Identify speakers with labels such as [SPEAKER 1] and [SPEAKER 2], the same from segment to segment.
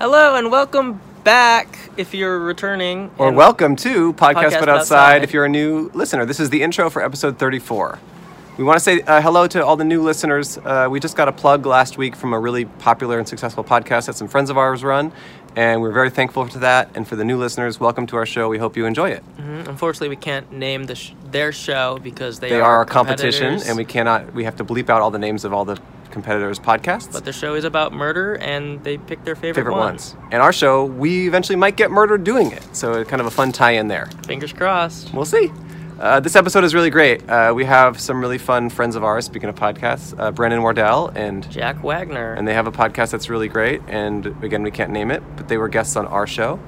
[SPEAKER 1] Hello and welcome back if you're returning.
[SPEAKER 2] Or
[SPEAKER 1] And-
[SPEAKER 2] welcome to Podcast,
[SPEAKER 1] Podcast
[SPEAKER 2] But
[SPEAKER 1] But
[SPEAKER 2] Outside,
[SPEAKER 1] Outside.
[SPEAKER 2] if you're a new listener. This is the intro for episode 34. We want to say uh, hello to all the new listeners. Uh, we just got a plug last week from a really popular and successful podcast that some friends of ours run, and we're very thankful for that. And for the new listeners, welcome to our show. We hope you enjoy it.
[SPEAKER 1] Mhm. Unfortunately, we can't name the sh- their show because they,
[SPEAKER 2] They are our competition,
[SPEAKER 1] competitors.
[SPEAKER 2] and we cannot, we have to bleep out all the names of all the competitors' podcasts.
[SPEAKER 1] But their show is about murder, and they pick their favorite,
[SPEAKER 2] favorite
[SPEAKER 1] one.
[SPEAKER 2] ones. And our show, we eventually might get murdered doing it. So it's kind of a fun tie in there.
[SPEAKER 1] Fingers crossed.
[SPEAKER 2] We'll see. Uh, this episode is really great. Uh, we have some really fun friends of ours, speaking of podcasts, uh, Brennan Wardell, and
[SPEAKER 1] Jack Wagner.
[SPEAKER 2] and they have a podcast that's really great. And again, we can't name it, but they were guests on our show.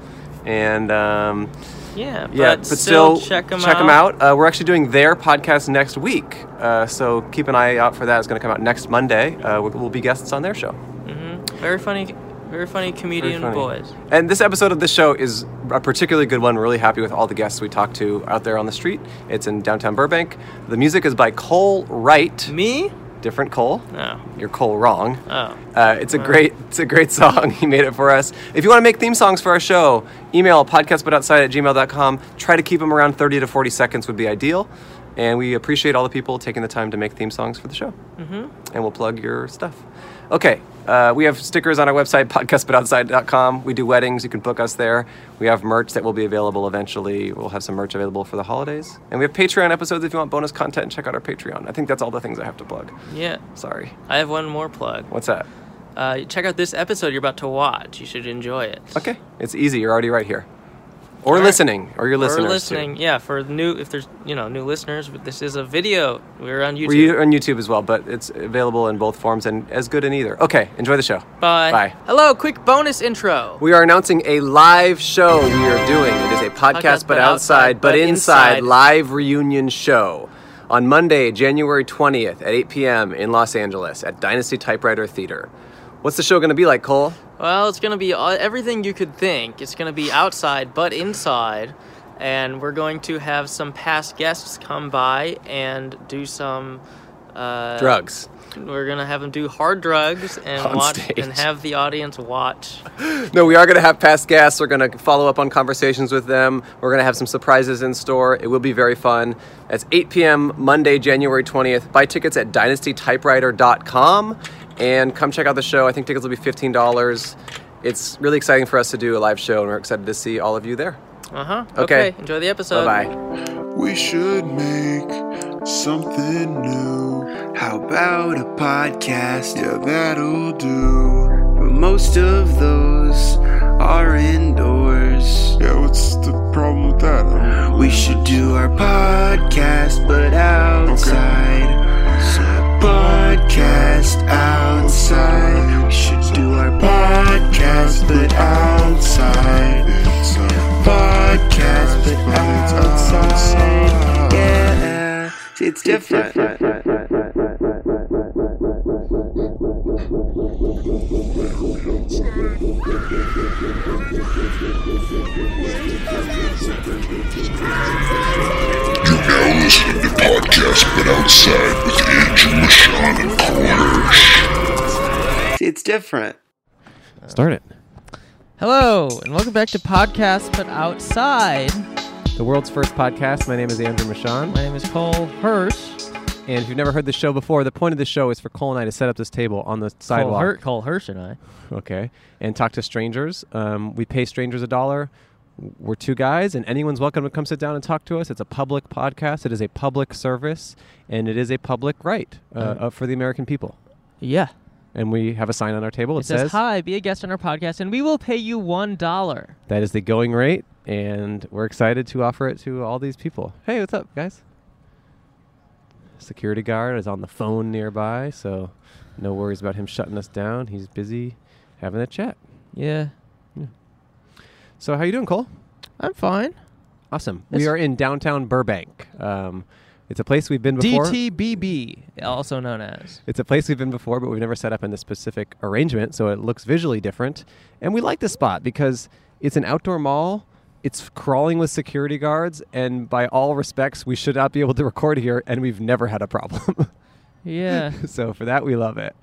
[SPEAKER 2] And um,
[SPEAKER 1] yeah, but
[SPEAKER 2] yeah, but still,
[SPEAKER 1] check them
[SPEAKER 2] check
[SPEAKER 1] out.
[SPEAKER 2] 'em out. Uh, we're actually doing their podcast next week, uh, so keep an eye out for that. It's going to come out next Monday. Uh, we'll, we'll be guests on their show.
[SPEAKER 1] Mhm. Very funny, very funny
[SPEAKER 2] Very
[SPEAKER 1] comedian
[SPEAKER 2] funny.
[SPEAKER 1] boys.
[SPEAKER 2] And this episode of the show is a particularly good one. We're really happy with all the guests we talked to out there on the street. It's in downtown Burbank. The music is by Cole Wright.
[SPEAKER 1] Me?
[SPEAKER 2] Different Cole.
[SPEAKER 1] No.
[SPEAKER 2] You're Cole wrong.
[SPEAKER 1] Oh.
[SPEAKER 2] Uh, it's a great it's a great song. He made it for us. If you want to make theme songs for our show, email podcastbutoutside at gmail.com. Try to keep them around 30 to 40 seconds would be ideal. And we appreciate all the people taking the time to make theme songs for the show. Mm-hmm. And we'll plug your stuff. Okay, uh, we have stickers on our website, podcastbutoutside.com. We do weddings. You can book us there. We have merch that will be available eventually. We'll have some merch available for the holidays. And we have Patreon episodes if you want bonus content. Check out our Patreon. I think that's all the things I have to plug.
[SPEAKER 1] Yeah.
[SPEAKER 2] Sorry.
[SPEAKER 1] I have one more plug.
[SPEAKER 2] What's that?
[SPEAKER 1] Uh, check out this episode you're about to watch. You should enjoy it.
[SPEAKER 2] Okay, it's easy. You're already right here, or
[SPEAKER 1] All right.
[SPEAKER 2] listening, or you're
[SPEAKER 1] Or
[SPEAKER 2] listening.
[SPEAKER 1] listening, yeah. For new, if there's you know new listeners, this is a video. We're on YouTube.
[SPEAKER 2] We're u- on YouTube as well, but it's available in both forms and as good in either. Okay, enjoy the show.
[SPEAKER 1] Bye.
[SPEAKER 2] Bye.
[SPEAKER 1] Hello. Oh, Quick bonus intro.
[SPEAKER 2] We are announcing a live show we are doing. It is a podcast,
[SPEAKER 1] Podcast,
[SPEAKER 2] but,
[SPEAKER 1] but outside,
[SPEAKER 2] outside, but
[SPEAKER 1] but
[SPEAKER 2] inside,
[SPEAKER 1] inside.
[SPEAKER 2] live reunion show on Monday, January 20th at 8 p.m. in Los Angeles at Dynasty Typewriter Theater. What's the show going to be like, Cole?
[SPEAKER 1] Well, it's gonna be all, everything you could think. It's gonna be outside, but inside, and we're going to have some past guests come by and do some. Uh,
[SPEAKER 2] Drugs.
[SPEAKER 1] We're gonna have them do hard drugs and
[SPEAKER 2] On
[SPEAKER 1] watch
[SPEAKER 2] stage.
[SPEAKER 1] and have the audience watch.
[SPEAKER 2] No, we are going to have past guests. We're going to follow up on conversations with them. We're going to have some surprises in store. It will be very fun. That's 8 p.m. Monday, January 20th. Buy tickets at dynastytypewriter.com and come check out the show. I think tickets will be $15. It's really exciting for us to do a live show, and we're excited to see all of you there.
[SPEAKER 1] Uh huh.
[SPEAKER 2] Okay.
[SPEAKER 1] Enjoy the episode.
[SPEAKER 2] Bye bye.
[SPEAKER 3] We should make something new. How about a podcast? Yeah, that'll do.
[SPEAKER 4] But most of those are indoors.
[SPEAKER 3] Yeah, what's the problem with that? I
[SPEAKER 4] We should do our podcast, but outside. So podcast outside. We should do our podcast, but outside.
[SPEAKER 3] don't know. It's a
[SPEAKER 4] Podcast, but outside. Yeah, it's different.
[SPEAKER 5] now listening to Podcast But Outside with Andrew Michon and Cole Hirsch.
[SPEAKER 4] It's different.
[SPEAKER 2] Start it.
[SPEAKER 1] Hello
[SPEAKER 6] Oh,
[SPEAKER 1] and welcome back to podcast, but outside.
[SPEAKER 2] The world's first podcast. My name is Andrew Michon.
[SPEAKER 1] My name is Cole Hirsch.
[SPEAKER 2] And if you've never heard the show before, the point of the show is for Cole and I to set up this table on the
[SPEAKER 1] Cole,
[SPEAKER 2] sidewalk.
[SPEAKER 1] Cole Hirsch and I.
[SPEAKER 2] Okay. And talk to strangers. Um, we pay strangers a dollar. We're two guys, and anyone's welcome to come sit down and talk to us. It's a public podcast. It is a public service, and it is a public right uh, uh, for the American people.
[SPEAKER 6] Uh-huh. Yeah.
[SPEAKER 2] And we have a sign on our table. It,
[SPEAKER 6] It says, Hi, be a guest on our podcast, and we will pay you $1.
[SPEAKER 2] that is the going rate, and we're excited to offer it to all these people. Hey, what's up, guys? Security guard is on the phone nearby, so no worries about him shutting us down. He's busy having a chat.
[SPEAKER 6] Yeah.
[SPEAKER 2] So, how you doing, Cole?
[SPEAKER 6] I'm fine.
[SPEAKER 2] Awesome.
[SPEAKER 6] It's-
[SPEAKER 2] we are in downtown Burbank. Um, it's a place we've been before.
[SPEAKER 6] DTBB, also known as.
[SPEAKER 2] It's a place we've been before, but we've never set up in this specific arrangement, so it looks visually different. And we like this spot because it's an outdoor mall. It's crawling with security guards, and by all respects, we should not be able to record here, and we've never had a problem.
[SPEAKER 6] Yeah.
[SPEAKER 2] so for that, we love it.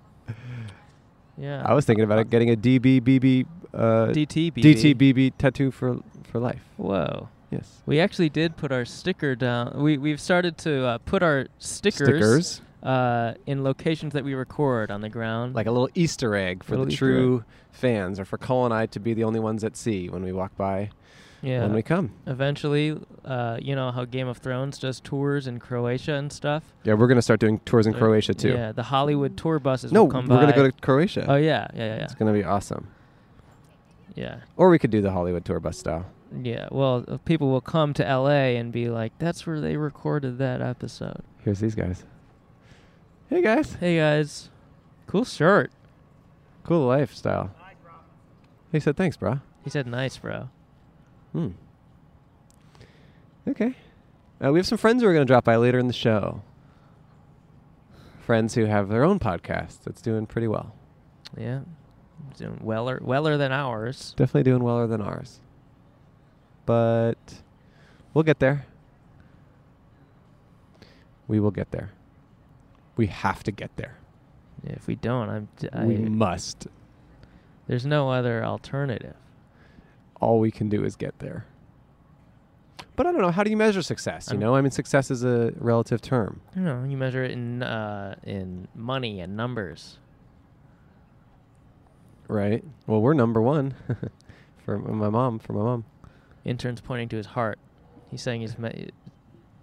[SPEAKER 6] Yeah.
[SPEAKER 2] I was thinking about it, getting a DBBB uh,
[SPEAKER 1] DTBB.
[SPEAKER 2] DTBB tattoo for for life.
[SPEAKER 1] Whoa.
[SPEAKER 2] Yes.
[SPEAKER 1] We actually did put our sticker down. We we've started to uh, put our stickers,
[SPEAKER 2] Stickers.
[SPEAKER 1] Uh, in locations that we record Um, on the ground.
[SPEAKER 2] Like a little Easter egg for
[SPEAKER 1] Little
[SPEAKER 2] the
[SPEAKER 1] Easter
[SPEAKER 2] true fans, or for Cole and I to be the only ones that see when we walk by
[SPEAKER 1] yeah.
[SPEAKER 2] when we come.
[SPEAKER 1] Eventually, uh, you know how Game of Thrones does tours in Croatia and stuff.
[SPEAKER 2] Yeah, we're gonna start doing tours in
[SPEAKER 1] Uh,
[SPEAKER 2] Croatia too.
[SPEAKER 1] Yeah, the Hollywood tour buses.
[SPEAKER 2] No,
[SPEAKER 1] will come
[SPEAKER 2] we're
[SPEAKER 1] by.
[SPEAKER 2] gonna go to Croatia.
[SPEAKER 1] Oh yeah, yeah, yeah,
[SPEAKER 2] It's gonna be awesome.
[SPEAKER 1] yeah,
[SPEAKER 2] Or we could do the Hollywood tour bus style.
[SPEAKER 1] yeah. yeah. Well, uh, people will come to L.A. and be like, "That's where they recorded that episode."
[SPEAKER 2] Here's these guys. Hey guys,
[SPEAKER 1] Hey guys, cool shirt.
[SPEAKER 2] cool lifestyle. He said thanks, brah.
[SPEAKER 1] He said, "Nice, bro."
[SPEAKER 2] Hmm. Okay. Uh, we have some friends who are going to drop by later in the show. Friends who have their own podcast that's doing pretty well.
[SPEAKER 1] Yeah, doing weller, weller than ours.
[SPEAKER 2] Definitely doing weller than ours. But we'll get there. We will get there. We have to get there.
[SPEAKER 1] Yeah, If we don't, I'm. d- I,
[SPEAKER 2] we must.
[SPEAKER 1] there's no other alternative.
[SPEAKER 2] All we can do is get there. But I don't know. How do you measure success? You
[SPEAKER 1] I'm-
[SPEAKER 2] know, I mean, success is a relative term.
[SPEAKER 1] You know, you measure it in uh, in money and numbers.
[SPEAKER 2] Right. Well, we're number one for m- my mom. For my mom.
[SPEAKER 1] Intern's pointing to his heart. He's saying he's. Me-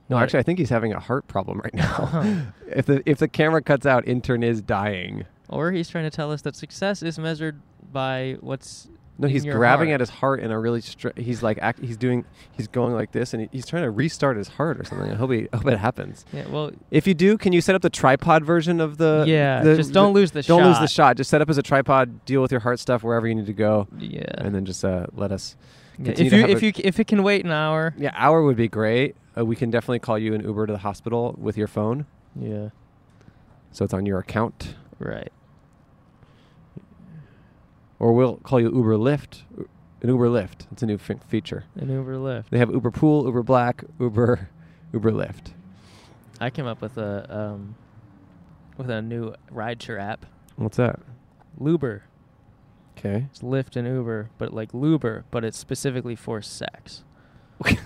[SPEAKER 2] No,
[SPEAKER 1] Right. Uh-huh.
[SPEAKER 2] actually, I think he's having a heart problem right now. if the if the camera cuts out, intern is dying.
[SPEAKER 1] Or he's trying to tell us that success is measured by what's.
[SPEAKER 2] No,
[SPEAKER 1] in
[SPEAKER 2] he's
[SPEAKER 1] your
[SPEAKER 2] grabbing
[SPEAKER 1] heart.
[SPEAKER 2] at his heart in a really. Stri- he's like act- he's doing he's going like this, and he- he's trying to restart his heart or something. I hope he, I hope it happens.
[SPEAKER 1] Yeah, well,
[SPEAKER 2] If you do, can you set up the tripod version of the?
[SPEAKER 1] Yeah,
[SPEAKER 2] the-
[SPEAKER 1] just don't lose the
[SPEAKER 2] Don't lose the
[SPEAKER 1] shot.
[SPEAKER 2] shot. Just set up as a tripod. Deal with your heart stuff wherever you need to go,
[SPEAKER 1] yeah.
[SPEAKER 2] and then just uh, let us.
[SPEAKER 1] Yeah,
[SPEAKER 2] continue
[SPEAKER 1] if
[SPEAKER 2] to
[SPEAKER 1] you
[SPEAKER 2] have
[SPEAKER 1] if
[SPEAKER 2] a-
[SPEAKER 1] you c- if it can wait an hour.
[SPEAKER 2] yeah, hour would be great. Uh, we can definitely call you an Uber to the hospital with your phone.
[SPEAKER 1] Yeah.
[SPEAKER 2] So it's on your account.
[SPEAKER 1] Right.
[SPEAKER 2] Or we'll call you Uber Lyft. U- An Uber Lyft. It's a new f- feature.
[SPEAKER 1] An Uber lift.
[SPEAKER 2] They have Uber Pool, Uber Black, Uber, Uber Lyft.
[SPEAKER 1] I came up with a um, with a new rideshare app,
[SPEAKER 2] What's that?
[SPEAKER 1] Luber.
[SPEAKER 2] Okay.
[SPEAKER 1] It's Lyft and Uber, but like Luber, but it's specifically for sex.
[SPEAKER 2] Wait.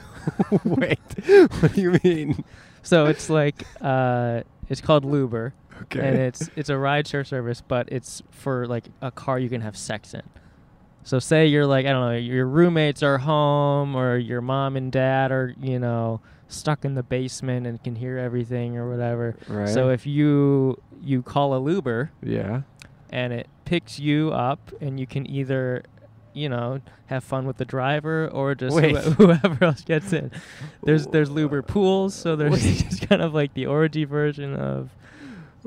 [SPEAKER 2] what do you mean?
[SPEAKER 1] So it's like uh, it's called Luber,
[SPEAKER 2] Okay.
[SPEAKER 1] and it's it's a rideshare service, but it's for like a car you can have sex in. So say you're like I don't know, your roommates are home, or your mom and dad are you know stuck in the basement and can hear everything or whatever.
[SPEAKER 2] Right.
[SPEAKER 1] So if you you call a Luber,
[SPEAKER 2] yeah.
[SPEAKER 1] and it picks you up and you can either you know have fun with the driver or just
[SPEAKER 2] Wait.
[SPEAKER 1] whoe- whoever else gets in there's there's luber pools so there's just kind of like the orgy version of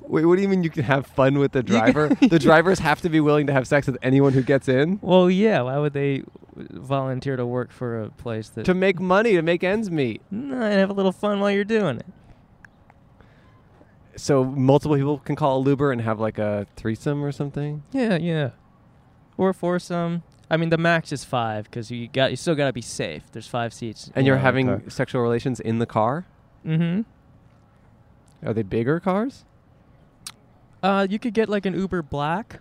[SPEAKER 2] Wait, what do you mean you can have fun with the driver? the drivers have to be willing to have sex with anyone who gets in?
[SPEAKER 1] well yeah why would they volunteer to work for a place that
[SPEAKER 2] To make money, to make ends meet.
[SPEAKER 1] no, and have a little fun while you're doing it
[SPEAKER 2] So multiple people can call a Uber and have like a threesome or something?
[SPEAKER 1] yeah yeah or foursome i mean the max is five because you got you still got to be safe there's five seats
[SPEAKER 2] And you're
[SPEAKER 1] know,
[SPEAKER 2] having
[SPEAKER 1] per-
[SPEAKER 2] sexual relations in the car?
[SPEAKER 1] mhm
[SPEAKER 2] Are they bigger cars?
[SPEAKER 1] Uh, you could get like an Uber Black.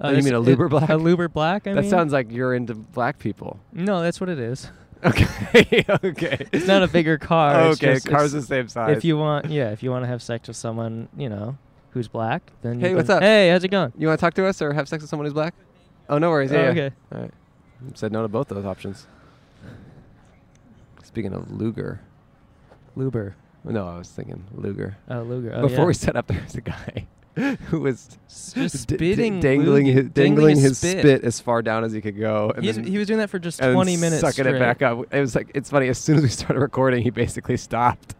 [SPEAKER 2] Oh, you
[SPEAKER 1] this-
[SPEAKER 2] mean a Luber
[SPEAKER 1] Uh, it-
[SPEAKER 2] Black?
[SPEAKER 1] A Uber Black. I
[SPEAKER 2] that
[SPEAKER 1] mean.
[SPEAKER 2] sounds like you're into black people.
[SPEAKER 1] No, that's what it is.
[SPEAKER 2] Okay, okay.
[SPEAKER 1] It's not a bigger car. it's
[SPEAKER 2] okay,
[SPEAKER 1] just-
[SPEAKER 2] car's the
[SPEAKER 1] it's-
[SPEAKER 2] same size.
[SPEAKER 1] If you want, yeah, if you want to have sex with someone, you know, who's black, then you
[SPEAKER 2] Hey,
[SPEAKER 1] can-
[SPEAKER 2] what's up?
[SPEAKER 1] Hey, how's it going?
[SPEAKER 2] you want to talk to us or have sex with someone who's black? Oh, no worries. Yeah.
[SPEAKER 1] Oh,
[SPEAKER 2] yeah.
[SPEAKER 1] okay.
[SPEAKER 2] All right. Said no to both those options. Speaking of Luger,
[SPEAKER 1] Luber.
[SPEAKER 2] no, I was thinking Luger.
[SPEAKER 1] Oh, Luger. Oh,
[SPEAKER 2] Before
[SPEAKER 1] yeah.
[SPEAKER 2] we set up, there was a guy who was
[SPEAKER 1] S- just
[SPEAKER 2] d- d-
[SPEAKER 1] spitting,
[SPEAKER 2] dangling,
[SPEAKER 1] Luger-
[SPEAKER 2] his, dangling his
[SPEAKER 1] spit.
[SPEAKER 2] spit. as far down as he could go, and
[SPEAKER 1] He's-
[SPEAKER 2] then
[SPEAKER 1] he was doing that for just
[SPEAKER 2] and then
[SPEAKER 1] 20 minutes.
[SPEAKER 2] sucking
[SPEAKER 1] straight.
[SPEAKER 2] it back up. It was like it's funny. As soon as we started recording, he basically stopped,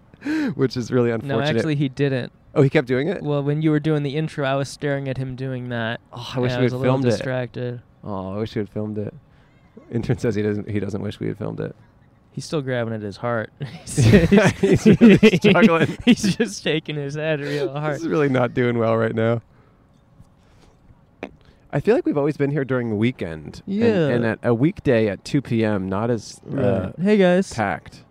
[SPEAKER 2] which is really
[SPEAKER 1] No,
[SPEAKER 2] unfortunate.
[SPEAKER 1] actually, he didn't.
[SPEAKER 2] oh, he kept doing it.
[SPEAKER 1] Well, when you were doing the intro, I was staring at him doing that.
[SPEAKER 2] Oh, I wish
[SPEAKER 1] and
[SPEAKER 2] we
[SPEAKER 1] was
[SPEAKER 2] had
[SPEAKER 1] a little
[SPEAKER 2] filmed it.
[SPEAKER 1] distracted.
[SPEAKER 2] Oh, I wish we had filmed it. Intern says he doesn't. He doesn't wish we had filmed it.
[SPEAKER 1] He's still grabbing at his heart.
[SPEAKER 2] He's really struggling.
[SPEAKER 1] He's just shaking his head real hard.
[SPEAKER 2] This is really not doing well right now. I feel like we've always been here during the weekend. and-
[SPEAKER 1] Yeah.
[SPEAKER 2] And, at a weekday at 2 p.m., not as uh,
[SPEAKER 1] Right. hey guys.
[SPEAKER 2] packed.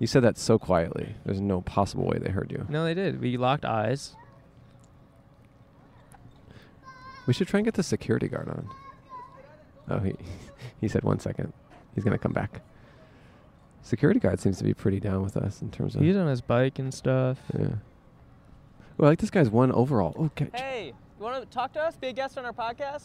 [SPEAKER 2] You said that so quietly. There's no possible way they heard you.
[SPEAKER 1] No, they did. We locked eyes.
[SPEAKER 2] We should try and get the security guard on. Oh, he he said one second. He's gonna come back. Security guard seems to be pretty down with us in terms of.
[SPEAKER 1] He's on his bike and stuff.
[SPEAKER 2] yeah. Well, I like this guy's one overall. Oh, Okay.
[SPEAKER 7] Hey, you want to talk to us? Be a guest on our podcast?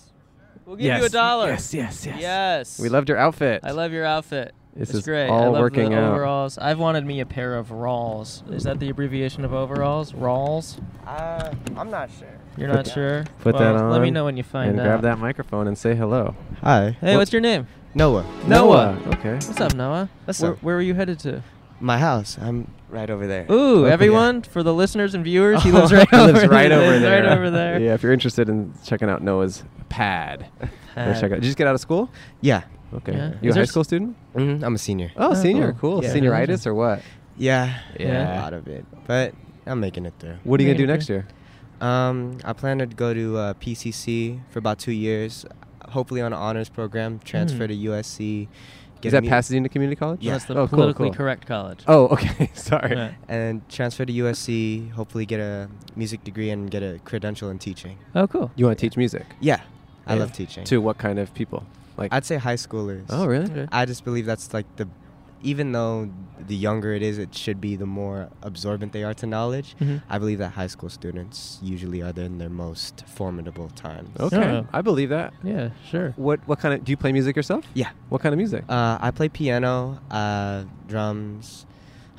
[SPEAKER 7] We'll give
[SPEAKER 2] yes.
[SPEAKER 7] you a dollar.
[SPEAKER 2] Yes, yes, yes.
[SPEAKER 7] Yes.
[SPEAKER 2] We loved your outfit.
[SPEAKER 7] I love your outfit.
[SPEAKER 2] This
[SPEAKER 7] it's
[SPEAKER 2] is
[SPEAKER 7] great.
[SPEAKER 2] all
[SPEAKER 7] I love
[SPEAKER 2] working
[SPEAKER 7] the
[SPEAKER 2] out.
[SPEAKER 7] overalls. I've wanted me a pair of Rawls. Is that the abbreviation of overalls? Rawls?
[SPEAKER 8] Uh, I'm not sure.
[SPEAKER 7] You're
[SPEAKER 2] Put-
[SPEAKER 7] not sure?
[SPEAKER 2] put
[SPEAKER 7] Well,
[SPEAKER 2] that on.
[SPEAKER 7] Let me know when you find
[SPEAKER 2] and
[SPEAKER 7] out.
[SPEAKER 2] grab that microphone and say hello.
[SPEAKER 8] Hi.
[SPEAKER 7] Hey, what's your name?
[SPEAKER 8] Noah?
[SPEAKER 7] Noah.
[SPEAKER 2] Okay.
[SPEAKER 7] What's up, Noah?
[SPEAKER 8] What's
[SPEAKER 7] where,
[SPEAKER 8] up?
[SPEAKER 7] where were you headed to?
[SPEAKER 8] My house. I'm right over there.
[SPEAKER 7] Ooh,
[SPEAKER 8] Over
[SPEAKER 7] everyone, for the listeners and viewers, Oh, he lives right
[SPEAKER 2] He
[SPEAKER 7] over
[SPEAKER 2] lives right
[SPEAKER 7] there.
[SPEAKER 2] over
[SPEAKER 7] Lives
[SPEAKER 2] there.
[SPEAKER 7] Right over there.
[SPEAKER 2] Yeah, if you're interested in checking out Noah's pad, go
[SPEAKER 7] Pad.
[SPEAKER 2] check out. Did you just get out of school?
[SPEAKER 8] Yeah.
[SPEAKER 2] Okay.
[SPEAKER 7] Yeah.
[SPEAKER 2] You a
[SPEAKER 7] Is
[SPEAKER 2] high
[SPEAKER 7] there
[SPEAKER 2] school student?
[SPEAKER 8] hmm I'm a senior.
[SPEAKER 2] Oh,
[SPEAKER 7] Oh,
[SPEAKER 2] senior.
[SPEAKER 7] cool.
[SPEAKER 2] Cool.
[SPEAKER 7] Yeah.
[SPEAKER 2] Senioritis or what?
[SPEAKER 8] Yeah.
[SPEAKER 7] Yeah.
[SPEAKER 8] A lot of it, but I'm making it through.
[SPEAKER 2] What are you gonna do
[SPEAKER 7] Yeah.
[SPEAKER 2] next year?
[SPEAKER 8] Um, I plan to go to uh, PCC for about two years, hopefully on an honors program. Transfer
[SPEAKER 7] Mm.
[SPEAKER 8] to USC.
[SPEAKER 2] Is that
[SPEAKER 8] a mu-
[SPEAKER 2] Pasadena Community College?
[SPEAKER 8] Yeah.
[SPEAKER 7] That's the
[SPEAKER 2] Oh, cool,
[SPEAKER 7] politically
[SPEAKER 2] cool.
[SPEAKER 7] correct college.
[SPEAKER 2] Oh, okay. Sorry.
[SPEAKER 7] Yeah.
[SPEAKER 8] And transfer to USC. Hopefully get a music degree and get a credential in teaching.
[SPEAKER 7] Oh, cool.
[SPEAKER 2] You want to teach music?
[SPEAKER 8] Yeah. I
[SPEAKER 2] Yeah.
[SPEAKER 8] love teaching.
[SPEAKER 2] To what kind of people? Like.
[SPEAKER 8] I'd say high schoolers.
[SPEAKER 2] oh, really?
[SPEAKER 7] Okay.
[SPEAKER 8] I just believe that's like the, even though the younger it is, it should be the more absorbent they are to knowledge.
[SPEAKER 7] Mhm.
[SPEAKER 8] I believe that high school students usually are in their most formidable times.
[SPEAKER 2] Okay.
[SPEAKER 7] Yeah.
[SPEAKER 2] I believe that.
[SPEAKER 7] Yeah, sure.
[SPEAKER 2] What what kind of do you play music yourself?
[SPEAKER 8] Yeah.
[SPEAKER 2] What kind of music?
[SPEAKER 8] Uh, I play piano, uh, drums,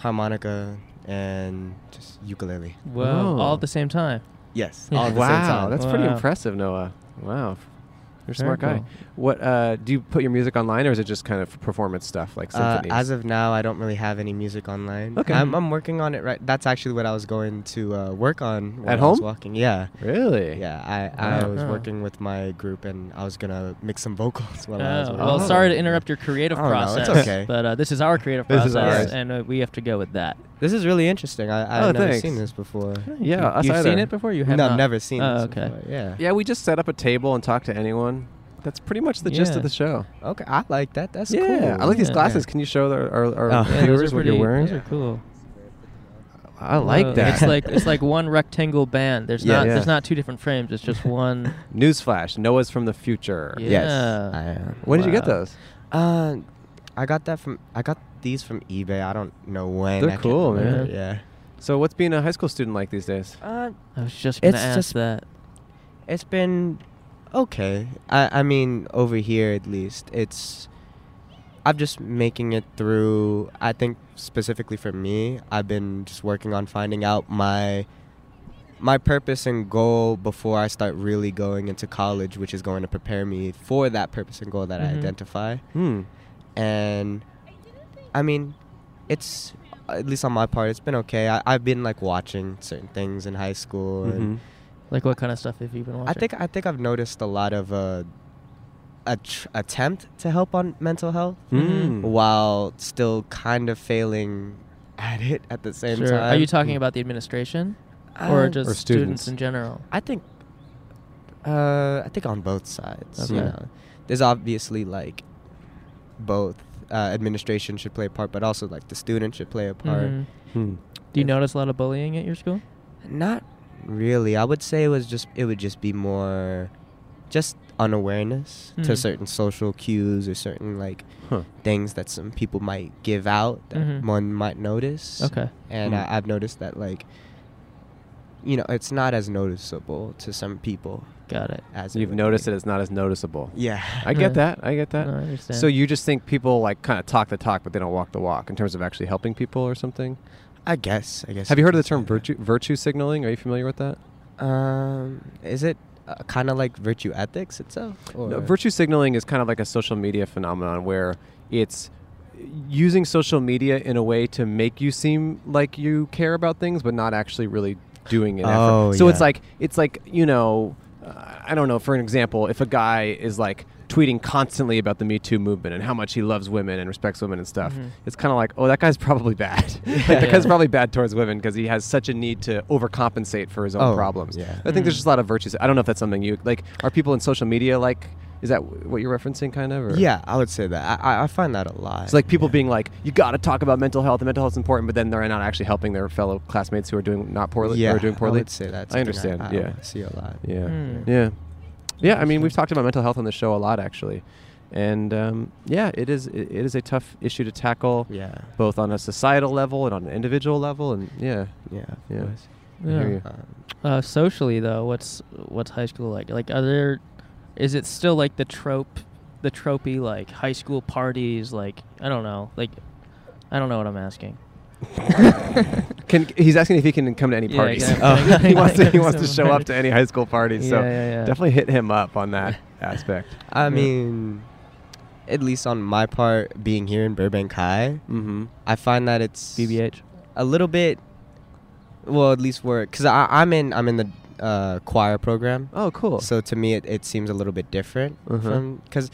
[SPEAKER 8] harmonica, and just ukulele.
[SPEAKER 7] Whoa,
[SPEAKER 2] Oh.
[SPEAKER 7] all at the same time.
[SPEAKER 8] Yes,
[SPEAKER 7] Yeah.
[SPEAKER 8] all at the
[SPEAKER 2] wow,
[SPEAKER 8] same time.
[SPEAKER 2] that's pretty
[SPEAKER 7] Wow.
[SPEAKER 2] impressive, Noah. Wow. You're
[SPEAKER 7] Very
[SPEAKER 2] a smart guy.
[SPEAKER 7] cool.
[SPEAKER 2] What uh, do you put your music online or is it just kind of performance stuff like
[SPEAKER 8] Uh,
[SPEAKER 2] symphonies?
[SPEAKER 8] as of now, I don't really have any music online.
[SPEAKER 2] Okay.
[SPEAKER 8] I'm, I'm working on it right. That's actually what I was going to uh, work on when
[SPEAKER 2] At
[SPEAKER 8] I was
[SPEAKER 2] home?
[SPEAKER 8] walking. Yeah.
[SPEAKER 2] really?
[SPEAKER 8] Yeah, I, I
[SPEAKER 7] Wow.
[SPEAKER 8] was
[SPEAKER 7] Oh.
[SPEAKER 8] working with my group and I was gonna mix some vocals while I was
[SPEAKER 7] Oh,
[SPEAKER 8] working.
[SPEAKER 7] well,
[SPEAKER 2] Oh.
[SPEAKER 7] sorry to interrupt your creative
[SPEAKER 8] Oh, no,
[SPEAKER 7] process.
[SPEAKER 8] it's okay.
[SPEAKER 7] But uh, this is our creative
[SPEAKER 2] This
[SPEAKER 7] process,
[SPEAKER 2] is
[SPEAKER 8] ours.
[SPEAKER 7] and uh, we have to go with that.
[SPEAKER 8] This is really interesting. I, I've
[SPEAKER 2] Oh,
[SPEAKER 8] never
[SPEAKER 2] thanks.
[SPEAKER 8] seen this before.
[SPEAKER 2] Yeah, us
[SPEAKER 7] You've seen
[SPEAKER 2] either.
[SPEAKER 7] it before? You
[SPEAKER 8] No,
[SPEAKER 7] have not?
[SPEAKER 8] I've never seen
[SPEAKER 7] Oh,
[SPEAKER 8] this
[SPEAKER 7] okay.
[SPEAKER 8] before. Yeah.
[SPEAKER 2] Yeah, we just set up a table and talk to anyone. That's pretty much the gist
[SPEAKER 7] Yeah.
[SPEAKER 2] of the show.
[SPEAKER 8] Okay, I like that. That's
[SPEAKER 2] yeah,
[SPEAKER 8] cool.
[SPEAKER 2] I like these
[SPEAKER 7] Yeah.
[SPEAKER 2] glasses. Can you show our, our, our
[SPEAKER 8] Oh.
[SPEAKER 7] Yeah, those are
[SPEAKER 2] viewers what you're
[SPEAKER 7] pretty-
[SPEAKER 2] wearing?
[SPEAKER 7] Those are cool.
[SPEAKER 2] I like
[SPEAKER 1] Uh,
[SPEAKER 7] Whoa,
[SPEAKER 2] that.
[SPEAKER 7] It's like it's like one rectangle band. There's
[SPEAKER 8] Yeah.
[SPEAKER 7] not
[SPEAKER 2] Yeah.
[SPEAKER 7] there's not two different frames. It's just one.
[SPEAKER 2] Newsflash: Noah's from the future.
[SPEAKER 7] Yeah.
[SPEAKER 8] Yes,
[SPEAKER 7] Yeah.
[SPEAKER 8] I am.
[SPEAKER 2] When did you get
[SPEAKER 7] Wow.
[SPEAKER 2] those?
[SPEAKER 8] Uh, I got that from I got these from eBay. I don't know when.
[SPEAKER 2] They're
[SPEAKER 8] I can't
[SPEAKER 2] cool, man.
[SPEAKER 8] remember. Yeah.
[SPEAKER 2] So, what's being a high school student like these days?
[SPEAKER 8] Uh,
[SPEAKER 7] I was just gonna
[SPEAKER 8] It's
[SPEAKER 7] ask
[SPEAKER 8] just-
[SPEAKER 7] that.
[SPEAKER 8] it's been okay. I I mean over here at least it's. I'm just making it through. I think specifically for me, I've been just working on finding out my my purpose and goal before I start really going into college, which is going to prepare me for that purpose and goal that I
[SPEAKER 7] Mhm.
[SPEAKER 8] identify.
[SPEAKER 2] Hmm.
[SPEAKER 8] and I mean, it's at least on my part, it's been okay. I, I've been like watching certain things in high school, and
[SPEAKER 1] Mm-hmm.
[SPEAKER 2] Mhm.
[SPEAKER 7] Like what kind of stuff have you been watching?
[SPEAKER 8] I think I think I've noticed a lot of uh, a tr- attempt to help on mental health
[SPEAKER 7] Mhm.
[SPEAKER 2] Mm.
[SPEAKER 8] while still kind of failing at it at the same
[SPEAKER 7] Sure.
[SPEAKER 8] time.
[SPEAKER 7] Are you talking about the administration or
[SPEAKER 8] Uh,
[SPEAKER 7] just
[SPEAKER 2] Or
[SPEAKER 7] students.
[SPEAKER 2] students.
[SPEAKER 7] in general?
[SPEAKER 8] I think uh, I think on both sides. You
[SPEAKER 7] Okay.
[SPEAKER 8] know, there's obviously like both uh, administration should play a part, but also like the student should play a part.
[SPEAKER 7] Mhm.
[SPEAKER 2] Hmm.
[SPEAKER 7] Do you notice a lot of bullying at your school?
[SPEAKER 8] Not really. I would say it was just it would just be more just unawareness to
[SPEAKER 7] Mhm.
[SPEAKER 8] certain social cues or certain like
[SPEAKER 2] Huh.
[SPEAKER 8] things that some people might give out that
[SPEAKER 7] Mhm.
[SPEAKER 8] one might notice.
[SPEAKER 7] Okay. Hmm.
[SPEAKER 8] And
[SPEAKER 2] Mm.
[SPEAKER 8] I, I've noticed that like you know, it's not as noticeable to some people
[SPEAKER 7] Got it.
[SPEAKER 8] as
[SPEAKER 2] You've
[SPEAKER 8] would
[SPEAKER 2] noticed
[SPEAKER 8] be.
[SPEAKER 2] that it's not as noticeable.
[SPEAKER 8] Yeah.
[SPEAKER 2] I get
[SPEAKER 7] Yeah.
[SPEAKER 2] that. I get that.
[SPEAKER 7] No, I understand.
[SPEAKER 2] So you just think people like kind of talk the talk, but they don't walk the walk in terms of actually helping people or something.
[SPEAKER 8] I guess. I guess.
[SPEAKER 2] Have you heard of
[SPEAKER 8] can
[SPEAKER 2] the
[SPEAKER 8] say
[SPEAKER 2] term
[SPEAKER 8] that.
[SPEAKER 2] virtue virtue signaling? Are you familiar with that?
[SPEAKER 8] Um, is it uh, kind of like virtue ethics itself? Or?
[SPEAKER 2] No, virtue signaling is kind of like a social media phenomenon where it's using social media in a way to make you seem like you care about things, but not actually really doing an
[SPEAKER 8] Oh,
[SPEAKER 2] effort. So it's
[SPEAKER 8] yeah.
[SPEAKER 2] like it's like you know, uh, I don't know. For an example, if a guy is like tweeting constantly about the Me Too movement and how much he loves women and respects women and stuff,
[SPEAKER 7] Mhm.
[SPEAKER 8] Mm-hmm.
[SPEAKER 2] it's kind of like, oh, that guy's probably bad. like, that
[SPEAKER 7] Yeah.
[SPEAKER 2] guy's probably bad towards women because he has such a need to overcompensate for his own
[SPEAKER 8] Oh,
[SPEAKER 2] problems.
[SPEAKER 8] yeah.
[SPEAKER 2] I think there's just a lot of virtues. I don't know if that's something you like. Are people in social media like? Is that wh- what you're referencing, kind of? Or?
[SPEAKER 8] Yeah, I would say that. I- I, I find that a lot.
[SPEAKER 2] It's like people being like, "You got to talk about mental health, and mental health's important," but then they're not actually helping their fellow classmates who are doing not poorly
[SPEAKER 8] yeah,
[SPEAKER 2] or doing poorly.
[SPEAKER 8] I would say that's
[SPEAKER 2] I
[SPEAKER 8] something
[SPEAKER 2] understand.
[SPEAKER 8] I,
[SPEAKER 2] yeah.
[SPEAKER 8] I see a lot.
[SPEAKER 2] Yeah.
[SPEAKER 7] Hmm.
[SPEAKER 2] Yeah. Yeah. I mean, we've talked about mental health on the show a lot, actually. And um, yeah, it is it, it is a tough issue to tackle,
[SPEAKER 8] Yeah.
[SPEAKER 2] both on a societal level and on an individual level. And yeah,
[SPEAKER 8] Yeah. of
[SPEAKER 2] Yeah.
[SPEAKER 8] course.
[SPEAKER 2] I hear you.
[SPEAKER 8] Um,
[SPEAKER 1] Uh, socially though, what's what's high school like? Like, are there? Is it still like the trope, the tropey like high school parties? Like, I don't know. Like, I don't know what I'm asking.
[SPEAKER 2] Can he's asking if he can come to any
[SPEAKER 1] Yeah,
[SPEAKER 2] parties?
[SPEAKER 1] exactly.
[SPEAKER 2] Oh. he wants to he
[SPEAKER 1] Some
[SPEAKER 2] wants to show up
[SPEAKER 1] parties.
[SPEAKER 2] to any high school parties. so
[SPEAKER 1] Yeah, yeah, yeah.
[SPEAKER 2] definitely hit him up on that aspect.
[SPEAKER 8] I
[SPEAKER 1] Yeah.
[SPEAKER 8] mean, at least on my part, being here in Burbank High,
[SPEAKER 2] Mm-hmm.
[SPEAKER 8] I find that it's
[SPEAKER 1] BBH.
[SPEAKER 8] a little bit. Well, at least work because I'm in I'm in the uh, choir program,
[SPEAKER 2] Oh, cool.
[SPEAKER 8] so to me it, it seems a little bit different
[SPEAKER 2] Uh-huh.
[SPEAKER 8] from because.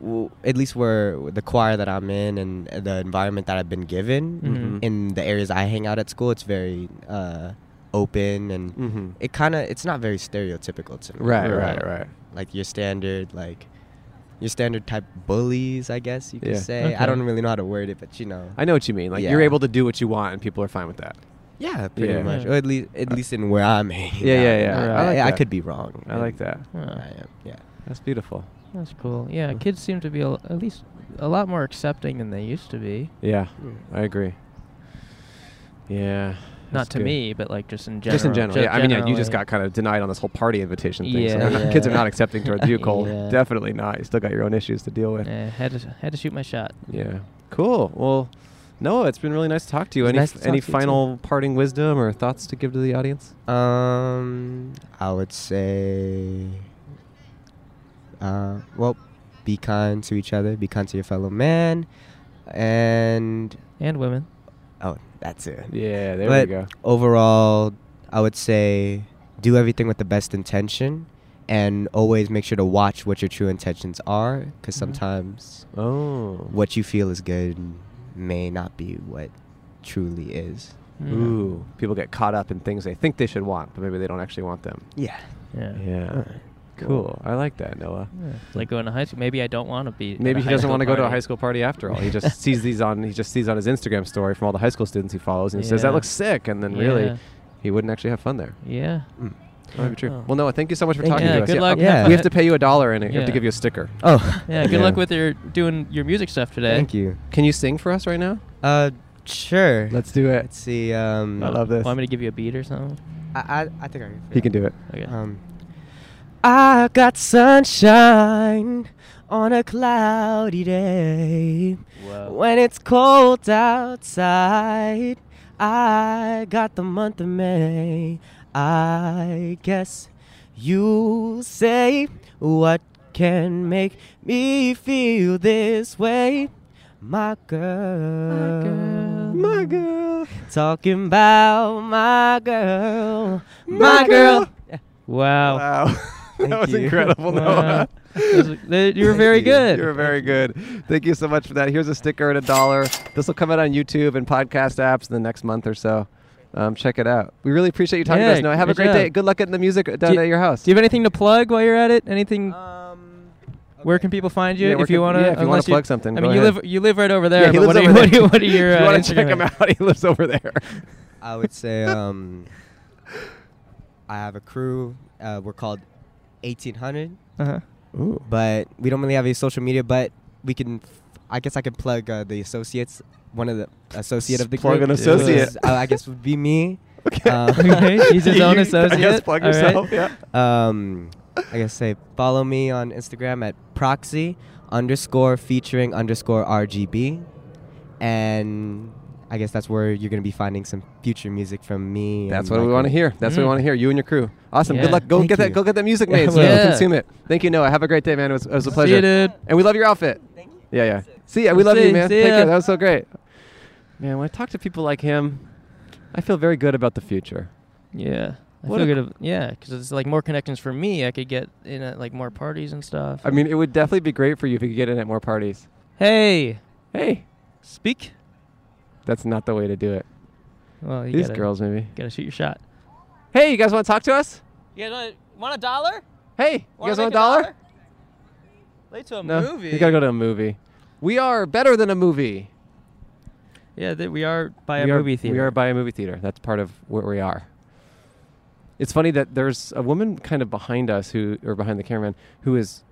[SPEAKER 8] W- at least where the choir that I'm in and the environment that I've been given
[SPEAKER 1] Mhm.
[SPEAKER 8] in the areas I hang out at school, it's very uh, open and
[SPEAKER 2] mm-hmm.
[SPEAKER 8] it kind of it's not very stereotypical to me.
[SPEAKER 2] Right,
[SPEAKER 8] you
[SPEAKER 2] right,
[SPEAKER 8] know?
[SPEAKER 2] right.
[SPEAKER 8] Like your standard like your standard type bullies, I guess you could
[SPEAKER 2] Yeah.
[SPEAKER 8] say.
[SPEAKER 1] Okay.
[SPEAKER 8] I don't really know how to word it, but you know.
[SPEAKER 2] I know what you mean. Like you're
[SPEAKER 8] Yeah.
[SPEAKER 2] able to do what you want, and people are fine with that.
[SPEAKER 8] yeah, pretty
[SPEAKER 2] Yeah. Uh,
[SPEAKER 8] much.
[SPEAKER 1] Yeah.
[SPEAKER 8] Or at least at least in where I'm hanging
[SPEAKER 2] Yeah, yeah,
[SPEAKER 8] out.
[SPEAKER 2] yeah.
[SPEAKER 1] I
[SPEAKER 8] I,
[SPEAKER 2] like
[SPEAKER 8] I
[SPEAKER 2] that.
[SPEAKER 8] could be wrong.
[SPEAKER 2] I like that.
[SPEAKER 1] Huh.
[SPEAKER 8] I am. Yeah.
[SPEAKER 2] That's beautiful.
[SPEAKER 1] That's cool. Yeah,
[SPEAKER 2] Hmm.
[SPEAKER 1] kids seem to be a, at least a lot more accepting than they used to be.
[SPEAKER 2] Yeah,
[SPEAKER 8] Hmm.
[SPEAKER 1] Hmm.
[SPEAKER 2] I agree. Yeah.
[SPEAKER 1] Not
[SPEAKER 2] that's
[SPEAKER 1] to
[SPEAKER 2] good.
[SPEAKER 1] me, but like just in general.
[SPEAKER 2] Just in general.
[SPEAKER 1] Ge-
[SPEAKER 2] yeah, I mean, yeah, you just
[SPEAKER 1] generally.
[SPEAKER 2] got kind of denied on this whole party invitation thing. so
[SPEAKER 1] Yeah,
[SPEAKER 2] now kids are
[SPEAKER 8] yeah.
[SPEAKER 2] not accepting towards you, Cole.
[SPEAKER 1] Yeah.
[SPEAKER 2] Definitely not. You still got your own issues to deal with.
[SPEAKER 1] Eh, had to had to shoot my shot.
[SPEAKER 2] Yeah. Cool. Well, Noah, it's been really nice to talk to you.
[SPEAKER 8] It's
[SPEAKER 2] Any
[SPEAKER 8] nice to
[SPEAKER 2] any
[SPEAKER 8] talk to you,
[SPEAKER 2] final parting wisdom or thoughts to give to the audience?
[SPEAKER 8] Um I would say uh well, be kind to each other, be kind to your fellow man and
[SPEAKER 1] And women.
[SPEAKER 8] oh, that's it.
[SPEAKER 2] Yeah, there
[SPEAKER 8] but
[SPEAKER 2] we go.
[SPEAKER 8] Overall, I would say do everything with the best intention and always make sure to watch what your true intentions are because
[SPEAKER 1] Mhm.
[SPEAKER 8] sometimes
[SPEAKER 2] Oh.
[SPEAKER 8] what you feel is good may not be what truly is.
[SPEAKER 1] Mm.
[SPEAKER 2] Ooh. People get caught up in things they think they should want, but maybe they don't actually want them.
[SPEAKER 8] Yeah.
[SPEAKER 1] Yeah.
[SPEAKER 2] Yeah. Cool. I like that, Noah.
[SPEAKER 1] Yeah. It's Like going to high school. Maybe I don't want to be. at
[SPEAKER 2] Maybe
[SPEAKER 1] a
[SPEAKER 2] he
[SPEAKER 1] high
[SPEAKER 2] doesn't
[SPEAKER 1] school
[SPEAKER 2] want to go to a
[SPEAKER 1] party.
[SPEAKER 2] high school party after all. He just sees these on he just sees on his Instagram story from all the high school students he follows and he says that
[SPEAKER 1] Yeah.
[SPEAKER 2] looks sick and then really
[SPEAKER 1] Yeah.
[SPEAKER 2] he wouldn't actually have fun there.
[SPEAKER 1] Yeah.
[SPEAKER 2] Hmm. That might be true.
[SPEAKER 1] Oh.
[SPEAKER 2] Well, Noah, thank you so much for
[SPEAKER 8] Thank
[SPEAKER 2] talking
[SPEAKER 8] you.
[SPEAKER 2] to
[SPEAKER 1] Yeah,
[SPEAKER 2] us.
[SPEAKER 1] good luck.
[SPEAKER 2] Yeah. um,
[SPEAKER 8] Have
[SPEAKER 2] We
[SPEAKER 8] a-
[SPEAKER 2] have to pay you a dollar and we have to
[SPEAKER 1] Yeah.
[SPEAKER 2] give you a sticker.
[SPEAKER 8] Oh.
[SPEAKER 1] Yeah. Good luck
[SPEAKER 2] Yeah.
[SPEAKER 1] with your doing your music stuff today.
[SPEAKER 8] Thank you.
[SPEAKER 2] Can you sing for us right now?
[SPEAKER 8] Uh, sure. Let's,
[SPEAKER 2] Let's do it.
[SPEAKER 8] see. Um,
[SPEAKER 2] I love this.
[SPEAKER 1] Want me to give you a beat or something?
[SPEAKER 8] I, I, I think I can.
[SPEAKER 2] He can do it.
[SPEAKER 1] Okay.
[SPEAKER 8] Um, I got sunshine on a cloudy day. When it's cold outside, I got the month of May. I guess you say what can make me feel this way. My girl, my girl, talking about my girl, my, girl.
[SPEAKER 1] Wow.
[SPEAKER 2] Wow. that was
[SPEAKER 8] you.
[SPEAKER 2] incredible,
[SPEAKER 1] Wow.
[SPEAKER 2] Noah.
[SPEAKER 1] Those are- they- you were very good.
[SPEAKER 2] You were very good. Thank you so much for that. Here's a sticker and a dollar. This will come out on YouTube and podcast apps in the next month or so. Um, check it out. We really appreciate you talking
[SPEAKER 1] Yeah,
[SPEAKER 2] to us. Noah, have a
[SPEAKER 1] good
[SPEAKER 2] great
[SPEAKER 1] job.
[SPEAKER 2] day. Good luck getting the music down
[SPEAKER 1] you-
[SPEAKER 2] at your house.
[SPEAKER 1] Do you have anything to plug while you're at it? Anything?
[SPEAKER 8] Um,
[SPEAKER 1] where can people find you
[SPEAKER 2] Yeah, where
[SPEAKER 1] if you
[SPEAKER 2] can-
[SPEAKER 1] want to?
[SPEAKER 2] yeah, if you wanna plug something,
[SPEAKER 1] I
[SPEAKER 2] go
[SPEAKER 1] mean, you
[SPEAKER 2] ahead.
[SPEAKER 1] live you live right over
[SPEAKER 2] Yeah,
[SPEAKER 1] there.
[SPEAKER 2] he
[SPEAKER 1] but
[SPEAKER 2] lives
[SPEAKER 1] what, are,
[SPEAKER 2] over
[SPEAKER 1] what,
[SPEAKER 2] there.
[SPEAKER 1] are- what are your?
[SPEAKER 2] if you
[SPEAKER 1] uh,
[SPEAKER 2] want to check
[SPEAKER 1] Instagram
[SPEAKER 2] him out, he lives over there.
[SPEAKER 8] I would say um, I have a crew. Uh, we're called 1800,
[SPEAKER 1] Uh-huh.
[SPEAKER 2] Ooh.
[SPEAKER 8] but we don't really have any social media. But we can, I guess, I can plug uh, the associates. One of the associate of the
[SPEAKER 2] Plug
[SPEAKER 8] group,
[SPEAKER 2] an
[SPEAKER 8] which
[SPEAKER 2] associate.
[SPEAKER 8] is, uh, I guess would be me.
[SPEAKER 2] Okay.
[SPEAKER 8] Um,
[SPEAKER 1] Okay, he's his own
[SPEAKER 2] You- I guess
[SPEAKER 1] associate.
[SPEAKER 2] plug
[SPEAKER 1] All right.
[SPEAKER 2] yourself. Yeah.
[SPEAKER 8] um, I guess say follow me on Instagram at proxy underscore featuring underscore RGB, and I guess that's where you're gonna be finding some future music from me.
[SPEAKER 2] That's
[SPEAKER 8] and
[SPEAKER 2] what we
[SPEAKER 8] Michael.
[SPEAKER 2] want to hear. That's what we
[SPEAKER 1] Mm.
[SPEAKER 2] want to hear. You and your crew. Awesome. Good
[SPEAKER 1] Yeah.
[SPEAKER 2] luck. Go
[SPEAKER 8] Thank
[SPEAKER 2] get that.
[SPEAKER 8] you.
[SPEAKER 2] Go get that music made so we
[SPEAKER 1] Yeah.
[SPEAKER 2] can
[SPEAKER 1] Yeah.
[SPEAKER 2] consume it. Thank you, Noah. Have a great day, man. It was, it was a pleasure.
[SPEAKER 1] See you, dude.
[SPEAKER 2] And we love your outfit. Thank you. Yeah, yeah. See ya. We love
[SPEAKER 1] See-
[SPEAKER 2] you, man.
[SPEAKER 1] see
[SPEAKER 2] Take
[SPEAKER 1] ya.
[SPEAKER 2] care. That was so great. Man, when I talk to people like him, I feel very good about the future.
[SPEAKER 1] Yeah. I
[SPEAKER 2] What
[SPEAKER 1] feel
[SPEAKER 2] a
[SPEAKER 1] good. of- yeah, because it's like more connections for me. I could get in at like more parties and stuff.
[SPEAKER 2] I mean, it would definitely be great for you if you could get in at more parties.
[SPEAKER 1] hey,
[SPEAKER 2] Hey,
[SPEAKER 1] speak.
[SPEAKER 2] that's not the way to do it.
[SPEAKER 1] Well, you
[SPEAKER 2] These
[SPEAKER 1] gotta,
[SPEAKER 2] girls, maybe.
[SPEAKER 1] gotta shoot your shot.
[SPEAKER 2] Hey, you guys want to talk to us?
[SPEAKER 1] You guys want a dollar?
[SPEAKER 2] Hey, you guys want a dollar?
[SPEAKER 1] Late to a
[SPEAKER 2] No, you gotta go to a movie. We are better than a movie.
[SPEAKER 1] Yeah, th- we are by
[SPEAKER 2] we
[SPEAKER 1] a
[SPEAKER 2] are,
[SPEAKER 1] movie theater.
[SPEAKER 2] We are by a movie theater. That's part of where we are. It's funny that there's a woman kind of behind us who, or behind the cameraman, who is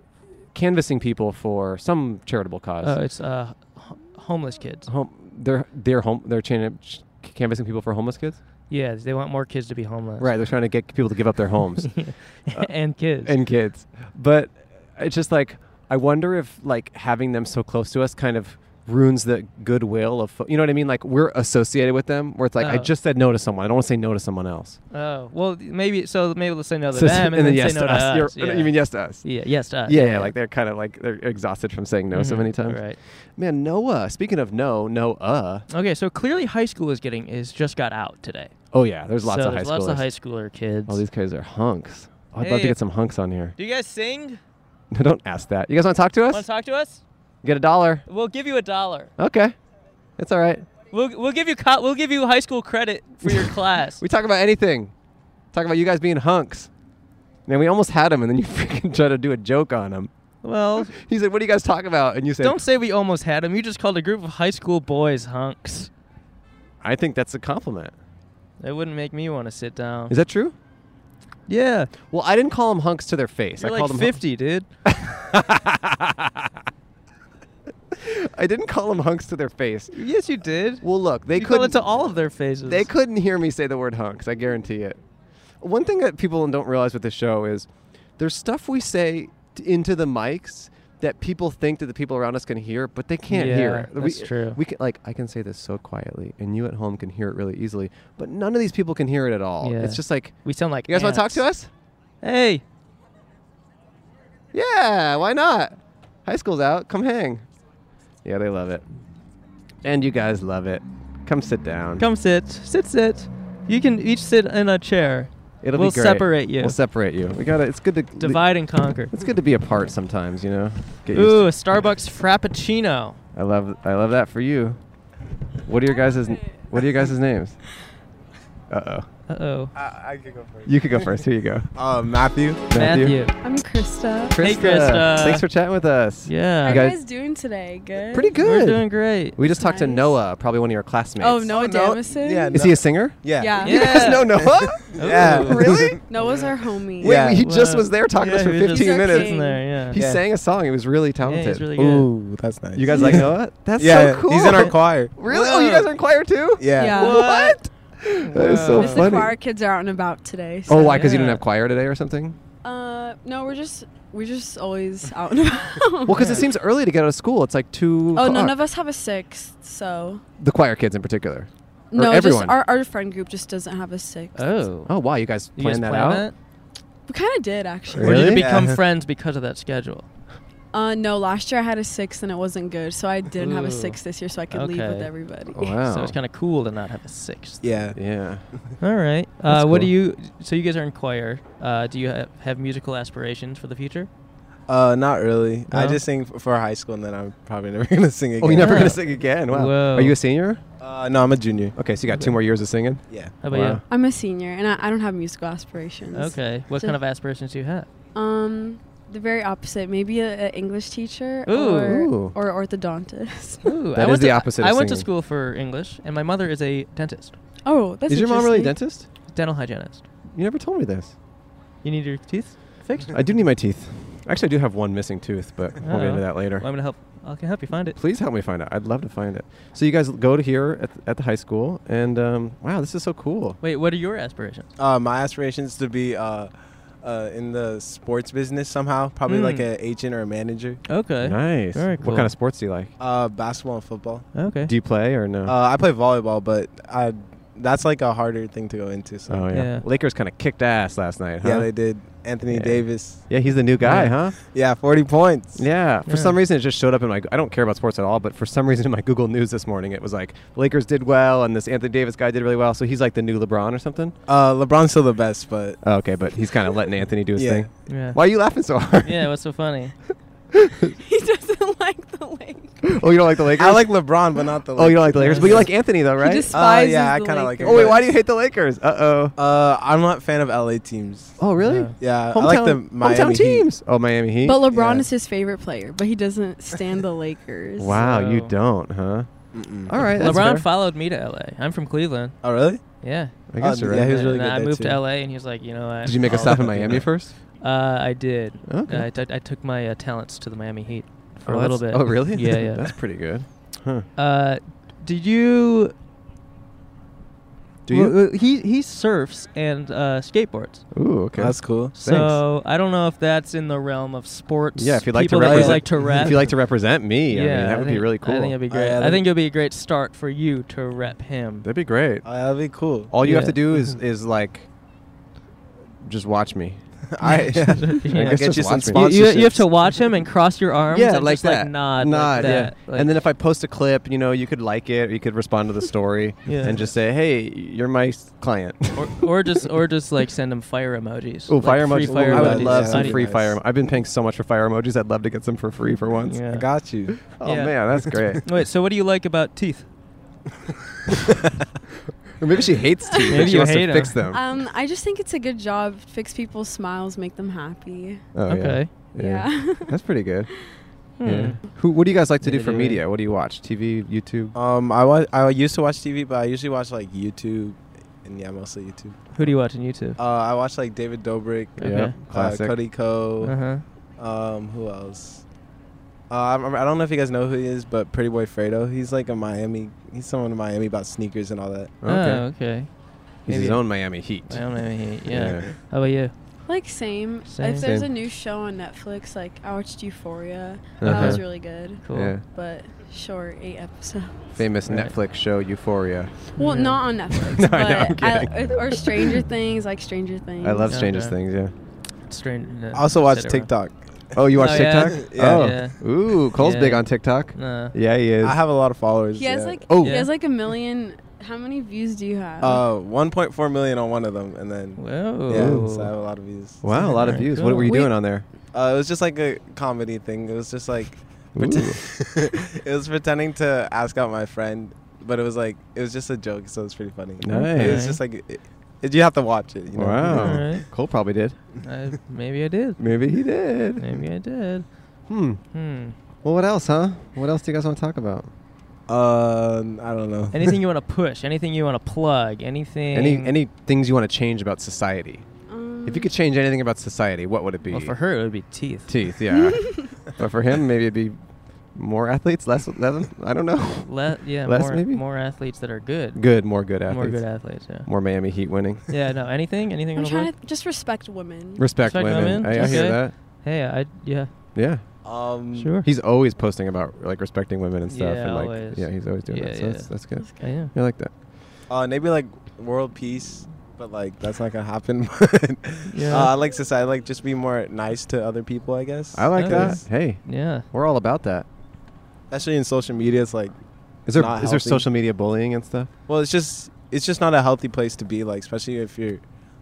[SPEAKER 2] canvassing people for some charitable cause.
[SPEAKER 1] Oh, it's uh, ho- homeless kids.
[SPEAKER 2] home, they're they're home. They're chain, ch- canvassing people for homeless kids.
[SPEAKER 1] Yeah, they want more kids to be homeless.
[SPEAKER 2] Right. They're trying to get people to give up their homes Uh,
[SPEAKER 1] and kids.
[SPEAKER 2] and kids. But it's just like I wonder if like having them so close to us kind of ruins the goodwill of fo- you know what I mean. Like we're associated with them. Where it's like I
[SPEAKER 1] Oh.
[SPEAKER 2] just said no to someone. I don't want to say no to someone else.
[SPEAKER 1] oh, well, maybe so. Maybe let's say no to
[SPEAKER 2] So-
[SPEAKER 1] them, and, then,
[SPEAKER 2] yes
[SPEAKER 1] say no to us.
[SPEAKER 2] You're-
[SPEAKER 1] yeah.
[SPEAKER 2] You mean yes to us?
[SPEAKER 1] yeah, yes to us.
[SPEAKER 2] Yeah, yeah, like they're kind of like they're exhausted from saying no so
[SPEAKER 1] Mhm,
[SPEAKER 2] many times.
[SPEAKER 1] Right.
[SPEAKER 2] Man, Noah. Speaking of no, no, uh.
[SPEAKER 1] Okay, so clearly high school is getting is just got out today.
[SPEAKER 2] Oh yeah, there's lots
[SPEAKER 1] so
[SPEAKER 2] of high
[SPEAKER 1] there's lots
[SPEAKER 2] schoolers.
[SPEAKER 1] of high schooler kids.
[SPEAKER 2] Oh, these guys are hunks. Oh, I'd love to
[SPEAKER 1] Hey.
[SPEAKER 2] get some hunks on here.
[SPEAKER 1] Do you guys sing?
[SPEAKER 2] No, don't ask that. You guys want to talk to us?
[SPEAKER 1] talk to us?
[SPEAKER 2] Get a dollar.
[SPEAKER 1] We'll give you a dollar.
[SPEAKER 2] Okay, it's all right.
[SPEAKER 1] We'll, we'll give you co- we'll give you high school credit for your class.
[SPEAKER 2] We talk about anything. Talk about you guys being hunks. Man, we almost had him, and then you freaking try to do a joke on him.
[SPEAKER 1] well,
[SPEAKER 2] He said, "What do you guys talk about?" And you said,
[SPEAKER 1] don't say we almost had him. You just called a group of high school boys hunks.
[SPEAKER 2] I think that's a compliment.
[SPEAKER 1] That wouldn't make me want to sit down.
[SPEAKER 2] Is that true?
[SPEAKER 1] yeah,
[SPEAKER 2] Well, I didn't call them hunks to their face.
[SPEAKER 1] you're
[SPEAKER 2] I
[SPEAKER 1] like
[SPEAKER 2] called them
[SPEAKER 1] 50, dude.
[SPEAKER 2] I didn't call them hunks to their face.
[SPEAKER 1] yes, you did.
[SPEAKER 2] Well, look, they
[SPEAKER 1] you
[SPEAKER 2] couldn't.
[SPEAKER 1] called it to all of their faces.
[SPEAKER 2] They couldn't hear me say the word hunks, I guarantee it. One thing that people don't realize with the show is there's stuff we say t- into the mics that people think that the people around us can hear, but they can't hear
[SPEAKER 1] Yeah,
[SPEAKER 2] it.
[SPEAKER 1] that's
[SPEAKER 2] we,
[SPEAKER 1] true.
[SPEAKER 2] We can, like I can say this so quietly, and you at home can hear it really easily, but none of these people can hear it at all.
[SPEAKER 1] Yeah.
[SPEAKER 2] Oh, It's just like,
[SPEAKER 1] We sound like
[SPEAKER 2] you guys want to talk to
[SPEAKER 1] ants.
[SPEAKER 2] us?
[SPEAKER 1] Hey,
[SPEAKER 2] Yeah, why not? High school's out. Come hang. Yeah, they love it, and you guys love it. Come sit down.
[SPEAKER 1] come sit, sit, sit. You can each sit in a chair.
[SPEAKER 2] It'll
[SPEAKER 1] we'll
[SPEAKER 2] be great.
[SPEAKER 1] separate you.
[SPEAKER 2] We'll separate you. We gotta. It's good to
[SPEAKER 1] Divide and conquer.
[SPEAKER 2] It's good to be apart sometimes, you know. Get used
[SPEAKER 1] Ooh,
[SPEAKER 2] to-
[SPEAKER 1] a Starbucks Frappuccino.
[SPEAKER 2] I love I love that for you. What are your guys' What are your guys' names? Uh oh.
[SPEAKER 1] Uh oh.
[SPEAKER 9] I, I could go first.
[SPEAKER 2] You could go first. Here you go.
[SPEAKER 9] Uh, Matthew.
[SPEAKER 1] Matthew.
[SPEAKER 10] I'm Krista.
[SPEAKER 1] Hey, Krista.
[SPEAKER 2] Thanks for chatting with us.
[SPEAKER 1] Yeah.
[SPEAKER 10] How
[SPEAKER 2] guys-
[SPEAKER 10] you guys doing today? Good.
[SPEAKER 2] Pretty good.
[SPEAKER 1] We're doing great.
[SPEAKER 2] We just talked to
[SPEAKER 10] Nice.
[SPEAKER 2] Noah, probably one of your classmates.
[SPEAKER 10] Oh, Noah
[SPEAKER 9] Oh, no.
[SPEAKER 10] Damison.
[SPEAKER 9] Yeah.
[SPEAKER 2] Is he a singer?
[SPEAKER 9] Yeah.
[SPEAKER 10] Yeah.
[SPEAKER 2] You guys know Noah?
[SPEAKER 9] Yeah.
[SPEAKER 1] Ooh.
[SPEAKER 2] really?
[SPEAKER 10] Noah's our homie.
[SPEAKER 2] Wait,
[SPEAKER 9] Yeah.
[SPEAKER 2] he just
[SPEAKER 1] Wow.
[SPEAKER 2] was there talking to us
[SPEAKER 1] Yeah,
[SPEAKER 2] for
[SPEAKER 1] he was just
[SPEAKER 2] 15
[SPEAKER 10] He's our
[SPEAKER 2] minutes.
[SPEAKER 10] king.
[SPEAKER 1] sitting there, yeah.
[SPEAKER 2] He
[SPEAKER 9] Yeah.
[SPEAKER 2] sang a song. He was really talented.
[SPEAKER 1] really good.
[SPEAKER 9] Ooh, that's nice.
[SPEAKER 2] You guys like Noah? That's
[SPEAKER 9] yeah,
[SPEAKER 2] so cool.
[SPEAKER 9] He's in our choir.
[SPEAKER 2] Really? Oh, you
[SPEAKER 9] Uh,
[SPEAKER 2] guys are in choir too?
[SPEAKER 9] Yeah.
[SPEAKER 10] Yeah.
[SPEAKER 2] What? That is so
[SPEAKER 10] Miss the
[SPEAKER 2] funny.
[SPEAKER 10] choir kids are out and about today. So.
[SPEAKER 2] Oh, why? Because you didn't
[SPEAKER 1] Yeah.
[SPEAKER 2] have choir today or something?
[SPEAKER 10] Uh, no, we're just we're just always out and about.
[SPEAKER 2] Well, because it seems early to get out of school. It's like two.
[SPEAKER 10] oh, none
[SPEAKER 2] o'clock.
[SPEAKER 10] of us have a sixth, so
[SPEAKER 2] the choir kids in particular.
[SPEAKER 10] no,
[SPEAKER 2] everyone.
[SPEAKER 10] just our our friend group just doesn't have a sixth.
[SPEAKER 1] Oh.
[SPEAKER 2] Oh wow, you guys
[SPEAKER 1] You
[SPEAKER 2] planned
[SPEAKER 1] guys
[SPEAKER 2] that
[SPEAKER 1] plan
[SPEAKER 2] out?
[SPEAKER 1] that?
[SPEAKER 10] We kind of did actually.
[SPEAKER 1] Or did you
[SPEAKER 2] Really?
[SPEAKER 1] become
[SPEAKER 9] Yeah.
[SPEAKER 1] friends because of that schedule?
[SPEAKER 10] Uh, no, last year I had a sixth and it wasn't good, so I didn't have
[SPEAKER 1] Ooh.
[SPEAKER 10] a sixth this year, so I could leave with
[SPEAKER 1] Okay.
[SPEAKER 10] everybody.
[SPEAKER 2] Oh, wow.
[SPEAKER 1] So it's kind of cool to not have a sixth.
[SPEAKER 9] Yeah.
[SPEAKER 2] yeah.
[SPEAKER 1] All right. Uh,
[SPEAKER 2] That's
[SPEAKER 1] What do
[SPEAKER 2] cool.
[SPEAKER 1] you? So you guys are in choir. Uh, do you ha- have musical aspirations for the future?
[SPEAKER 9] Uh, not really. I
[SPEAKER 1] No?
[SPEAKER 9] just sing f- for high school, and then I'm probably never gonna sing again.
[SPEAKER 2] Oh, you're never
[SPEAKER 1] Yeah.
[SPEAKER 2] gonna sing again. Wow.
[SPEAKER 1] Whoa.
[SPEAKER 2] Are you a senior?
[SPEAKER 9] Uh, no, I'm a junior.
[SPEAKER 2] Okay, so you got two more years of singing.
[SPEAKER 9] Yeah.
[SPEAKER 1] How about
[SPEAKER 2] Wow.
[SPEAKER 10] I'm a senior and I, I don't have musical aspirations.
[SPEAKER 1] you? Okay. What
[SPEAKER 10] So-
[SPEAKER 1] kind of aspirations do you have?
[SPEAKER 10] Um, the very opposite. Maybe a, a English teacher
[SPEAKER 1] Ooh.
[SPEAKER 2] Ooh.
[SPEAKER 10] or or orthodontist.
[SPEAKER 1] Ooh,
[SPEAKER 2] That
[SPEAKER 1] I
[SPEAKER 2] is
[SPEAKER 1] went
[SPEAKER 2] the
[SPEAKER 1] to,
[SPEAKER 2] opposite of
[SPEAKER 1] I went to
[SPEAKER 2] singing.
[SPEAKER 1] school for English, and my mother is a dentist,
[SPEAKER 10] oh, that's
[SPEAKER 2] Is your mom really a
[SPEAKER 10] interesting.
[SPEAKER 2] dentist?
[SPEAKER 1] dental hygienist.
[SPEAKER 2] You never told me this.
[SPEAKER 1] You need your teeth fixed.
[SPEAKER 2] I do need my teeth. Actually, I do have one missing tooth, but we'll get
[SPEAKER 1] Oh.
[SPEAKER 2] into that later.
[SPEAKER 1] Well, I'm gonna help. I can help you find it.
[SPEAKER 2] Please help me find out. I'd love to find it. So you guys go to here at, at the high school, and um, wow, this is so cool.
[SPEAKER 1] Wait, what are your aspirations?
[SPEAKER 9] Uh, my aspiration is to be uh, uh, in the sports business somehow. Probably
[SPEAKER 1] Mm.
[SPEAKER 9] like an agent or a manager.
[SPEAKER 1] Okay.
[SPEAKER 2] Nice.
[SPEAKER 1] Very
[SPEAKER 2] What
[SPEAKER 1] cool.
[SPEAKER 2] kind of sports do you like?
[SPEAKER 9] Uh, basketball and football.
[SPEAKER 1] Okay.
[SPEAKER 2] Do you play or no?
[SPEAKER 9] Uh, I play volleyball, but I that's like a harder thing to go into. So
[SPEAKER 2] oh yeah.
[SPEAKER 1] Yeah.
[SPEAKER 2] Lakers kind of kicked ass last night. Huh?
[SPEAKER 9] yeah, they did. Anthony
[SPEAKER 2] Yeah.
[SPEAKER 9] Davis.
[SPEAKER 2] Yeah, he's the new guy,
[SPEAKER 1] Yeah.
[SPEAKER 2] huh?
[SPEAKER 9] Yeah, 40 points.
[SPEAKER 2] Yeah. For
[SPEAKER 1] Yeah.
[SPEAKER 2] some reason, it just showed up in my. I don't care about sports at all, but for some reason, in my Google News this morning, it was like Lakers did well, and this Anthony Davis guy did really well. So he's like the new LeBron or something.
[SPEAKER 9] Uh, LeBron's still the best, but
[SPEAKER 2] Oh, okay, but he's kind of letting Anthony do his
[SPEAKER 9] Yeah.
[SPEAKER 2] thing.
[SPEAKER 1] yeah.
[SPEAKER 2] Why are you laughing so hard?
[SPEAKER 1] Yeah. What's so funny?
[SPEAKER 10] he doesn't like the lake.
[SPEAKER 2] oh, you don't like the Lakers?
[SPEAKER 9] I like LeBron, but not the.
[SPEAKER 2] Oh, you don't like the
[SPEAKER 1] Yeah,
[SPEAKER 2] Lakers,
[SPEAKER 1] it's
[SPEAKER 2] but you
[SPEAKER 1] just-
[SPEAKER 2] like Anthony though, right?
[SPEAKER 10] He despises
[SPEAKER 9] Uh, yeah, I
[SPEAKER 10] the
[SPEAKER 9] kind of
[SPEAKER 10] lake.
[SPEAKER 9] like it.
[SPEAKER 2] oh wait,
[SPEAKER 9] but-
[SPEAKER 2] why do you hate the Lakers? Uh oh.
[SPEAKER 9] Uh, I'm not a fan of LA teams.
[SPEAKER 2] Oh really?
[SPEAKER 1] Yeah.
[SPEAKER 9] Yeah,
[SPEAKER 2] Hometown,
[SPEAKER 9] I like the Miami
[SPEAKER 2] hometown
[SPEAKER 9] Heat.
[SPEAKER 2] teams. Oh, Miami Heat.
[SPEAKER 10] But LeBron
[SPEAKER 9] Yeah.
[SPEAKER 10] is his favorite player, but he doesn't stand the Lakers.
[SPEAKER 2] wow, you
[SPEAKER 1] So-
[SPEAKER 2] don't, huh?
[SPEAKER 9] Mm-mm.
[SPEAKER 2] All right, that's
[SPEAKER 1] LeBron
[SPEAKER 2] fair.
[SPEAKER 1] followed me to LA. I'm from Cleveland.
[SPEAKER 9] Oh really?
[SPEAKER 1] Yeah. Uh,
[SPEAKER 2] I guess
[SPEAKER 9] Oh,
[SPEAKER 2] you're right.
[SPEAKER 9] yeah, he was
[SPEAKER 1] And
[SPEAKER 9] really
[SPEAKER 1] then
[SPEAKER 9] good
[SPEAKER 1] I
[SPEAKER 9] there,
[SPEAKER 1] moved
[SPEAKER 9] too.
[SPEAKER 1] to LA, and he was like, you know, what?
[SPEAKER 2] Did you make a
[SPEAKER 1] I'll-
[SPEAKER 2] stop in Miami first?
[SPEAKER 1] Uh, I did.
[SPEAKER 2] Okay.
[SPEAKER 1] I, t- I took my uh, talents to the Miami Heat for
[SPEAKER 2] Oh,
[SPEAKER 1] a little bit.
[SPEAKER 2] that's- Oh, really?
[SPEAKER 1] Yeah, yeah.
[SPEAKER 2] that's pretty good. Huh.
[SPEAKER 1] Uh, did you?
[SPEAKER 2] Do you?
[SPEAKER 1] Well, uh, he he surfs and uh, skateboards.
[SPEAKER 2] Ooh, okay.
[SPEAKER 11] That's cool.
[SPEAKER 1] So I don't know if that's in the realm of sports.
[SPEAKER 2] yeah, if you'd like to
[SPEAKER 1] people that
[SPEAKER 2] represent,
[SPEAKER 1] would like to rap.
[SPEAKER 2] if you like to represent me, I
[SPEAKER 1] yeah,
[SPEAKER 2] mean, that
[SPEAKER 1] I
[SPEAKER 2] would be
[SPEAKER 1] think-
[SPEAKER 2] really cool.
[SPEAKER 1] I think it'd be great.
[SPEAKER 11] Oh, yeah,
[SPEAKER 1] I
[SPEAKER 11] that'd
[SPEAKER 1] think
[SPEAKER 11] be-
[SPEAKER 1] it'd be a great start for you to rep him.
[SPEAKER 2] That'd be great.
[SPEAKER 11] Uh, that'd be cool.
[SPEAKER 2] All you have
[SPEAKER 1] yeah.
[SPEAKER 2] to do is is like,
[SPEAKER 9] uh,
[SPEAKER 2] just watch me.
[SPEAKER 11] I,
[SPEAKER 1] Yeah.
[SPEAKER 11] guess
[SPEAKER 2] just
[SPEAKER 11] you some
[SPEAKER 2] watch me.
[SPEAKER 1] You, you, you have
[SPEAKER 11] sponsorships.
[SPEAKER 1] to watch him and cross your arms and just like nod, like that.
[SPEAKER 2] yeah.
[SPEAKER 1] Like,
[SPEAKER 2] and then if I post a clip, you know, you could like it, or you could respond to the story,
[SPEAKER 1] Yeah.
[SPEAKER 2] and just say, "Hey, you're my s- client."
[SPEAKER 1] or, or just or just like send him fire emojis.
[SPEAKER 2] Oh,
[SPEAKER 1] Like,
[SPEAKER 2] fire
[SPEAKER 1] free
[SPEAKER 2] emojis!
[SPEAKER 1] Fire
[SPEAKER 2] I would
[SPEAKER 1] emojis.
[SPEAKER 2] love some
[SPEAKER 1] Audio-
[SPEAKER 2] free
[SPEAKER 11] nice.
[SPEAKER 2] fire. em- I've been paying so much for fire emojis. I'd love to get some for free for once.
[SPEAKER 1] Yeah.
[SPEAKER 11] I got you.
[SPEAKER 2] Oh
[SPEAKER 1] Yeah.
[SPEAKER 2] man, that's great.
[SPEAKER 1] Wait, so what do you like about teeth?
[SPEAKER 2] or maybe she hates teeth.
[SPEAKER 1] Maybe
[SPEAKER 2] and she
[SPEAKER 1] you
[SPEAKER 2] wants
[SPEAKER 1] hate
[SPEAKER 2] to
[SPEAKER 1] 'em.
[SPEAKER 2] fix them.
[SPEAKER 10] Um, I just think it's a good job. Fix people's smiles, make them happy.
[SPEAKER 2] oh, yeah.
[SPEAKER 1] okay.
[SPEAKER 2] Yeah.
[SPEAKER 10] Yeah.
[SPEAKER 2] that's pretty good.
[SPEAKER 1] Hmm.
[SPEAKER 2] Yeah. Who? What do you guys like to do
[SPEAKER 1] Yeah,
[SPEAKER 2] for
[SPEAKER 1] yeah, yeah.
[SPEAKER 2] media? What do you watch? TV, YouTube.
[SPEAKER 11] Um, I wa- I used to watch TV, but I usually watch like YouTube, and yeah, mostly YouTube.
[SPEAKER 1] Who do you watch on YouTube?
[SPEAKER 11] Uh, I watch like David Dobrik,
[SPEAKER 1] Okay.
[SPEAKER 2] Yeah,
[SPEAKER 11] uh,
[SPEAKER 2] classic.
[SPEAKER 11] Cody
[SPEAKER 1] Uh
[SPEAKER 11] Ko,
[SPEAKER 1] huh.
[SPEAKER 11] um, who else? Uh, I, remember- I don't know if you guys know who he is, but Pretty Boy Fredo. He's like a Miami. He's someone in Miami about sneakers and all that.
[SPEAKER 1] Oh, okay.
[SPEAKER 2] He's his
[SPEAKER 1] maybe-
[SPEAKER 2] own Miami Heat.
[SPEAKER 1] I don't know. any- Yeah. How about you?
[SPEAKER 10] like same.
[SPEAKER 1] Same.
[SPEAKER 10] If there's
[SPEAKER 2] Same.
[SPEAKER 10] a new show on Netflix, like I watched Euphoria.
[SPEAKER 2] Uh-huh.
[SPEAKER 10] That was really good,
[SPEAKER 1] Cool.
[SPEAKER 2] Yeah.
[SPEAKER 10] but short eight episodes.
[SPEAKER 2] Famous
[SPEAKER 1] Right.
[SPEAKER 2] Netflix show Euphoria.
[SPEAKER 10] Well,
[SPEAKER 1] Yeah.
[SPEAKER 10] not on Netflix,
[SPEAKER 2] No,
[SPEAKER 10] but
[SPEAKER 2] I know, I'm
[SPEAKER 10] I,
[SPEAKER 2] kidding.
[SPEAKER 10] or Stranger Things, like Stranger Things.
[SPEAKER 2] I love
[SPEAKER 1] Yeah,
[SPEAKER 2] Strange
[SPEAKER 1] okay.
[SPEAKER 2] Things. Yeah.
[SPEAKER 1] Strange. uh,
[SPEAKER 11] I also watch TikTok.
[SPEAKER 2] Oh, you watch
[SPEAKER 1] Oh, yeah?
[SPEAKER 2] TikTok?
[SPEAKER 11] Yeah.
[SPEAKER 2] Oh.
[SPEAKER 1] Yeah.
[SPEAKER 2] Ooh, Cole's
[SPEAKER 1] Yeah.
[SPEAKER 2] big on TikTok.
[SPEAKER 1] No.
[SPEAKER 2] Yeah, he is.
[SPEAKER 11] I have a lot of followers.
[SPEAKER 10] He has
[SPEAKER 11] yeah.
[SPEAKER 10] like
[SPEAKER 2] Oh.
[SPEAKER 10] he
[SPEAKER 1] Yeah.
[SPEAKER 10] has like a million. How many views do you have?
[SPEAKER 11] uh, 1.4 million on one of them, and then
[SPEAKER 1] Whoa.
[SPEAKER 11] yeah, so I have a lot of views.
[SPEAKER 2] wow, a lot of
[SPEAKER 1] Alright,
[SPEAKER 2] views. What were you
[SPEAKER 11] cool.
[SPEAKER 2] doing on there?
[SPEAKER 11] Uh, it was just like a comedy thing. It was just like
[SPEAKER 2] Ooh.
[SPEAKER 11] it was pretending to ask out my friend, but it was like it was just a joke, so it was pretty funny. It
[SPEAKER 2] Nice.
[SPEAKER 11] was just like it, it- you have to watch it. You know?
[SPEAKER 2] Wow.
[SPEAKER 1] Alright.
[SPEAKER 2] Cole probably did.
[SPEAKER 1] I, maybe I did.
[SPEAKER 2] Maybe he did.
[SPEAKER 1] Maybe I did.
[SPEAKER 2] Hmm.
[SPEAKER 1] Hmm.
[SPEAKER 2] Well, what else, huh? What else do you guys want to talk about?
[SPEAKER 11] Um, I don't know.
[SPEAKER 1] Anything you want to push? Anything you want to plug? Anything?
[SPEAKER 2] Any any things you want to change about society?
[SPEAKER 10] Um,
[SPEAKER 2] If you could change anything about society, what would it be?
[SPEAKER 1] Well, for her it would be teeth.
[SPEAKER 2] Teeth, yeah. but for him, maybe it'd be more athletes, less, less I don't know.
[SPEAKER 1] Le- yeah.
[SPEAKER 2] Less
[SPEAKER 1] more,
[SPEAKER 2] maybe?
[SPEAKER 1] more athletes that are good.
[SPEAKER 2] Good, more good athletes.
[SPEAKER 1] More good athletes. Yeah.
[SPEAKER 2] More Miami Heat winning.
[SPEAKER 1] Yeah. No. Anything? Anything?
[SPEAKER 10] I'm
[SPEAKER 1] on
[SPEAKER 10] trying to just respect women.
[SPEAKER 2] Respect,
[SPEAKER 1] Respect
[SPEAKER 2] women.
[SPEAKER 1] women?
[SPEAKER 2] I, I hear
[SPEAKER 1] Okay.
[SPEAKER 2] that.
[SPEAKER 1] Hey. I. Yeah.
[SPEAKER 2] Yeah.
[SPEAKER 11] Um,
[SPEAKER 1] Sure.
[SPEAKER 2] He's always posting about like respecting women and stuff.
[SPEAKER 1] Yeah,
[SPEAKER 2] and, like,
[SPEAKER 1] always.
[SPEAKER 2] Yeah, he's always doing
[SPEAKER 1] Yeah,
[SPEAKER 2] that. So
[SPEAKER 1] yeah.
[SPEAKER 2] that's, that's good.
[SPEAKER 1] I am.
[SPEAKER 2] I like that.
[SPEAKER 11] Uh, maybe like world peace, but like that's not gonna happen. But
[SPEAKER 1] Yeah.
[SPEAKER 11] uh, I like society. Like just be more nice to other people. I guess.
[SPEAKER 2] I like that.
[SPEAKER 1] Nice.
[SPEAKER 2] Hey,
[SPEAKER 1] Yeah.
[SPEAKER 2] we're all about that.
[SPEAKER 11] Especially in social media, it's like
[SPEAKER 2] Is there is
[SPEAKER 11] Not
[SPEAKER 2] there
[SPEAKER 11] healthy.
[SPEAKER 2] social media bullying and stuff?
[SPEAKER 11] Well, it's just it's just not a healthy place to be. Like especially if you're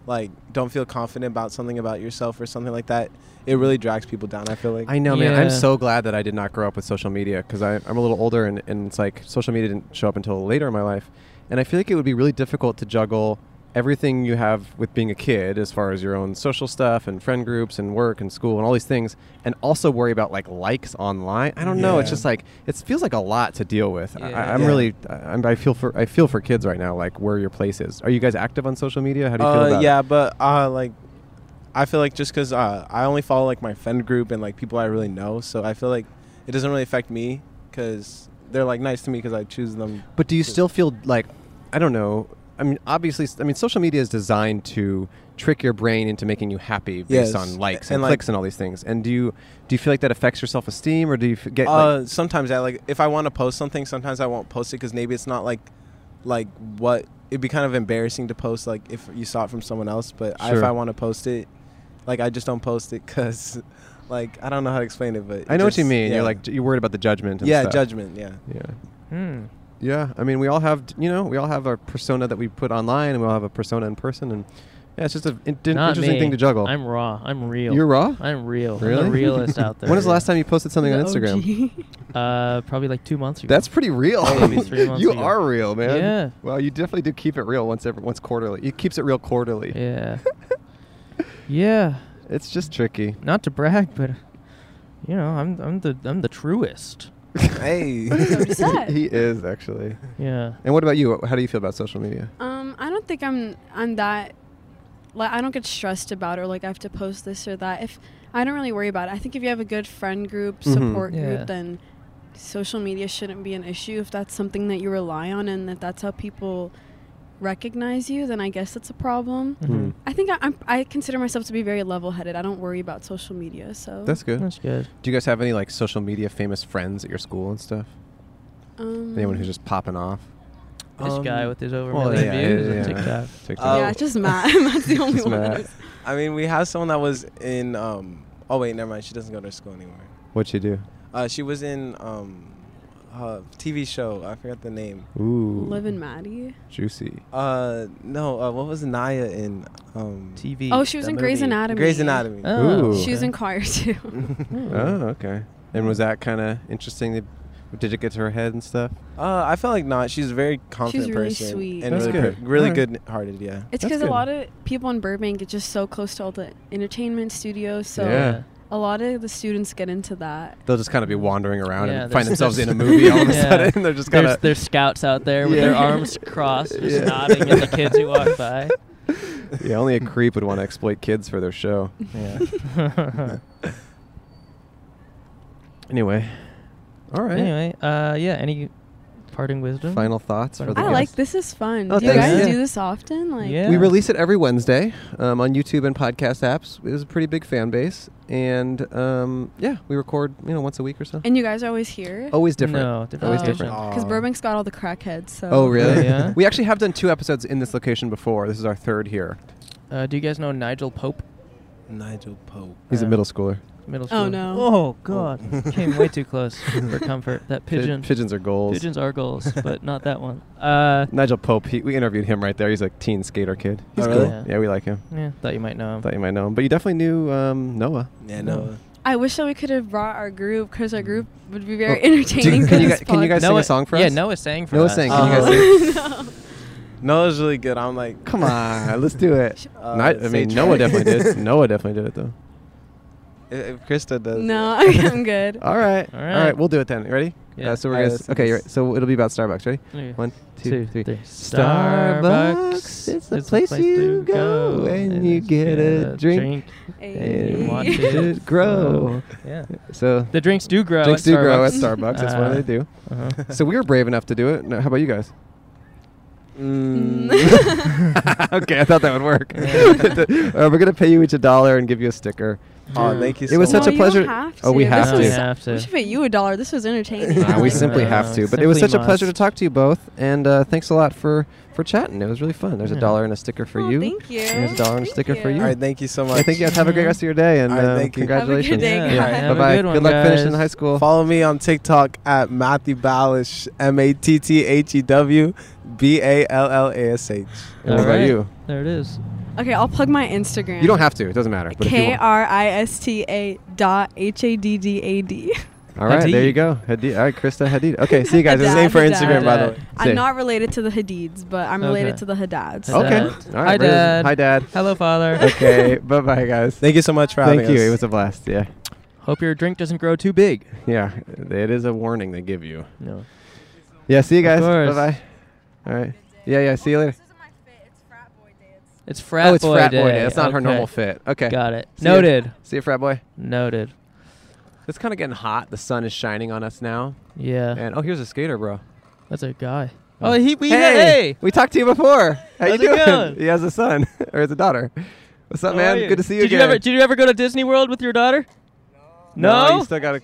[SPEAKER 11] like don't feel confident about something about yourself or something like that. It really drags people down. I feel like.
[SPEAKER 2] I know, man.
[SPEAKER 1] Yeah.
[SPEAKER 2] I'm so glad that I did not grow up with social media because I'm a little older and, and it's like social media didn't show up until later in my life. And I feel like it would be really difficult to juggle everything you have with being a kid as far as your own social stuff and friend groups and work and school and all these things and also worry about like likes online. I don't know. It's
[SPEAKER 11] Yeah.
[SPEAKER 2] just like it feels like a lot to deal with. I,
[SPEAKER 1] Yeah.
[SPEAKER 2] I'm
[SPEAKER 11] Yeah.
[SPEAKER 2] really I- I'm, I feel for I feel for kids right now like where your place is. Are you guys active on social media? How do you feel
[SPEAKER 11] uh,
[SPEAKER 2] about
[SPEAKER 11] yeah,
[SPEAKER 2] it?
[SPEAKER 11] but uh, like I feel like just because uh, I only follow like my friend group and like people I really know, so I feel like it doesn't really affect me because they're like nice to me because I choose them.
[SPEAKER 2] But do you still feel like I don't know? I mean, obviously, I mean, social media is designed to trick your brain into making you happy based
[SPEAKER 11] Yes.
[SPEAKER 2] on likes and,
[SPEAKER 11] And, like-
[SPEAKER 2] clicks and all these things. And do you do you feel like that affects your self esteem, or do you f- get
[SPEAKER 11] Uh,
[SPEAKER 2] like,
[SPEAKER 11] sometimes I like if I want to post something, sometimes I won't post it because maybe it's not like like what it'd be kind of embarrassing to post like if you saw it from someone else. But I, if
[SPEAKER 2] Sure.
[SPEAKER 11] I want to post it, like I just don't post it because like I don't know how to explain it. But
[SPEAKER 2] I know what you
[SPEAKER 11] just-
[SPEAKER 2] mean.
[SPEAKER 11] yeah.
[SPEAKER 2] You're like j- you're worried about the judgment. And
[SPEAKER 11] yeah,
[SPEAKER 2] stuff.
[SPEAKER 11] judgment. Yeah,
[SPEAKER 2] Yeah,
[SPEAKER 1] Hmm.
[SPEAKER 2] yeah. I mean, we all have you know we all have our persona that we put online, and we all have a persona in person, and yeah, it's just an
[SPEAKER 1] Not
[SPEAKER 2] interesting
[SPEAKER 1] me.
[SPEAKER 2] thing to juggle.
[SPEAKER 1] I'm raw. I'm real.
[SPEAKER 2] You're raw.
[SPEAKER 1] I'm real. I'm
[SPEAKER 2] Really?
[SPEAKER 1] the realist out there.
[SPEAKER 2] when was the last time you posted something on
[SPEAKER 10] The
[SPEAKER 2] Instagram?
[SPEAKER 10] OG.
[SPEAKER 1] Uh, probably like two months ago.
[SPEAKER 2] That's pretty real.
[SPEAKER 1] Maybe three months
[SPEAKER 2] you
[SPEAKER 1] ago.
[SPEAKER 2] are real, man.
[SPEAKER 1] Yeah.
[SPEAKER 2] Well, you definitely do keep it real once every once quarterly. It keeps it real quarterly.
[SPEAKER 1] yeah. yeah.
[SPEAKER 2] It's just tricky.
[SPEAKER 1] Not to brag, but you know, I'm I'm the I'm the truest.
[SPEAKER 11] hey.
[SPEAKER 10] upset.
[SPEAKER 2] he is actually.
[SPEAKER 1] Yeah.
[SPEAKER 2] And what about you? How do you feel about social media?
[SPEAKER 10] um, I don't think I'm I'm that like I don't get stressed about it or like I have to post this or that. If I don't really worry about it. I think if you have a good friend group,
[SPEAKER 11] Mm-hmm.
[SPEAKER 12] Mhm.
[SPEAKER 10] support
[SPEAKER 12] Yeah.
[SPEAKER 10] group, then social media shouldn't be an issue. If that's something that you rely on and if that's how people recognize you, then I guess it's a problem.
[SPEAKER 1] Mhm.
[SPEAKER 10] I think I, I'm, I consider myself to be very level-headed. I don't worry about social media, so
[SPEAKER 11] That's good.
[SPEAKER 1] Oh, That's good.
[SPEAKER 11] Do you guys have any like social media famous friends at your school and stuff?
[SPEAKER 10] Um,
[SPEAKER 11] Anyone who's just popping off?
[SPEAKER 1] This guy with his over a
[SPEAKER 11] well,
[SPEAKER 1] million
[SPEAKER 11] yeah,
[SPEAKER 1] views
[SPEAKER 11] yeah,
[SPEAKER 1] on
[SPEAKER 11] yeah.
[SPEAKER 1] TikTok.
[SPEAKER 10] Yeah, it's just Matt. Matt's the only
[SPEAKER 11] Just
[SPEAKER 10] one.
[SPEAKER 11] Matt. I mean, we have someone that was in. Um, oh wait, never mind. She doesn't go to school anymore.
[SPEAKER 2] What you do?
[SPEAKER 11] Uh, she was in um, a TV show. I forgot the name.
[SPEAKER 2] Ooh.
[SPEAKER 10] Liv and Maddie.
[SPEAKER 2] Juicy.
[SPEAKER 11] Uh, no. Uh, what was Naya in? Um, TV.
[SPEAKER 10] Oh, she was in Grey's Anatomy.
[SPEAKER 11] Grey's Anatomy.
[SPEAKER 2] Oh, Ooh.
[SPEAKER 10] She was
[SPEAKER 2] okay.
[SPEAKER 10] in choir too.
[SPEAKER 11] Mm.
[SPEAKER 2] Oh, okay. And was that kind of interesting? that- Did it get to her head and stuff?
[SPEAKER 11] Uh, I feel like not. She's a very confident
[SPEAKER 10] She's really
[SPEAKER 11] person
[SPEAKER 10] sweet.
[SPEAKER 11] and
[SPEAKER 2] That's
[SPEAKER 11] really,
[SPEAKER 2] good.
[SPEAKER 11] good. really
[SPEAKER 2] Alright.
[SPEAKER 11] good-hearted. Yeah.
[SPEAKER 10] It's
[SPEAKER 11] That's
[SPEAKER 10] because a
[SPEAKER 11] good.
[SPEAKER 10] lot of people in Burbank get just so close to all the entertainment studios, so
[SPEAKER 2] Yeah.
[SPEAKER 10] a lot of the students get into that.
[SPEAKER 2] They'll just kind of be wandering around
[SPEAKER 1] Yeah,
[SPEAKER 2] and
[SPEAKER 1] there's-
[SPEAKER 2] find themselves in a
[SPEAKER 1] there's-
[SPEAKER 2] movie all of a
[SPEAKER 1] yeah.
[SPEAKER 2] sudden. They're just kind
[SPEAKER 1] There's-
[SPEAKER 2] of
[SPEAKER 1] There's scouts out there with their
[SPEAKER 2] Yeah.
[SPEAKER 1] arms crossed, just
[SPEAKER 2] Yeah.
[SPEAKER 1] nodding at the kids who walk by.
[SPEAKER 2] yeah. Only a creep would want to exploit kids for their show.
[SPEAKER 1] Yeah.
[SPEAKER 2] Anyway, all right.
[SPEAKER 1] Anyway, uh, yeah. Any parting wisdom?
[SPEAKER 2] Final thoughts for the
[SPEAKER 10] I
[SPEAKER 2] guests?
[SPEAKER 10] like this is fun.
[SPEAKER 2] Oh,
[SPEAKER 10] do you
[SPEAKER 2] thanks.
[SPEAKER 10] guys
[SPEAKER 2] Yeah.
[SPEAKER 10] do this often? Like
[SPEAKER 1] Yeah.
[SPEAKER 2] We release it every Wednesday um, on YouTube and podcast apps. It was a pretty big fan base, and um, yeah, we record you know once a week or so.
[SPEAKER 10] And you guys are always here?
[SPEAKER 2] Always different.
[SPEAKER 1] No, different
[SPEAKER 2] Always
[SPEAKER 1] location.
[SPEAKER 2] different.
[SPEAKER 10] Because Burbank's got all the crackheads, so
[SPEAKER 2] Oh, really?
[SPEAKER 1] yeah?
[SPEAKER 2] we actually have done two episodes in this location before. This is our third here.
[SPEAKER 1] Uh, do you guys know Nigel Pope?
[SPEAKER 11] Nigel Pope.
[SPEAKER 2] He's a
[SPEAKER 1] Uh,
[SPEAKER 2] middle schooler.
[SPEAKER 1] Middle school.
[SPEAKER 10] Oh, no.
[SPEAKER 1] Oh God, came way too close for comfort. That
[SPEAKER 2] Pi-
[SPEAKER 1] pigeon.
[SPEAKER 2] pigeons are goals.
[SPEAKER 1] Pigeons are goals, but not that one. Uh, Oh,
[SPEAKER 2] Nigel Pope. He, we interviewed him right there. He's like teen skater kid. He's
[SPEAKER 11] really?
[SPEAKER 2] cool. Yeah. we like him.
[SPEAKER 1] yeah, thought you might know him.
[SPEAKER 2] Thought you might know him, but you definitely knew um, Noah.
[SPEAKER 11] Yeah. No.
[SPEAKER 10] I wish that we could have brought our group because our group would be very
[SPEAKER 2] Oh, do-
[SPEAKER 10] entertaining.
[SPEAKER 2] can
[SPEAKER 10] for
[SPEAKER 2] you
[SPEAKER 10] this
[SPEAKER 2] guys- can you guys
[SPEAKER 10] podcast.
[SPEAKER 2] sing a song for
[SPEAKER 1] yeah,
[SPEAKER 2] us?
[SPEAKER 1] Noah sang for
[SPEAKER 2] Noah
[SPEAKER 1] us.
[SPEAKER 2] sang. Can you guys
[SPEAKER 11] Uh,
[SPEAKER 2] sing?
[SPEAKER 11] No, it was really good. I'm like,
[SPEAKER 2] Come on, let's do it.
[SPEAKER 11] Uh,
[SPEAKER 2] Ni- I
[SPEAKER 11] say
[SPEAKER 2] mean,
[SPEAKER 11] Trey.
[SPEAKER 2] Noah definitely did. Noah definitely did it though.
[SPEAKER 11] If, if Krista does.
[SPEAKER 10] No, I'm good.
[SPEAKER 2] All right.
[SPEAKER 1] All
[SPEAKER 2] All
[SPEAKER 1] right.
[SPEAKER 2] right. We'll do it then. You Ready?
[SPEAKER 1] Yeah.
[SPEAKER 2] Uh, so
[SPEAKER 11] All
[SPEAKER 2] we're
[SPEAKER 11] right,
[SPEAKER 2] gonna.
[SPEAKER 11] let's
[SPEAKER 2] s-
[SPEAKER 11] do
[SPEAKER 2] okay.
[SPEAKER 11] this.
[SPEAKER 2] You're right. So it'll be about Starbucks. Ready?
[SPEAKER 1] Okay.
[SPEAKER 2] One,
[SPEAKER 1] Two,
[SPEAKER 2] two, three.
[SPEAKER 1] three. Starbucks
[SPEAKER 2] Starbucks. It's the place you go and you get a drink
[SPEAKER 10] Hey.
[SPEAKER 2] and watch it grow.
[SPEAKER 1] Yeah.
[SPEAKER 2] So
[SPEAKER 1] The drinks do grow.
[SPEAKER 2] drinks
[SPEAKER 1] at
[SPEAKER 2] do grow at
[SPEAKER 1] Starbucks.
[SPEAKER 2] Starbucks. That's what
[SPEAKER 1] Uh,
[SPEAKER 2] they do.
[SPEAKER 1] uh-huh.
[SPEAKER 2] So we were brave enough to do it. Now, how about you guys?
[SPEAKER 11] Mm.
[SPEAKER 2] okay, I thought that would work. Uh, we're gonna pay you each a dollar and give you a sticker.
[SPEAKER 11] Oh, thank you.
[SPEAKER 2] It was
[SPEAKER 11] so
[SPEAKER 2] such
[SPEAKER 10] no,
[SPEAKER 2] a
[SPEAKER 10] you
[SPEAKER 2] pleasure.
[SPEAKER 10] Don't have to.
[SPEAKER 2] Oh, we
[SPEAKER 10] This
[SPEAKER 2] have
[SPEAKER 10] was-
[SPEAKER 2] to.
[SPEAKER 1] We have to.
[SPEAKER 10] We should pay you a dollar. This was entertaining.
[SPEAKER 2] Nah, we
[SPEAKER 1] Like,
[SPEAKER 2] simply
[SPEAKER 1] uh,
[SPEAKER 2] have to. But it was such
[SPEAKER 1] simply
[SPEAKER 2] a pleasure to
[SPEAKER 1] must.
[SPEAKER 2] talk to you both, and uh, thanks a lot for for chatting. It was really fun. There's
[SPEAKER 1] Yeah.
[SPEAKER 2] a dollar and a sticker for
[SPEAKER 10] Oh,
[SPEAKER 2] you.
[SPEAKER 10] thank you.
[SPEAKER 2] There's a dollar and a
[SPEAKER 10] Thank
[SPEAKER 2] sticker for
[SPEAKER 10] you.
[SPEAKER 2] you.
[SPEAKER 11] All right, thank you so much.
[SPEAKER 2] I think you guys have a great rest of your day, and
[SPEAKER 11] All right,
[SPEAKER 2] uh,
[SPEAKER 11] thank you. Have a
[SPEAKER 10] good
[SPEAKER 2] congratulations.
[SPEAKER 10] day,
[SPEAKER 1] Yeah,
[SPEAKER 10] guys.
[SPEAKER 1] have a
[SPEAKER 2] Bye
[SPEAKER 1] good
[SPEAKER 2] bye.
[SPEAKER 1] one,
[SPEAKER 2] Good luck finishing
[SPEAKER 1] guys.
[SPEAKER 2] high school.
[SPEAKER 11] Follow me on TikTok at Matthew Ballish, M A T T H E W B A L L A S H.
[SPEAKER 2] And what
[SPEAKER 1] All
[SPEAKER 2] about
[SPEAKER 1] right.
[SPEAKER 2] you?
[SPEAKER 1] There it is.
[SPEAKER 10] Okay, I'll plug my Instagram.
[SPEAKER 2] You don't have to. It doesn't matter. But if you
[SPEAKER 10] K
[SPEAKER 2] want.
[SPEAKER 10] R I S T A dot H A D D A D.
[SPEAKER 2] All right, there you
[SPEAKER 1] Hadid.
[SPEAKER 2] go. Hadid. All right, Krista Hadid. Okay, see you guys.
[SPEAKER 10] Hadad,
[SPEAKER 2] It's the same for
[SPEAKER 10] Hadad.
[SPEAKER 2] Instagram, by the way. Say.
[SPEAKER 10] I'm not related to the Hadids, but I'm related
[SPEAKER 1] Okay.
[SPEAKER 10] to the Hadads.
[SPEAKER 1] Hadad.
[SPEAKER 2] Okay.
[SPEAKER 1] Dad.
[SPEAKER 2] All
[SPEAKER 1] Hi,
[SPEAKER 2] right. very-
[SPEAKER 1] Dad.
[SPEAKER 2] Hi, Dad.
[SPEAKER 1] Hello, Father.
[SPEAKER 2] Okay. bye, bye, guys.
[SPEAKER 11] Thank you so much for having
[SPEAKER 2] Thank
[SPEAKER 11] us.
[SPEAKER 2] you. It was a blast. Yeah.
[SPEAKER 1] Hope your drink doesn't grow too big.
[SPEAKER 2] Yeah. It is a warning they give you.
[SPEAKER 1] No.
[SPEAKER 2] Yeah. See you guys.
[SPEAKER 1] course.
[SPEAKER 2] Bye bye. All right. Yeah. Yeah. See you later.
[SPEAKER 1] It's frat
[SPEAKER 2] oh, it's
[SPEAKER 1] boy
[SPEAKER 2] frat
[SPEAKER 1] day.
[SPEAKER 2] boy day. That's not her
[SPEAKER 1] Okay.
[SPEAKER 2] normal fit. Okay.
[SPEAKER 1] Got it.
[SPEAKER 2] See ya.
[SPEAKER 1] Noted.
[SPEAKER 2] See you, frat boy.
[SPEAKER 1] Noted.
[SPEAKER 2] It's kind of getting hot. The sun is shining on us now.
[SPEAKER 1] Yeah.
[SPEAKER 2] And oh, here's a skater, bro.
[SPEAKER 1] That's a guy. Oh, he. We, hey.
[SPEAKER 2] we talked to you before. How
[SPEAKER 1] How's
[SPEAKER 2] you
[SPEAKER 1] it
[SPEAKER 2] doing?
[SPEAKER 1] going?
[SPEAKER 2] He has a son or has a daughter. What's up,
[SPEAKER 1] How
[SPEAKER 2] man?
[SPEAKER 1] are you?
[SPEAKER 2] Good to see you
[SPEAKER 1] did
[SPEAKER 2] again.
[SPEAKER 1] You ever, did you ever go to Disney World with your daughter? No.
[SPEAKER 2] you still got to.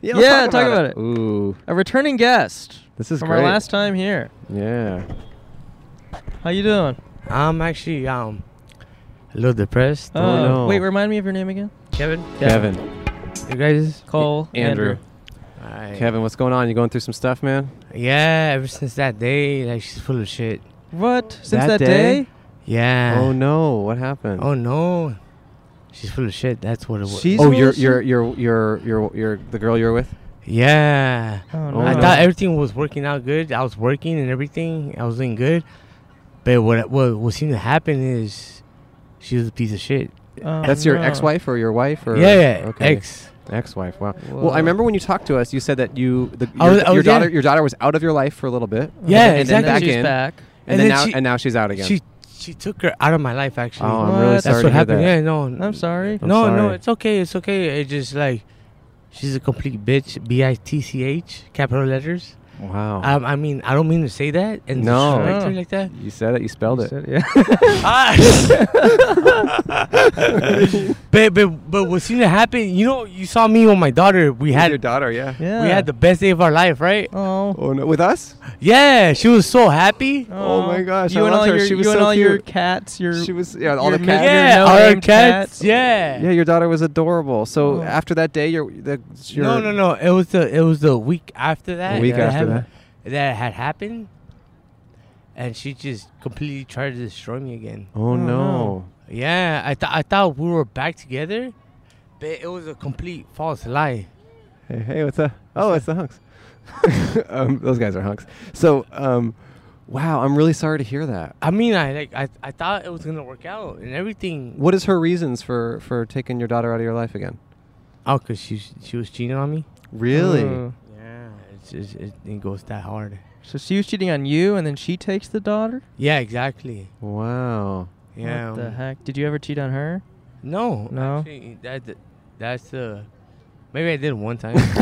[SPEAKER 2] Yeah, let's
[SPEAKER 1] yeah, talk, about, it.
[SPEAKER 2] Ooh,
[SPEAKER 1] A returning guest
[SPEAKER 2] this is
[SPEAKER 1] from
[SPEAKER 2] great.
[SPEAKER 1] our last time here.
[SPEAKER 2] yeah.
[SPEAKER 1] How you doing?
[SPEAKER 13] I'm actually um a little depressed.
[SPEAKER 1] Uh,
[SPEAKER 2] Oh, no.
[SPEAKER 1] Wait, remind me of your name again.
[SPEAKER 13] Kevin,
[SPEAKER 2] Kevin.
[SPEAKER 13] you guys.
[SPEAKER 1] Cole.
[SPEAKER 2] Andrew.
[SPEAKER 13] Alright.
[SPEAKER 2] Kevin, what's going on? You going through some stuff, man?
[SPEAKER 13] Yeah, ever since that day, like she's full of shit.
[SPEAKER 1] What? Since
[SPEAKER 2] That
[SPEAKER 1] that, day?
[SPEAKER 2] day?
[SPEAKER 13] Yeah.
[SPEAKER 2] Oh no, what happened?
[SPEAKER 13] Oh no. She's full of shit. That's what it was.
[SPEAKER 1] She's
[SPEAKER 2] oh,
[SPEAKER 1] full
[SPEAKER 2] you're
[SPEAKER 1] of
[SPEAKER 2] you're
[SPEAKER 1] shit?
[SPEAKER 2] you're you're you're you're the girl you're with.
[SPEAKER 13] Yeah.
[SPEAKER 1] Oh,
[SPEAKER 2] no.
[SPEAKER 13] I
[SPEAKER 2] no.
[SPEAKER 13] thought everything was working out good. I was working and everything. I was doing good. But what what what seemed to happen is she was a piece of shit.
[SPEAKER 1] Oh,
[SPEAKER 2] That's your
[SPEAKER 1] no.
[SPEAKER 2] ex-wife or your wife or
[SPEAKER 13] yeah. yeah. Ex.
[SPEAKER 2] Ex-wife. Wow. Well, I remember when you talked to us, you said that you the,
[SPEAKER 13] I
[SPEAKER 2] your,
[SPEAKER 13] was- I
[SPEAKER 2] your
[SPEAKER 13] was-
[SPEAKER 2] daughter
[SPEAKER 13] yeah.
[SPEAKER 2] your daughter was out of your life for a little bit.
[SPEAKER 13] Yeah,
[SPEAKER 2] and
[SPEAKER 13] exactly.
[SPEAKER 2] then back
[SPEAKER 1] she's
[SPEAKER 2] in,
[SPEAKER 1] back.
[SPEAKER 2] and, then, now
[SPEAKER 13] she-
[SPEAKER 2] and now she's out again.
[SPEAKER 13] She she took her out of my life. Actually,
[SPEAKER 2] Oh, I'm really
[SPEAKER 13] That's
[SPEAKER 2] sorry
[SPEAKER 13] what
[SPEAKER 2] to hear
[SPEAKER 13] happened.
[SPEAKER 2] that.
[SPEAKER 13] Yeah, no,
[SPEAKER 1] I'm sorry.
[SPEAKER 13] no, no, it's okay. It's okay. It's just like she's a complete bitch. B i t c h capital letters.
[SPEAKER 2] Wow.
[SPEAKER 13] Um, I mean, I don't mean to say that and
[SPEAKER 2] No.
[SPEAKER 13] disrespect her like that.
[SPEAKER 2] Oh. You said it. You spelled it.
[SPEAKER 13] Ah. but, but but what seemed to happen, you know, you saw me with my daughter. We had
[SPEAKER 2] your daughter, yeah.
[SPEAKER 1] Yeah.
[SPEAKER 13] We had the best day of our life, right?
[SPEAKER 1] Oh.
[SPEAKER 2] Oh no, with us?
[SPEAKER 13] Yeah, she was so happy.
[SPEAKER 2] Oh, my gosh!
[SPEAKER 1] You
[SPEAKER 2] I
[SPEAKER 1] and
[SPEAKER 2] loved
[SPEAKER 1] all
[SPEAKER 2] her.
[SPEAKER 1] your-
[SPEAKER 2] she was
[SPEAKER 1] you and
[SPEAKER 2] so
[SPEAKER 1] all
[SPEAKER 2] cute.
[SPEAKER 1] your cats, your-
[SPEAKER 2] she was yeah, all the
[SPEAKER 1] your ma-
[SPEAKER 2] cats.
[SPEAKER 1] Yeah, your all our no-name cats, cats.
[SPEAKER 13] Yeah.
[SPEAKER 2] Yeah, your daughter was adorable. So after that day, your the your
[SPEAKER 13] no, no, no. It was the it was the week after that.
[SPEAKER 2] The week after
[SPEAKER 13] hap- that had happened, and she just completely tried to destroy me again.
[SPEAKER 2] Oh, no.
[SPEAKER 13] Yeah, I thought I thought we were back together, but it was a complete false lie.
[SPEAKER 2] Hey, hey, what's up? Oh, it's the hunks. um, those guys are hunks. So, um, wow, I'm really sorry to hear that.
[SPEAKER 13] I mean, I like I, I thought it was gonna work out and everything.
[SPEAKER 2] What is her reasons for for taking your daughter out of your life again?
[SPEAKER 13] Oh, cause she she was cheating on me.
[SPEAKER 2] Really?
[SPEAKER 13] Yeah, it's, it's, it, it goes that hard.
[SPEAKER 1] So she was cheating on you, and then she takes the daughter.
[SPEAKER 13] Yeah, exactly.
[SPEAKER 2] Wow.
[SPEAKER 13] Yeah. um,
[SPEAKER 1] What the heck? Did you ever cheat on her?
[SPEAKER 13] No.
[SPEAKER 1] No.
[SPEAKER 13] Actually, that that's the. Maybe I did one time.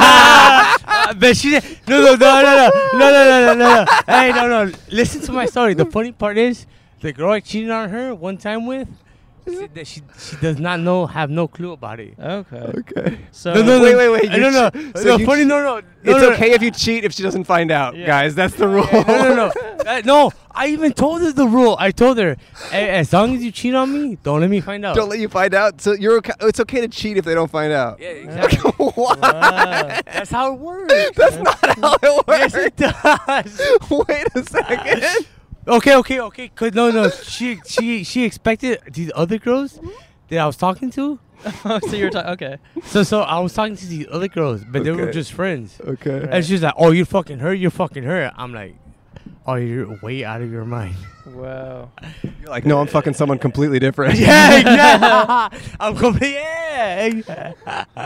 [SPEAKER 13] Uh, but she did. No, no, no, no, no, no, no, no, no, no. Hey, no, no. Listen to my story. The funny part is, the girl I cheated on her one time with, said that she she does not know, have no clue about it.
[SPEAKER 1] Okay.
[SPEAKER 2] Okay.
[SPEAKER 1] So
[SPEAKER 13] No, no, no.
[SPEAKER 2] wait, wait, wait.
[SPEAKER 13] Uh,
[SPEAKER 2] you
[SPEAKER 13] no, no.
[SPEAKER 2] che-
[SPEAKER 13] No,
[SPEAKER 2] you
[SPEAKER 13] funny-
[SPEAKER 2] che-
[SPEAKER 13] no, no, no,
[SPEAKER 2] It's
[SPEAKER 13] no, no.
[SPEAKER 2] okay if you cheat if she doesn't find out, guys. That's the rule.
[SPEAKER 13] no, no, no. Uh, no, I even told her the rule. I told her, "Hey, as long as you cheat on me, don't let me find out.
[SPEAKER 2] Don't let you find out. So you're okay. It's okay to cheat if they don't find out.
[SPEAKER 13] Yeah, exactly.
[SPEAKER 2] What?
[SPEAKER 13] That's how it works.
[SPEAKER 2] That's not how it works.
[SPEAKER 13] Yes, it does.
[SPEAKER 2] Wait a second.
[SPEAKER 13] Okay, okay, okay. Cause no, no, she, she, she expected these other girls that I was talking to.
[SPEAKER 1] Oh, so you're talking. Okay.
[SPEAKER 13] So, so I was talking to these other girls, but they were
[SPEAKER 2] Okay.
[SPEAKER 13] just friends.
[SPEAKER 2] Okay.
[SPEAKER 13] And she's like, "Oh, you're fucking her. You're fucking her." I'm like, "Oh, you're way out of your mind."
[SPEAKER 1] Wow.
[SPEAKER 2] You're like, no, I'm fucking someone completely different.
[SPEAKER 13] yeah, exactly. I'm complete. Yeah.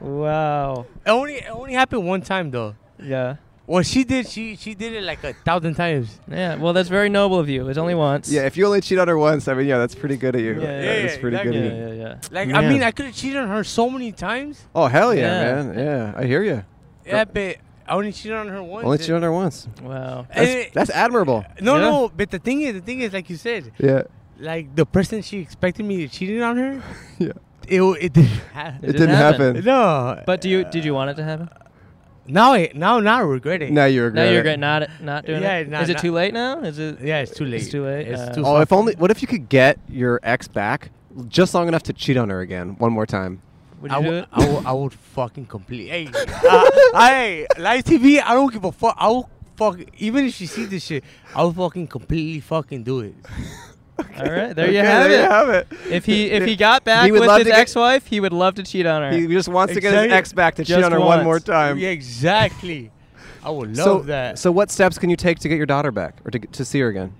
[SPEAKER 1] Wow.
[SPEAKER 13] It only, it only happened one time though.
[SPEAKER 1] Yeah.
[SPEAKER 13] Well, she did. She, she did it like a thousand times.
[SPEAKER 1] Yeah. Well, that's very noble of you. It was only once.
[SPEAKER 2] Yeah, if you only cheat on her once, I mean, yeah, that's pretty good of you.
[SPEAKER 1] Yeah,
[SPEAKER 2] Yeah,
[SPEAKER 1] yeah,
[SPEAKER 2] that's
[SPEAKER 13] yeah,
[SPEAKER 2] pretty good of you.
[SPEAKER 1] Yeah. Yeah. yeah.
[SPEAKER 13] Like, I
[SPEAKER 2] Man.
[SPEAKER 13] mean, I could have cheated on her so many times.
[SPEAKER 2] Oh hell yeah,
[SPEAKER 1] Yeah.
[SPEAKER 2] man! Yeah, I hear you.
[SPEAKER 13] Yeah, but I only cheated on her once.
[SPEAKER 2] Only cheat on her once.
[SPEAKER 1] Wow.
[SPEAKER 13] And
[SPEAKER 2] That's,
[SPEAKER 13] it-
[SPEAKER 2] that's admirable.
[SPEAKER 13] No,
[SPEAKER 1] Yeah.
[SPEAKER 13] no. But the thing is, the thing is, like you said,
[SPEAKER 2] Yeah,
[SPEAKER 13] like the person she expected me to cheating on her,
[SPEAKER 2] yeah.
[SPEAKER 13] it w- it didn't happen.
[SPEAKER 2] It,
[SPEAKER 1] didn't
[SPEAKER 2] didn't
[SPEAKER 1] happen.
[SPEAKER 2] happen.
[SPEAKER 13] No,
[SPEAKER 1] But do you did you want it to happen?
[SPEAKER 13] now I now now I regret it.
[SPEAKER 2] Now you
[SPEAKER 1] Now
[SPEAKER 2] regret.
[SPEAKER 1] you
[SPEAKER 2] it.
[SPEAKER 1] regret not not doing
[SPEAKER 13] Yeah,
[SPEAKER 1] it.
[SPEAKER 13] not-
[SPEAKER 1] Is it
[SPEAKER 13] not-
[SPEAKER 1] too late now? Is it?
[SPEAKER 13] Yeah, it's too late.
[SPEAKER 1] It's too late,
[SPEAKER 13] It's
[SPEAKER 1] uh,
[SPEAKER 13] too.
[SPEAKER 2] Oh, if
[SPEAKER 13] fucking-
[SPEAKER 2] only. What if you could get your ex back just long enough to cheat on her again one more time?
[SPEAKER 1] Would
[SPEAKER 13] I
[SPEAKER 1] you do
[SPEAKER 13] would,
[SPEAKER 1] it?
[SPEAKER 13] I would, I would fucking complete. Hey, uh, hey, live TV. I don't give a fuck. I will fuck. Even if she sees this shit, I will fucking completely fucking do it.
[SPEAKER 1] All right. There
[SPEAKER 2] Okay,
[SPEAKER 1] you have
[SPEAKER 2] there
[SPEAKER 1] it.
[SPEAKER 2] you have it.
[SPEAKER 1] If he if he got back
[SPEAKER 2] He would
[SPEAKER 1] with
[SPEAKER 2] love
[SPEAKER 1] his
[SPEAKER 2] to get-
[SPEAKER 1] ex-wife, he would love to cheat on her.
[SPEAKER 2] He just wants to get his
[SPEAKER 13] Exactly.
[SPEAKER 2] ex back to cheat
[SPEAKER 1] Just
[SPEAKER 2] on her
[SPEAKER 1] once.
[SPEAKER 2] one more time.
[SPEAKER 13] Yeah, exactly. I would love
[SPEAKER 2] so,
[SPEAKER 13] that.
[SPEAKER 2] so what steps can you take to get your daughter back or to, get- to see her again?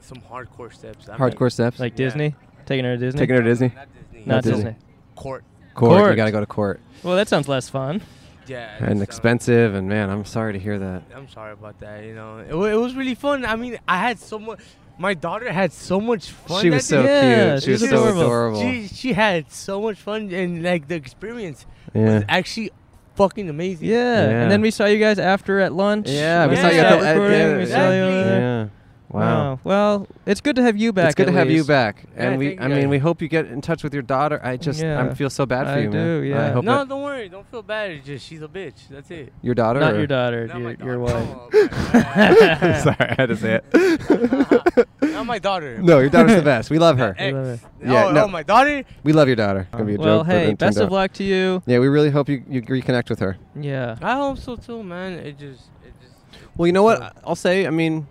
[SPEAKER 13] Some hardcore steps. I'm
[SPEAKER 2] Hardcore steps.
[SPEAKER 1] like Disney, taking her to Disney.
[SPEAKER 2] Taking her to Disney.
[SPEAKER 13] Not Disney.
[SPEAKER 1] Not
[SPEAKER 2] Not
[SPEAKER 1] Disney.
[SPEAKER 2] Disney.
[SPEAKER 13] Court.
[SPEAKER 2] Court.
[SPEAKER 1] Court.
[SPEAKER 2] You gotta go to court.
[SPEAKER 1] Well, that sounds less fun.
[SPEAKER 13] Yeah.
[SPEAKER 2] And
[SPEAKER 13] that's, um,
[SPEAKER 2] expensive. And man, I'm sorry to hear that.
[SPEAKER 13] I'm sorry about that. You know, it, wa- it was really fun. I mean, I had so much. My daughter had so much fun.
[SPEAKER 2] She
[SPEAKER 13] that
[SPEAKER 2] was so
[SPEAKER 13] day.
[SPEAKER 1] Yeah,
[SPEAKER 2] cute.
[SPEAKER 1] she
[SPEAKER 2] She was
[SPEAKER 1] was
[SPEAKER 2] so
[SPEAKER 1] adorable.
[SPEAKER 2] adorable.
[SPEAKER 13] She she had so much fun and like the experience
[SPEAKER 2] yeah.
[SPEAKER 13] was actually fucking amazing.
[SPEAKER 1] Yeah.
[SPEAKER 2] Yeah.
[SPEAKER 1] And then we saw you guys after at lunch.
[SPEAKER 2] Yeah,
[SPEAKER 1] when
[SPEAKER 2] we saw you
[SPEAKER 1] stopped
[SPEAKER 2] at the at-
[SPEAKER 1] recording.
[SPEAKER 2] yeah,
[SPEAKER 1] we saw you.
[SPEAKER 13] yeah.
[SPEAKER 1] over there.
[SPEAKER 2] Yeah. Wow.
[SPEAKER 1] Well, it's good to have you back.
[SPEAKER 2] It's good
[SPEAKER 1] at
[SPEAKER 2] to have you
[SPEAKER 1] least.
[SPEAKER 2] back,
[SPEAKER 13] Yeah,
[SPEAKER 2] and we.
[SPEAKER 13] thank
[SPEAKER 2] I
[SPEAKER 13] you.
[SPEAKER 2] mean, we hope you get in touch with your daughter. I just,
[SPEAKER 1] Yeah.
[SPEAKER 2] I feel so bad for
[SPEAKER 1] I
[SPEAKER 2] you, man.
[SPEAKER 1] do,
[SPEAKER 2] I
[SPEAKER 1] yeah.
[SPEAKER 2] hope
[SPEAKER 13] No,
[SPEAKER 2] that-
[SPEAKER 13] don't worry. Don't feel bad. It's just she's a bitch. That's it.
[SPEAKER 2] your daughter.
[SPEAKER 1] Not
[SPEAKER 2] or-
[SPEAKER 1] your daughter,
[SPEAKER 13] Not
[SPEAKER 1] your,
[SPEAKER 13] my
[SPEAKER 1] your
[SPEAKER 13] daughter.
[SPEAKER 1] wife.
[SPEAKER 13] No, my-
[SPEAKER 2] Sorry, I had to say it.
[SPEAKER 13] Not my daughter.
[SPEAKER 2] no, your daughter's the best. We love her.
[SPEAKER 13] Ex.
[SPEAKER 1] love it.
[SPEAKER 2] Yeah,
[SPEAKER 13] no,
[SPEAKER 2] no.
[SPEAKER 13] no, my daughter.
[SPEAKER 2] We love your daughter. It's gonna be a
[SPEAKER 1] oh, well,
[SPEAKER 2] joke, but
[SPEAKER 1] hey,
[SPEAKER 2] it
[SPEAKER 1] best
[SPEAKER 2] turned out-
[SPEAKER 1] of luck to you.
[SPEAKER 2] Yeah, we really hope you, you reconnect with her.
[SPEAKER 1] Yeah.
[SPEAKER 13] I hope so too, man. It just, it just.
[SPEAKER 2] Well, you know what? I- I'll say. I mean,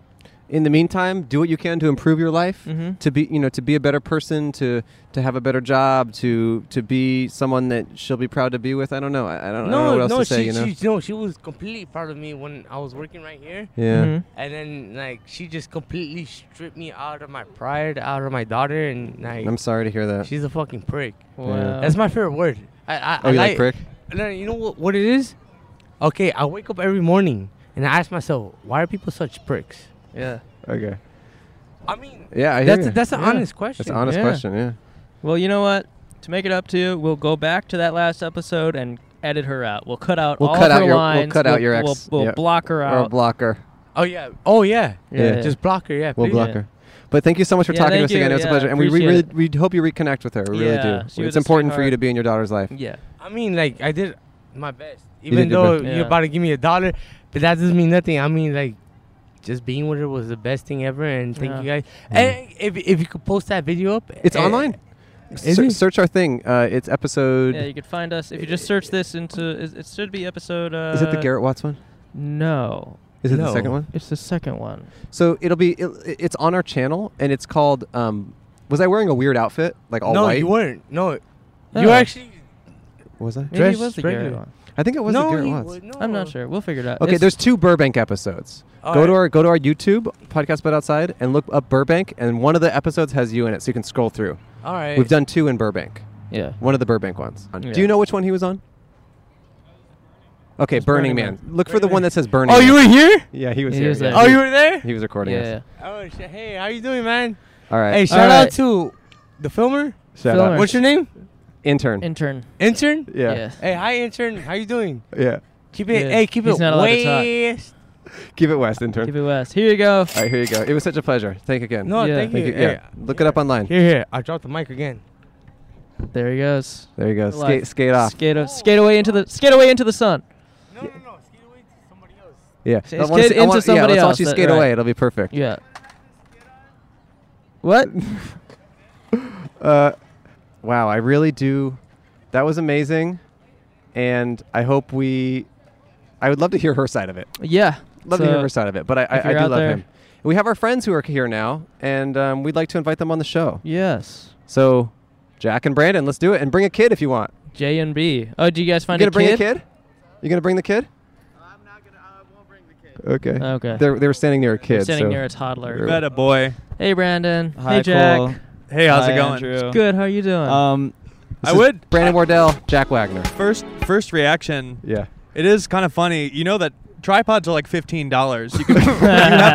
[SPEAKER 2] in the meantime, do what you can to improve your life,
[SPEAKER 1] Mhm.
[SPEAKER 2] to be, you know, to be a better person, to to have a better job, to to be someone that she'll be proud to be with. I don't know. I, I don't, I don't know what else
[SPEAKER 13] no,
[SPEAKER 2] to
[SPEAKER 13] she,
[SPEAKER 2] say. you know.
[SPEAKER 13] she, no, she was completely proud of me when I was working right here,
[SPEAKER 2] yeah.
[SPEAKER 1] Mhm.
[SPEAKER 13] and then like she just completely stripped me out of my pride, out of my daughter, and like
[SPEAKER 2] I'm sorry to hear that.
[SPEAKER 13] she's a fucking prick.
[SPEAKER 1] Wow.
[SPEAKER 13] That's my favorite word. I, I,
[SPEAKER 2] oh,
[SPEAKER 13] I
[SPEAKER 2] you like prick?
[SPEAKER 13] No, you know what, what it is? Okay, I wake up every morning and I ask myself, why are people such pricks?
[SPEAKER 1] Yeah.
[SPEAKER 2] Okay.
[SPEAKER 13] I mean,
[SPEAKER 2] Yeah, I
[SPEAKER 13] that's a-
[SPEAKER 2] hear you.
[SPEAKER 13] that's an
[SPEAKER 2] Yeah.
[SPEAKER 13] honest question.
[SPEAKER 2] That's an honest
[SPEAKER 1] Yeah.
[SPEAKER 2] question. Yeah.
[SPEAKER 1] Well, you know what? To make it up to you, we'll go back to that last episode and edit her out. We'll cut out
[SPEAKER 2] We'll
[SPEAKER 1] all
[SPEAKER 2] cut
[SPEAKER 1] of
[SPEAKER 2] out
[SPEAKER 1] her
[SPEAKER 2] your- we'll
[SPEAKER 1] lines.
[SPEAKER 2] cut out your ex.
[SPEAKER 1] We'll, we'll
[SPEAKER 2] Yep.
[SPEAKER 1] block her
[SPEAKER 2] Or
[SPEAKER 1] out.
[SPEAKER 2] blocker.
[SPEAKER 13] Oh yeah. Oh yeah.
[SPEAKER 1] Yeah.
[SPEAKER 13] Just block her. Yeah.
[SPEAKER 2] We'll
[SPEAKER 13] please.
[SPEAKER 2] block her. But thank you so much for
[SPEAKER 1] Yeah,
[SPEAKER 2] talking to us
[SPEAKER 1] thank
[SPEAKER 2] again.
[SPEAKER 1] you.
[SPEAKER 2] It was
[SPEAKER 1] Yeah,
[SPEAKER 2] a pleasure, and we
[SPEAKER 1] appreciate
[SPEAKER 2] really
[SPEAKER 1] it.
[SPEAKER 2] we hope you reconnect with her. We
[SPEAKER 1] Yeah,
[SPEAKER 2] really do.
[SPEAKER 1] she
[SPEAKER 2] It's
[SPEAKER 1] was a
[SPEAKER 2] important for you
[SPEAKER 1] sweetheart.
[SPEAKER 2] to be in your daughter's life.
[SPEAKER 1] Yeah.
[SPEAKER 13] I mean, like I did my best,
[SPEAKER 2] You did
[SPEAKER 13] even
[SPEAKER 2] your
[SPEAKER 13] though
[SPEAKER 2] best.
[SPEAKER 13] you're
[SPEAKER 1] Yeah.
[SPEAKER 13] about to give me a dollar, but that doesn't mean nothing. I mean, like just being with her was the best thing ever, and thank
[SPEAKER 1] Yeah.
[SPEAKER 13] you guys. And if if you could post that video up,
[SPEAKER 2] Mm. It's
[SPEAKER 13] eh,
[SPEAKER 2] online.
[SPEAKER 13] Is
[SPEAKER 2] Ser-
[SPEAKER 13] it?
[SPEAKER 2] search our thing. Uh, it's episode.
[SPEAKER 1] Yeah, you could find us if you just search this into. It it should be episode. Uh,
[SPEAKER 2] is it the Garrett Watts one?
[SPEAKER 1] No.
[SPEAKER 2] Is it the
[SPEAKER 13] No.
[SPEAKER 2] second one?
[SPEAKER 1] It's the second one.
[SPEAKER 2] So it'll be. It, it's on our channel, and it's called. Um, was I wearing a weird outfit, like all
[SPEAKER 13] no,
[SPEAKER 2] white?
[SPEAKER 13] you weren't. No,
[SPEAKER 1] No.
[SPEAKER 13] you actually.
[SPEAKER 2] was I?
[SPEAKER 1] Maybe it
[SPEAKER 13] Dress
[SPEAKER 1] was the
[SPEAKER 13] regular.
[SPEAKER 1] Garrett one.
[SPEAKER 2] I think it was
[SPEAKER 13] no,
[SPEAKER 2] the Garrett
[SPEAKER 13] you
[SPEAKER 2] Watts.
[SPEAKER 13] would- no.
[SPEAKER 1] I'm not sure. We'll figure it out.
[SPEAKER 2] Okay,
[SPEAKER 1] It's-
[SPEAKER 2] there's two Burbank episodes.
[SPEAKER 13] All
[SPEAKER 2] go to
[SPEAKER 13] right.
[SPEAKER 2] our go to our YouTube podcast but outside and look up Burbank, and one of the episodes has you in it, so you can scroll through.
[SPEAKER 13] All right.
[SPEAKER 2] We've done two in Burbank.
[SPEAKER 1] Yeah.
[SPEAKER 2] One of the Burbank ones.
[SPEAKER 1] Yeah.
[SPEAKER 2] Do you know which one he was on? Okay,
[SPEAKER 1] It's
[SPEAKER 2] Burning,
[SPEAKER 1] Burning
[SPEAKER 2] Man.
[SPEAKER 1] Man.
[SPEAKER 2] Look for the
[SPEAKER 13] Burning
[SPEAKER 2] one
[SPEAKER 13] Man.
[SPEAKER 2] that says Burning.
[SPEAKER 13] Oh,
[SPEAKER 2] Man.
[SPEAKER 13] you were here.
[SPEAKER 2] Yeah, he was
[SPEAKER 1] He
[SPEAKER 2] here.
[SPEAKER 1] was
[SPEAKER 2] yeah.
[SPEAKER 1] there.
[SPEAKER 13] Oh, you were there.
[SPEAKER 2] He was recording
[SPEAKER 1] Yeah.
[SPEAKER 2] us.
[SPEAKER 13] Oh, sh- hey, how you doing, man?
[SPEAKER 2] All right.
[SPEAKER 13] Hey, shout out to the filmer.
[SPEAKER 2] Shout
[SPEAKER 1] Filler.
[SPEAKER 2] out.
[SPEAKER 13] What's your name?
[SPEAKER 2] Intern.
[SPEAKER 1] Intern.
[SPEAKER 13] Intern.
[SPEAKER 2] yeah.
[SPEAKER 1] Yeah.
[SPEAKER 13] Hey, hi, intern. How you doing?
[SPEAKER 2] Yeah.
[SPEAKER 13] Keep it.
[SPEAKER 1] Yeah.
[SPEAKER 13] Hey, keep
[SPEAKER 1] He's
[SPEAKER 13] it.
[SPEAKER 1] not allowed to talk.
[SPEAKER 13] west-
[SPEAKER 2] Keep it west, intern.
[SPEAKER 1] Keep it west. Here you go.
[SPEAKER 2] All right, here you go. It was such a pleasure. Thank you again.
[SPEAKER 13] No,
[SPEAKER 1] Yeah.
[SPEAKER 13] thank you.
[SPEAKER 2] Thank you.
[SPEAKER 13] Hey,
[SPEAKER 2] Yeah. Look it up online.
[SPEAKER 13] Here, here. I dropped the mic again.
[SPEAKER 1] There he goes.
[SPEAKER 2] There you go.
[SPEAKER 1] We're live.
[SPEAKER 2] Skate, skate off.
[SPEAKER 1] Skate, a- skate away into the skate away into the sun.
[SPEAKER 13] No, no, no. Skate away to somebody else.
[SPEAKER 2] Yeah.
[SPEAKER 1] Skate
[SPEAKER 2] I wanna see- I
[SPEAKER 1] into
[SPEAKER 2] wanna- yeah,
[SPEAKER 1] somebody
[SPEAKER 2] let's all
[SPEAKER 1] else,
[SPEAKER 2] see
[SPEAKER 1] that-
[SPEAKER 2] skate
[SPEAKER 1] right.
[SPEAKER 2] away. It'll be perfect.
[SPEAKER 1] Yeah. What?
[SPEAKER 2] Uh, wow, I really do. That was amazing, and I hope we. I would love to hear her side of it.
[SPEAKER 1] yeah.
[SPEAKER 2] Love to hear her side of it, but I, I,
[SPEAKER 1] if
[SPEAKER 2] I
[SPEAKER 1] you're
[SPEAKER 2] do
[SPEAKER 1] out
[SPEAKER 2] love
[SPEAKER 1] there-
[SPEAKER 2] him. We have our friends who are here now, and um, we'd like to invite them on the show.
[SPEAKER 1] Yes.
[SPEAKER 2] So, Jack and Brandon, let's do it, and bring a kid if you want.
[SPEAKER 1] J and B. Oh, do you guys
[SPEAKER 2] You
[SPEAKER 1] find
[SPEAKER 2] gonna
[SPEAKER 1] a
[SPEAKER 2] bring
[SPEAKER 1] kid?
[SPEAKER 2] a kid? You gonna bring the kid? I'm not gonna. I won't bring the kid. Okay.
[SPEAKER 1] Okay.
[SPEAKER 2] They they were standing near a kid.
[SPEAKER 1] Standing
[SPEAKER 2] so-
[SPEAKER 1] near a toddler.
[SPEAKER 2] Met
[SPEAKER 12] Met a boy.
[SPEAKER 1] Hey, Brandon.
[SPEAKER 12] Hi,
[SPEAKER 1] hey, Jack.
[SPEAKER 12] Cole. Hey, how's Hi, it going? Andrew.
[SPEAKER 1] Good. How are you doing?
[SPEAKER 12] Um,
[SPEAKER 2] This
[SPEAKER 12] I
[SPEAKER 2] is
[SPEAKER 12] would
[SPEAKER 2] Brandon Wardell, Jack Wagner.
[SPEAKER 12] first first reaction.
[SPEAKER 2] Yeah.
[SPEAKER 12] It is kind of funny. You know that tripods are like fifteen dollars. You can you have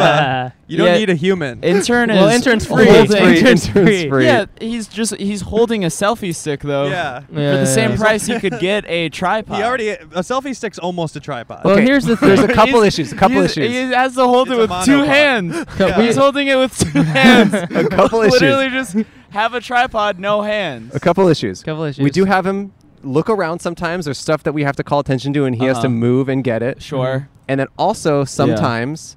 [SPEAKER 12] a you don't
[SPEAKER 14] Yeah.
[SPEAKER 12] need a human.
[SPEAKER 14] Intern
[SPEAKER 1] Well,
[SPEAKER 14] is
[SPEAKER 1] intern's free.
[SPEAKER 14] holding-
[SPEAKER 1] Intern's free. Intern's
[SPEAKER 2] Intern's free. free.
[SPEAKER 14] Yeah, he's just he's holding a selfie stick though.
[SPEAKER 12] Yeah.
[SPEAKER 14] For
[SPEAKER 1] Yeah,
[SPEAKER 14] the same
[SPEAKER 1] yeah.
[SPEAKER 14] price he could get a tripod.
[SPEAKER 12] He already a selfie stick's almost a tripod.
[SPEAKER 1] Well, here's the thing.
[SPEAKER 2] There's a couple issues. A couple
[SPEAKER 14] He's-
[SPEAKER 2] issues.
[SPEAKER 14] He has to hold
[SPEAKER 12] It's
[SPEAKER 14] it
[SPEAKER 12] a
[SPEAKER 14] with two
[SPEAKER 12] monopod.
[SPEAKER 14] hands.
[SPEAKER 12] Yeah.
[SPEAKER 14] He's holding it with two hands.
[SPEAKER 2] A couple issues.
[SPEAKER 14] Literally just have a tripod, no hands.
[SPEAKER 2] A couple issues.
[SPEAKER 1] Couple
[SPEAKER 2] We
[SPEAKER 1] issues.
[SPEAKER 2] do have him look around sometimes. There's stuff that we have to call attention to, and he has to
[SPEAKER 14] Uh-huh.
[SPEAKER 2] move and get it. Mm-hmm.
[SPEAKER 14] Sure.
[SPEAKER 2] And then also sometimes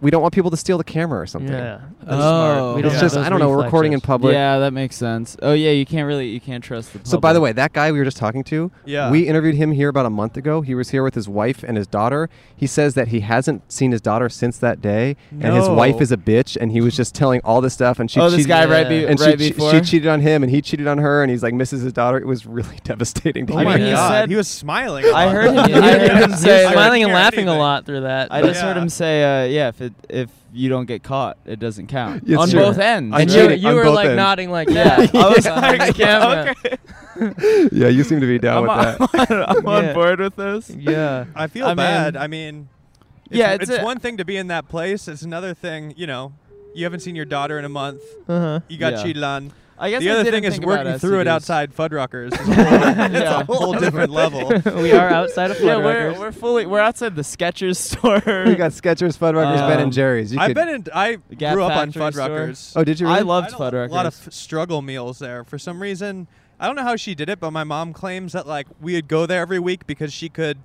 [SPEAKER 2] we don't want people to steal the camera or something.
[SPEAKER 1] Yeah. That's
[SPEAKER 14] Oh.
[SPEAKER 1] smart. We don't
[SPEAKER 2] It's
[SPEAKER 1] have
[SPEAKER 2] just
[SPEAKER 1] those
[SPEAKER 2] I don't know. We're recording in
[SPEAKER 1] reflexes.
[SPEAKER 2] public.
[SPEAKER 14] Yeah, that makes sense. Oh yeah, you can't really you can't trust the. Public.
[SPEAKER 2] So by the way, that guy we were just talking to,
[SPEAKER 12] Yeah.
[SPEAKER 2] we interviewed him here about a month ago. He was here with his wife and his daughter. He says that he hasn't seen his daughter since that day, and his
[SPEAKER 12] No.
[SPEAKER 2] wife is a bitch, and he was just telling all this stuff, and she
[SPEAKER 14] oh this
[SPEAKER 2] cheated-
[SPEAKER 14] guy right, be,
[SPEAKER 1] Yeah.
[SPEAKER 2] and
[SPEAKER 14] right
[SPEAKER 2] she,
[SPEAKER 14] before.
[SPEAKER 2] she cheated on him, and he cheated on her, and he's like misses his daughter. It was really devastating. To
[SPEAKER 12] oh
[SPEAKER 2] hear.
[SPEAKER 12] my
[SPEAKER 14] mean, he
[SPEAKER 12] god,
[SPEAKER 14] said-
[SPEAKER 12] he was smiling.
[SPEAKER 14] I heard him-
[SPEAKER 1] Yeah,
[SPEAKER 14] I
[SPEAKER 1] he was-
[SPEAKER 14] heard him
[SPEAKER 1] he was
[SPEAKER 14] say-
[SPEAKER 1] smiling and
[SPEAKER 12] Yeah.
[SPEAKER 1] laughing a lot through that.
[SPEAKER 14] I
[SPEAKER 1] but-
[SPEAKER 14] just heard
[SPEAKER 12] Yeah.
[SPEAKER 14] him say, uh, "Yeah, if it if you don't get caught, it doesn't count
[SPEAKER 2] It's
[SPEAKER 14] on
[SPEAKER 2] true.
[SPEAKER 14] both ends."
[SPEAKER 2] I'm
[SPEAKER 1] and
[SPEAKER 2] cheating
[SPEAKER 1] you, you
[SPEAKER 2] on
[SPEAKER 1] were
[SPEAKER 2] both
[SPEAKER 1] like
[SPEAKER 2] ends.
[SPEAKER 1] nodding like
[SPEAKER 14] Yeah.
[SPEAKER 1] that.
[SPEAKER 14] I was
[SPEAKER 1] behind
[SPEAKER 14] like,
[SPEAKER 1] the camera.
[SPEAKER 14] okay.
[SPEAKER 2] yeah, you seem to be down
[SPEAKER 14] I'm,
[SPEAKER 2] with that.
[SPEAKER 14] on, I'm
[SPEAKER 1] Yeah.
[SPEAKER 14] on board with this.
[SPEAKER 1] Yeah.
[SPEAKER 12] I feel
[SPEAKER 14] I mean-
[SPEAKER 12] bad. I mean, it's,
[SPEAKER 14] Yeah,
[SPEAKER 12] it's,
[SPEAKER 14] it's a-
[SPEAKER 12] one thing to be in that place. It's another thing, you know, you haven't seen your daughter in a month.
[SPEAKER 1] Uh huh.
[SPEAKER 12] You got
[SPEAKER 14] Yeah.
[SPEAKER 12] cheated on.
[SPEAKER 14] I guess
[SPEAKER 12] The
[SPEAKER 14] I
[SPEAKER 12] other
[SPEAKER 14] didn't
[SPEAKER 12] thing is
[SPEAKER 14] think about
[SPEAKER 12] working through it
[SPEAKER 14] STDs.
[SPEAKER 12] outside Fuddruckers. It's a whole- it's
[SPEAKER 14] Yeah.
[SPEAKER 12] a whole different level.
[SPEAKER 1] we are outside of
[SPEAKER 14] Yeah,
[SPEAKER 1] Flutter
[SPEAKER 14] we're,
[SPEAKER 1] Records.
[SPEAKER 14] we're fully we're outside the Skechers store.
[SPEAKER 2] we got Skechers, Fuddruckers, Ben
[SPEAKER 14] Um,
[SPEAKER 2] and Jerry's. You
[SPEAKER 12] I've
[SPEAKER 2] could-
[SPEAKER 12] been in. I
[SPEAKER 14] Gap
[SPEAKER 12] grew up on
[SPEAKER 14] Factory store.
[SPEAKER 12] Fuddruckers.
[SPEAKER 2] Oh, did you? Really?
[SPEAKER 14] I
[SPEAKER 12] I
[SPEAKER 14] loved
[SPEAKER 12] had
[SPEAKER 14] Fuddruckers.
[SPEAKER 12] A lot of struggle meals there. For some reason, I don't know how she did it, but my mom claims that like we would go there every week because she could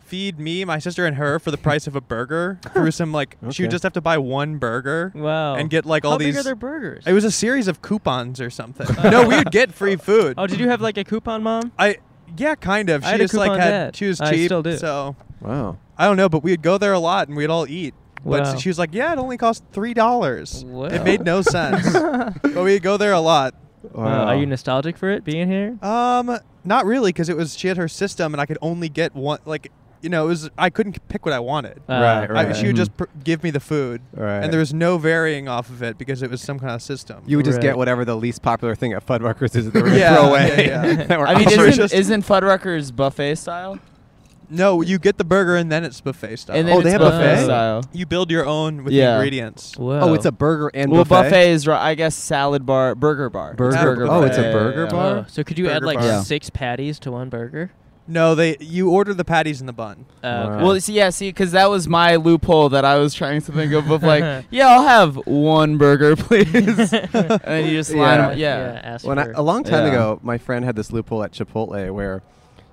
[SPEAKER 12] feed me, my sister, and her for the price of a burger through some like she
[SPEAKER 2] Okay.
[SPEAKER 12] would just have to buy one burger
[SPEAKER 1] wow.
[SPEAKER 12] and get like all
[SPEAKER 1] How
[SPEAKER 12] these.
[SPEAKER 1] big are their burgers?
[SPEAKER 12] it was a series of coupons or something. no, we would get free food.
[SPEAKER 1] oh, did you have like a coupon, mom?
[SPEAKER 12] I yeah, kind of.
[SPEAKER 1] I
[SPEAKER 12] She
[SPEAKER 1] had a
[SPEAKER 12] just like
[SPEAKER 1] coupon
[SPEAKER 12] had
[SPEAKER 1] dad.
[SPEAKER 12] she was cheap,
[SPEAKER 1] I still do.
[SPEAKER 12] so
[SPEAKER 2] Wow.
[SPEAKER 12] I don't know, but we'd go there a lot and we'd all eat. But
[SPEAKER 1] Wow.
[SPEAKER 12] she was like, "Yeah, it only cost three dollars."
[SPEAKER 1] Wow.
[SPEAKER 12] It made no sense. but we'd go there a lot.
[SPEAKER 1] Uh, are you nostalgic for it being here?
[SPEAKER 12] Um, not really, because it was she had her system, and I could only get one. Like, you know, it was I couldn't pick what I wanted.
[SPEAKER 1] Uh,
[SPEAKER 2] Right,
[SPEAKER 12] I-
[SPEAKER 2] right.
[SPEAKER 12] she would just pr- give me the food,
[SPEAKER 2] Right.
[SPEAKER 12] and there was no varying off of it because it was some kind of system.
[SPEAKER 2] You would just
[SPEAKER 1] Right.
[SPEAKER 2] get whatever the least popular thing at Fuddruckers is that they were going to
[SPEAKER 12] Yeah,
[SPEAKER 2] throw away.
[SPEAKER 12] yeah, yeah.
[SPEAKER 2] That were
[SPEAKER 14] I mean,
[SPEAKER 2] obsolete.
[SPEAKER 14] isn't, isn't Fuddruckers buffet style?
[SPEAKER 12] No, you get the burger and then it's buffet Oh, style.
[SPEAKER 14] And then Oh, they it's have buffet buffet? style.
[SPEAKER 12] You build your own with the
[SPEAKER 14] Yeah.
[SPEAKER 12] ingredients.
[SPEAKER 14] Whoa. well, buffet is right. I guess salad bar, burger bar,
[SPEAKER 12] Burger
[SPEAKER 14] bar.
[SPEAKER 12] Oh, it's a burger bar?
[SPEAKER 14] Yeah.
[SPEAKER 1] So could you add
[SPEAKER 12] Burger
[SPEAKER 1] like
[SPEAKER 12] bar. Yeah.
[SPEAKER 1] six patties to one burger? Oh,
[SPEAKER 12] No, they you order the patties in the bun.
[SPEAKER 14] Well, see, yeah, see, because that was my loophole that I was trying to think of. Of like, yeah, I'll have one burger, please, and then you just line 'em up. Yeah.
[SPEAKER 2] When I, a long time
[SPEAKER 14] Yeah.
[SPEAKER 2] ago, my friend had this loophole at Chipotle where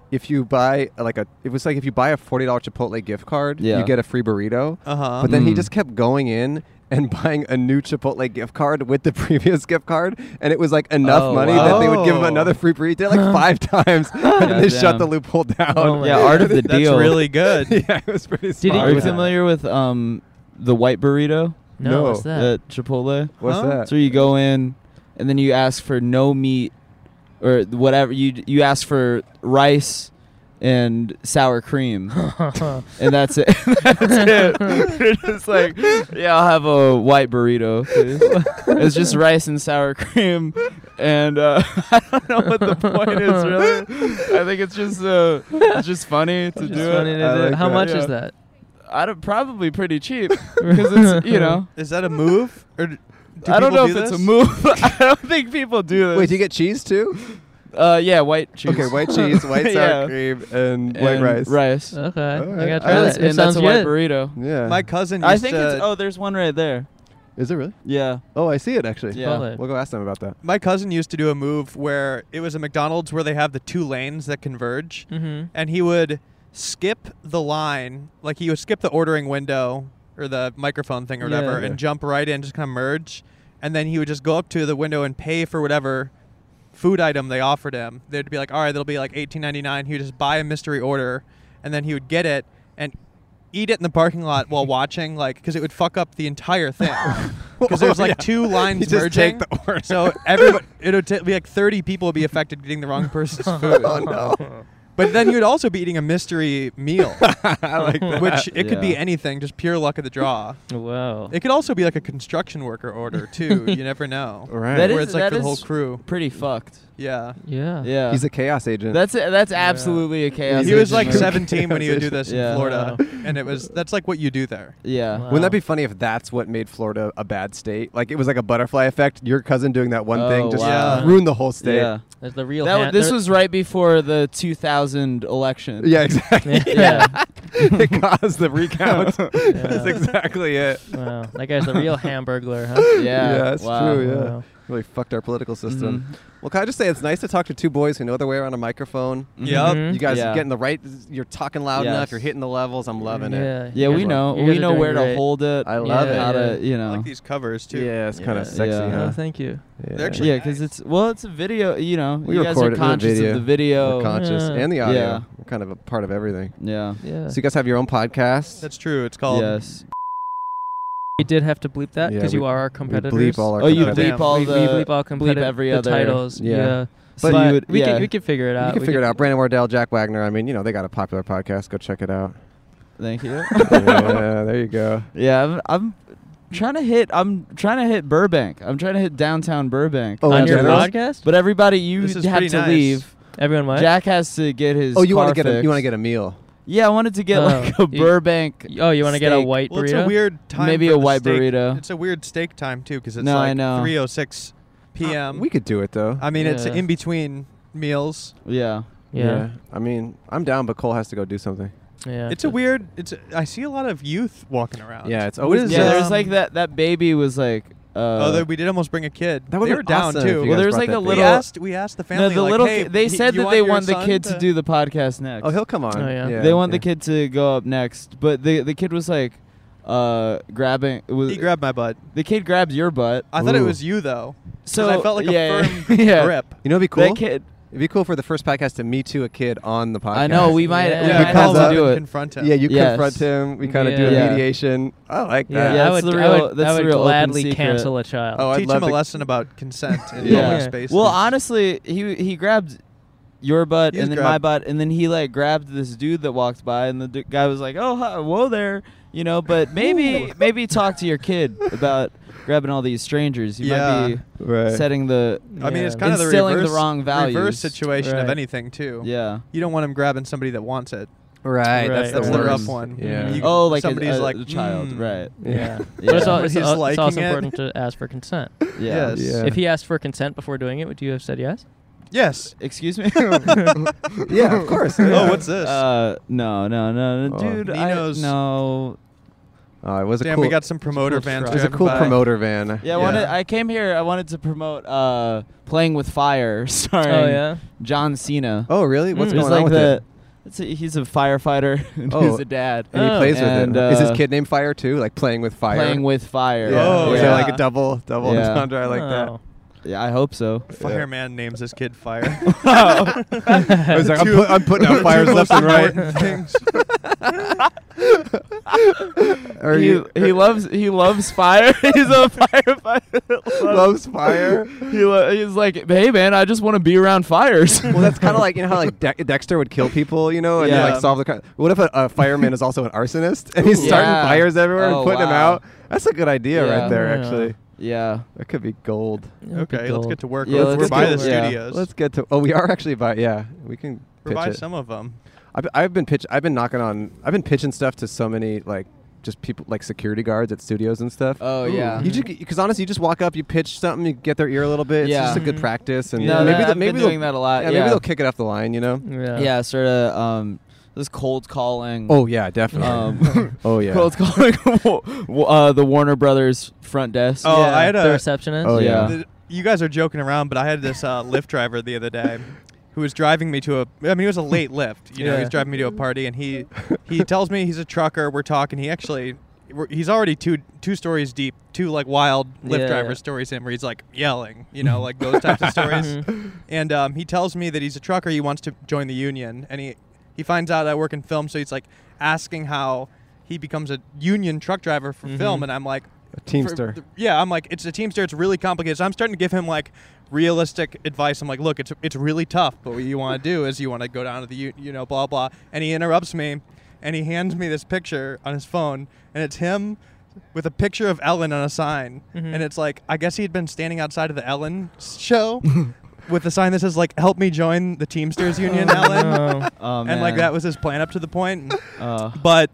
[SPEAKER 2] if you buy uh, like a it was like if you buy a $40 Chipotle gift card,
[SPEAKER 14] Yeah.
[SPEAKER 2] you get a free burrito.
[SPEAKER 12] Uh-huh.
[SPEAKER 2] But then he
[SPEAKER 14] Mm.
[SPEAKER 2] just kept going in and buying a new Chipotle gift card with the previous gift card and it was like enough
[SPEAKER 14] Oh,
[SPEAKER 2] money that they would give him
[SPEAKER 12] wow.
[SPEAKER 2] another free burrito like 5 times and
[SPEAKER 14] Yeah,
[SPEAKER 2] they shut
[SPEAKER 14] damn.
[SPEAKER 2] the loophole down.
[SPEAKER 14] Oh my Yeah, art of the God. deal.
[SPEAKER 2] yeah, it was pretty smart.
[SPEAKER 14] Are you familiar with um the white burrito?
[SPEAKER 2] No, No. what's that?
[SPEAKER 14] At Chipotle.
[SPEAKER 2] What's Huh? that?
[SPEAKER 14] So you go in, and then you ask for no meat, or whatever you you ask for rice and sour cream, and that's it. that's it. You're just like, yeah, I'll have a white burrito. please." it's just rice and sour cream, and uh, I don't know what the point is really. I think it's just uh, it's just funny to
[SPEAKER 1] Just
[SPEAKER 14] do
[SPEAKER 1] funny
[SPEAKER 14] it.
[SPEAKER 1] to do it. How much is
[SPEAKER 14] Yeah.
[SPEAKER 1] that?
[SPEAKER 14] I don't, probably pretty cheap because it's you know.
[SPEAKER 12] Is that a move? Or d- do
[SPEAKER 14] I don't
[SPEAKER 12] people
[SPEAKER 14] know
[SPEAKER 12] do
[SPEAKER 14] if it's a
[SPEAKER 12] this?
[SPEAKER 14] move. I don't think people do this.
[SPEAKER 2] Wait, do you get cheese too?
[SPEAKER 14] Uh, yeah, white cheese.
[SPEAKER 2] Okay, white cheese, white sour
[SPEAKER 14] Yeah.
[SPEAKER 2] cream, and, white
[SPEAKER 14] And
[SPEAKER 2] rice. Oh,
[SPEAKER 14] Rice.
[SPEAKER 1] Okay,
[SPEAKER 2] All
[SPEAKER 1] I
[SPEAKER 2] right.
[SPEAKER 1] gotta
[SPEAKER 14] And
[SPEAKER 1] try
[SPEAKER 14] that's-
[SPEAKER 1] that. It
[SPEAKER 14] and that's
[SPEAKER 1] sounds
[SPEAKER 14] a white
[SPEAKER 1] good.
[SPEAKER 14] burrito.
[SPEAKER 2] Yeah.
[SPEAKER 12] My cousin
[SPEAKER 14] I
[SPEAKER 12] used
[SPEAKER 14] think
[SPEAKER 12] to
[SPEAKER 14] it's. Oh, there's one right there.
[SPEAKER 2] Is it really?
[SPEAKER 14] Yeah.
[SPEAKER 2] Oh, I see it actually.
[SPEAKER 14] Yeah.
[SPEAKER 12] Chipotle.
[SPEAKER 2] We'll go ask them about that.
[SPEAKER 12] My cousin used to do a move where it was a McDonald's where they have the two lanes that converge,
[SPEAKER 1] Mhm.
[SPEAKER 12] and he would skip the line, like he would skip the ordering window or the microphone thing or
[SPEAKER 14] Yeah,
[SPEAKER 12] whatever,
[SPEAKER 14] yeah.
[SPEAKER 12] and jump right in, just kind of merge, and then he would just go up to the window and pay for whatever food item they offered him. They'd be like, "All right, that'll be like eighteen ninety nine. He would just buy a mystery order, and then he would get it and eat it in the parking lot while watching, like, because it would fuck up the entire thing. Because there's like
[SPEAKER 2] Yeah.
[SPEAKER 12] two lines
[SPEAKER 2] You just take
[SPEAKER 12] merging.
[SPEAKER 2] the order.
[SPEAKER 12] So everybody, it would ta- be like 30 people would be affected getting the wrong person's food.
[SPEAKER 2] Oh, no.
[SPEAKER 12] But then you'd also be eating a mystery meal.
[SPEAKER 2] I like that.
[SPEAKER 12] Which it could be
[SPEAKER 2] Yeah.
[SPEAKER 12] anything, just pure luck of the draw.
[SPEAKER 1] Wow.
[SPEAKER 12] It could also be like a construction worker order, too. you never know.
[SPEAKER 2] Right.
[SPEAKER 14] That
[SPEAKER 12] Where
[SPEAKER 14] is-
[SPEAKER 12] it's like
[SPEAKER 14] that
[SPEAKER 12] for the whole
[SPEAKER 14] is
[SPEAKER 12] crew.
[SPEAKER 14] Pretty fucked.
[SPEAKER 12] Yeah.
[SPEAKER 1] Yeah.
[SPEAKER 14] Yeah.
[SPEAKER 2] He's a chaos agent.
[SPEAKER 14] That's it. That's absolutely a chaos.
[SPEAKER 12] He was
[SPEAKER 14] agent
[SPEAKER 12] like
[SPEAKER 14] move.
[SPEAKER 12] 17 when he would do
[SPEAKER 14] Chaos
[SPEAKER 12] this
[SPEAKER 14] agent.
[SPEAKER 12] in
[SPEAKER 14] Yeah.
[SPEAKER 12] Florida. And it was, that's like what you do there.
[SPEAKER 14] Yeah.
[SPEAKER 2] Wouldn't that be funny if that's what made Florida a bad state? Like it was like a butterfly effect. Your cousin doing that one thing
[SPEAKER 14] Oh,
[SPEAKER 2] just
[SPEAKER 14] wow.
[SPEAKER 2] ruined the whole state.
[SPEAKER 14] Yeah.
[SPEAKER 1] That's the real
[SPEAKER 14] That w-
[SPEAKER 1] hand- uh,
[SPEAKER 14] this
[SPEAKER 1] there-
[SPEAKER 14] was right before the 2000 election.
[SPEAKER 2] Yeah, exactly.
[SPEAKER 14] yeah.
[SPEAKER 2] it caused the recount. That's
[SPEAKER 1] Yeah.
[SPEAKER 2] exactly it.
[SPEAKER 1] Wow. That guy's the real Hamburglar, huh?
[SPEAKER 2] Yeah, that's
[SPEAKER 1] Wow.
[SPEAKER 2] true. Yeah,
[SPEAKER 1] Wow.
[SPEAKER 2] really fucked our political
[SPEAKER 14] Mm-hmm.
[SPEAKER 2] system. Mm-hmm. Well, can I just say it's nice to talk to two boys who know their way around a microphone.
[SPEAKER 12] Yup. Mhm.
[SPEAKER 2] You guys
[SPEAKER 14] Mm-hmm. Yeah.
[SPEAKER 2] are getting the right. You're talking loud enough.
[SPEAKER 14] Yes.
[SPEAKER 2] You're hitting the levels. I'm loving it.
[SPEAKER 14] Yeah, we know. We know where to hold it.
[SPEAKER 2] I love
[SPEAKER 14] How
[SPEAKER 2] it.
[SPEAKER 14] to, you know.
[SPEAKER 12] I like these covers, too.
[SPEAKER 2] Yeah, it's kind
[SPEAKER 14] Yeah.
[SPEAKER 2] of sexy,
[SPEAKER 14] Yeah. Oh,
[SPEAKER 2] huh?
[SPEAKER 14] No,
[SPEAKER 1] thank you.
[SPEAKER 2] Yeah.
[SPEAKER 12] They're actually
[SPEAKER 14] Yeah, because it's well, it's a video. You know,
[SPEAKER 2] We
[SPEAKER 14] you guys are
[SPEAKER 2] record it with
[SPEAKER 14] conscious
[SPEAKER 2] video.
[SPEAKER 14] of the video,
[SPEAKER 2] We're conscious
[SPEAKER 14] Yeah.
[SPEAKER 2] and the audio.
[SPEAKER 14] Yeah.
[SPEAKER 2] We're kind of a part of everything.
[SPEAKER 14] Yeah. Yeah.
[SPEAKER 2] So you guys have your own podcast.
[SPEAKER 12] That's true. It's called
[SPEAKER 14] Yes.
[SPEAKER 1] We did have to bleep that
[SPEAKER 2] Yeah,
[SPEAKER 1] because
[SPEAKER 2] we-
[SPEAKER 1] you are our
[SPEAKER 2] we bleep
[SPEAKER 1] competitors.
[SPEAKER 2] all our
[SPEAKER 14] Oh, you
[SPEAKER 2] competitors.
[SPEAKER 14] bleep all
[SPEAKER 1] we, we
[SPEAKER 14] the-
[SPEAKER 1] bleep all
[SPEAKER 14] bleep
[SPEAKER 1] competi-
[SPEAKER 14] every
[SPEAKER 1] the
[SPEAKER 14] other-
[SPEAKER 1] titles. Yeah.
[SPEAKER 14] Yeah.
[SPEAKER 1] But,
[SPEAKER 14] But you would-
[SPEAKER 1] we
[SPEAKER 14] yeah.
[SPEAKER 1] can we can figure it
[SPEAKER 2] You
[SPEAKER 1] out.
[SPEAKER 2] can figure it out. Brandon Wardell, Jack Wagner. I mean, you know, they got a popular podcast. Go check it out.
[SPEAKER 14] Thank you.
[SPEAKER 2] yeah, there you go.
[SPEAKER 14] yeah, I'm, I'm trying to hit. I'm trying to hit Burbank. I'm trying to hit downtown Burbank
[SPEAKER 2] Oh, On in your general?
[SPEAKER 1] podcast?
[SPEAKER 14] But everybody, you
[SPEAKER 1] This is
[SPEAKER 14] have
[SPEAKER 1] pretty
[SPEAKER 14] to
[SPEAKER 1] nice.
[SPEAKER 14] leave.
[SPEAKER 1] Everyone what?
[SPEAKER 14] Jack has to get his.
[SPEAKER 2] Oh, you want
[SPEAKER 14] car
[SPEAKER 2] to get a
[SPEAKER 14] fixed.
[SPEAKER 2] you want to get a meal.
[SPEAKER 14] Yeah, I wanted to get
[SPEAKER 1] Oh.
[SPEAKER 14] like a
[SPEAKER 1] You-
[SPEAKER 14] Burbank.
[SPEAKER 1] oh, you wanna get a
[SPEAKER 14] steak.
[SPEAKER 1] white
[SPEAKER 12] Well, it's a weird time.
[SPEAKER 14] Maybe
[SPEAKER 12] for
[SPEAKER 14] a
[SPEAKER 12] the
[SPEAKER 14] white
[SPEAKER 12] steak-
[SPEAKER 14] burrito.
[SPEAKER 12] It's a weird steak time too, because it's
[SPEAKER 14] No,
[SPEAKER 12] like
[SPEAKER 14] I know.
[SPEAKER 12] 3:06 p.m.
[SPEAKER 2] We could do it though.
[SPEAKER 12] I mean, it's
[SPEAKER 14] Yeah.
[SPEAKER 12] in between meals.
[SPEAKER 14] Yeah.
[SPEAKER 1] Yeah.
[SPEAKER 2] I mean, I'm down, but Cole has to go do something.
[SPEAKER 1] Yeah.
[SPEAKER 12] It's a weird. It's. a- I see a lot of youth walking around.
[SPEAKER 2] Yeah, it's
[SPEAKER 12] What
[SPEAKER 2] always-
[SPEAKER 12] is,
[SPEAKER 14] Yeah, there's
[SPEAKER 12] um,
[SPEAKER 14] like that. That baby was like. Uh,
[SPEAKER 12] oh, there- we did almost bring a kid.
[SPEAKER 2] That
[SPEAKER 12] they
[SPEAKER 2] would've
[SPEAKER 12] were
[SPEAKER 2] been
[SPEAKER 12] down
[SPEAKER 2] awesome if
[SPEAKER 12] too.
[SPEAKER 2] you
[SPEAKER 14] Well,
[SPEAKER 2] guys
[SPEAKER 14] there's
[SPEAKER 2] brought
[SPEAKER 14] like
[SPEAKER 2] that
[SPEAKER 14] a
[SPEAKER 2] baby.
[SPEAKER 14] little.
[SPEAKER 12] We asked. We asked the family.
[SPEAKER 14] No, the
[SPEAKER 12] like,
[SPEAKER 14] little.
[SPEAKER 12] "Hey,
[SPEAKER 14] ki- they
[SPEAKER 12] y-
[SPEAKER 14] said
[SPEAKER 12] you
[SPEAKER 14] that
[SPEAKER 12] want
[SPEAKER 14] they
[SPEAKER 12] your
[SPEAKER 14] want the
[SPEAKER 12] son
[SPEAKER 14] kid to
[SPEAKER 12] to-"
[SPEAKER 14] do the podcast next.
[SPEAKER 2] Oh, he'll come on.
[SPEAKER 1] Oh, yeah.
[SPEAKER 14] they want
[SPEAKER 2] yeah.
[SPEAKER 14] the kid to go up next, but the the kid was like, uh, grabbing. Was,
[SPEAKER 12] He grabbed my butt.
[SPEAKER 14] the kid grabs your butt.
[SPEAKER 12] I thought it
[SPEAKER 2] Ooh.
[SPEAKER 12] was you though. 'cause
[SPEAKER 14] So
[SPEAKER 12] I felt like
[SPEAKER 14] yeah,
[SPEAKER 12] a firm
[SPEAKER 14] yeah.
[SPEAKER 12] grip.
[SPEAKER 2] You know, it'd be cool.
[SPEAKER 14] That kid.
[SPEAKER 2] It'd be cool for the first podcast to me too a kid on the podcast.
[SPEAKER 14] I know. We might.
[SPEAKER 1] Yeah.
[SPEAKER 14] we
[SPEAKER 12] Yeah,
[SPEAKER 14] might
[SPEAKER 12] call
[SPEAKER 14] have
[SPEAKER 12] him
[SPEAKER 14] to
[SPEAKER 12] up
[SPEAKER 14] do
[SPEAKER 12] and
[SPEAKER 14] it.
[SPEAKER 12] confront him.
[SPEAKER 2] Yeah, you
[SPEAKER 14] Yes.
[SPEAKER 2] confront him. We kind of do a
[SPEAKER 14] Yeah.
[SPEAKER 2] mediation. I like
[SPEAKER 1] Yeah,
[SPEAKER 2] that.
[SPEAKER 14] Yeah,
[SPEAKER 1] I would,
[SPEAKER 14] that's the
[SPEAKER 1] I
[SPEAKER 14] real-
[SPEAKER 1] would,
[SPEAKER 14] that's
[SPEAKER 1] I would
[SPEAKER 14] the real open
[SPEAKER 1] gladly
[SPEAKER 14] secret.
[SPEAKER 1] cancel a child.
[SPEAKER 2] Oh, I'd
[SPEAKER 12] Teach
[SPEAKER 2] love
[SPEAKER 12] him a
[SPEAKER 2] to-
[SPEAKER 12] lesson about consent in
[SPEAKER 14] yeah.
[SPEAKER 12] public spaces.
[SPEAKER 14] Well, honestly, he he grabbed your butt
[SPEAKER 12] He
[SPEAKER 14] and
[SPEAKER 12] just
[SPEAKER 14] then my
[SPEAKER 12] grabbed-
[SPEAKER 14] butt, and then he like grabbed this dude that walked by, and the d- guy was like, "Oh, hi, whoa there," you know. But maybe maybe talk to your kid about grabbing all these strangers. You
[SPEAKER 12] Yeah.
[SPEAKER 14] might be
[SPEAKER 2] Right.
[SPEAKER 14] setting the.
[SPEAKER 12] I mean, it's
[SPEAKER 1] Yeah.
[SPEAKER 12] kind of the
[SPEAKER 14] Instilling
[SPEAKER 12] reverse,
[SPEAKER 14] the wrong values.
[SPEAKER 12] reverse situation of
[SPEAKER 1] Right.
[SPEAKER 12] anything too.
[SPEAKER 14] Yeah.
[SPEAKER 12] You don't want him grabbing somebody that wants it.
[SPEAKER 14] Right,
[SPEAKER 12] that's the That's the worst. rough one.
[SPEAKER 14] Yeah.
[SPEAKER 12] You-
[SPEAKER 14] oh, like
[SPEAKER 12] somebody's
[SPEAKER 14] a, a,
[SPEAKER 12] like,
[SPEAKER 14] a child,
[SPEAKER 12] mm.
[SPEAKER 14] right?
[SPEAKER 12] Yeah.
[SPEAKER 7] But it's, al- it's
[SPEAKER 12] Somebody's
[SPEAKER 7] al- it's
[SPEAKER 12] liking
[SPEAKER 7] also
[SPEAKER 12] it.
[SPEAKER 7] important to ask for consent.
[SPEAKER 14] Yeah. Yes. Yeah.
[SPEAKER 7] If he asked for consent before doing it, would you have said yes?
[SPEAKER 12] Yes.
[SPEAKER 14] Excuse me.
[SPEAKER 12] Yeah, of course. Oh, what's this?
[SPEAKER 14] Uh, no, no, no, no,
[SPEAKER 12] Oh.
[SPEAKER 14] dude.
[SPEAKER 12] Nino's.
[SPEAKER 14] I, no.
[SPEAKER 2] Oh, it was a
[SPEAKER 12] Damn,
[SPEAKER 2] cool.
[SPEAKER 12] we got some promoter
[SPEAKER 2] it's a cool
[SPEAKER 12] vans
[SPEAKER 2] truck. It was a
[SPEAKER 12] driving
[SPEAKER 2] cool
[SPEAKER 12] by.
[SPEAKER 2] promoter van.
[SPEAKER 14] Yeah, I wanted. I came here. I wanted to promote uh, "Playing with Fire," starring
[SPEAKER 2] yeah?
[SPEAKER 14] John Cena.
[SPEAKER 2] Oh, really? What's
[SPEAKER 14] It's
[SPEAKER 2] going
[SPEAKER 14] like
[SPEAKER 2] on with
[SPEAKER 14] the,
[SPEAKER 2] it?
[SPEAKER 14] It's a, he's a firefighter. and
[SPEAKER 2] Oh,
[SPEAKER 14] he's a dad,
[SPEAKER 2] and he plays with
[SPEAKER 14] And,
[SPEAKER 2] it. Is
[SPEAKER 14] uh,
[SPEAKER 2] his kid named Fire too? Like playing with fire.
[SPEAKER 14] playing with fire?
[SPEAKER 2] Yeah. Oh, Is it yeah. like a double- double entendre? I like that.
[SPEAKER 14] Oh. Yeah, I hope so.
[SPEAKER 12] Fireman names his kid Fire.
[SPEAKER 14] I
[SPEAKER 2] was like, I'm put- I'm putting out fires left and right. Are
[SPEAKER 14] he,
[SPEAKER 2] you-
[SPEAKER 14] he loves he loves fire. he's a firefighter. that
[SPEAKER 2] Loves fire.
[SPEAKER 14] he lo- he's like, hey man, I just want to be around fires.
[SPEAKER 2] well, that's kind of like you know how like De- Dexter would kill people, you know, and then,
[SPEAKER 14] Yeah.
[SPEAKER 2] like solve the crime. What if a, a fireman is also an arsonist and he's
[SPEAKER 14] Ooh.
[SPEAKER 2] starting
[SPEAKER 14] Yeah.
[SPEAKER 2] fires everywhere
[SPEAKER 14] Oh,
[SPEAKER 2] and putting them
[SPEAKER 14] wow.
[SPEAKER 2] out? That's a good idea
[SPEAKER 14] Yeah.
[SPEAKER 2] right there,
[SPEAKER 14] Yeah.
[SPEAKER 2] actually.
[SPEAKER 14] Yeah,
[SPEAKER 2] that could be gold.
[SPEAKER 12] Okay, let's get to work.
[SPEAKER 2] Yeah,
[SPEAKER 12] We're-
[SPEAKER 2] let's
[SPEAKER 12] We're
[SPEAKER 2] get
[SPEAKER 12] by
[SPEAKER 2] to-
[SPEAKER 12] the
[SPEAKER 2] yeah.
[SPEAKER 12] studios.
[SPEAKER 2] Let's get to. Oh, we are actually by. Yeah, we can.
[SPEAKER 12] We're
[SPEAKER 2] pitch
[SPEAKER 12] by
[SPEAKER 2] it.
[SPEAKER 12] some of 'em.
[SPEAKER 2] I've, I've been pitch. I've been knocking on. I've been pitching stuff to so many like just people like security guards at studios and stuff.
[SPEAKER 14] Oh, Ooh. yeah.
[SPEAKER 2] You just because honestly, you just walk up, you pitch something, you get their ear a little bit.
[SPEAKER 14] Yeah.
[SPEAKER 2] It's just a good
[SPEAKER 14] Mhm.
[SPEAKER 2] practice, and
[SPEAKER 14] No,
[SPEAKER 2] maybe
[SPEAKER 14] that-
[SPEAKER 2] they'll-
[SPEAKER 14] I've been
[SPEAKER 2] maybe they'll-
[SPEAKER 14] doing that a lot,
[SPEAKER 2] maybe
[SPEAKER 14] yeah.
[SPEAKER 2] they'll kick it off the line. You know.
[SPEAKER 14] Yeah, sort of um, this cold calling. Um,
[SPEAKER 2] Oh, yeah, definitely. Oh, yeah.
[SPEAKER 14] cold calling. wa- wa- uh, the Warner Brothers front desk.
[SPEAKER 12] Oh, I had a
[SPEAKER 14] Oh yeah.
[SPEAKER 12] Th- You guys are joking around, but I had this uh, Lyft driver the other day who was driving me to a. I mean, it was a late Lyft. You know,
[SPEAKER 14] Yeah.
[SPEAKER 12] he's driving me to a party, and he he tells me he's a trucker. We're talking. He actually. we're- He's already two two stories deep, two like wild Lyft
[SPEAKER 14] Yeah,
[SPEAKER 12] driver
[SPEAKER 14] yeah.
[SPEAKER 12] stories in where he's like yelling, you know, like those types of stories.
[SPEAKER 14] Uh-huh.
[SPEAKER 12] And um, he tells me that he's a trucker. He wants to join the union, and he he finds out I work in film, so he's like asking how he becomes a union truck driver for film.
[SPEAKER 14] Mm-hmm.
[SPEAKER 2] Mhm.
[SPEAKER 12] And I'm like,
[SPEAKER 2] A Teamster.
[SPEAKER 12] for- yeah, I'm like, it's a teamster. It's really complicated. So I'm starting to give him like realistic advice. I'm like, look, it's it's really tough, but what you want to do is you want to go down to the u- you know blah blah. And he interrupts me, and he hands me this picture on his phone, and it's him with a picture of Ellen on a sign,
[SPEAKER 14] Mhm.
[SPEAKER 12] and it's like I guess he had been standing outside of the Ellen show. With a sign that says like "Help me join the Teamsters Union,"
[SPEAKER 14] Oh,
[SPEAKER 12] Ellen,
[SPEAKER 14] no. Oh,
[SPEAKER 12] and like
[SPEAKER 14] man.
[SPEAKER 12] that was his plan up to the point. But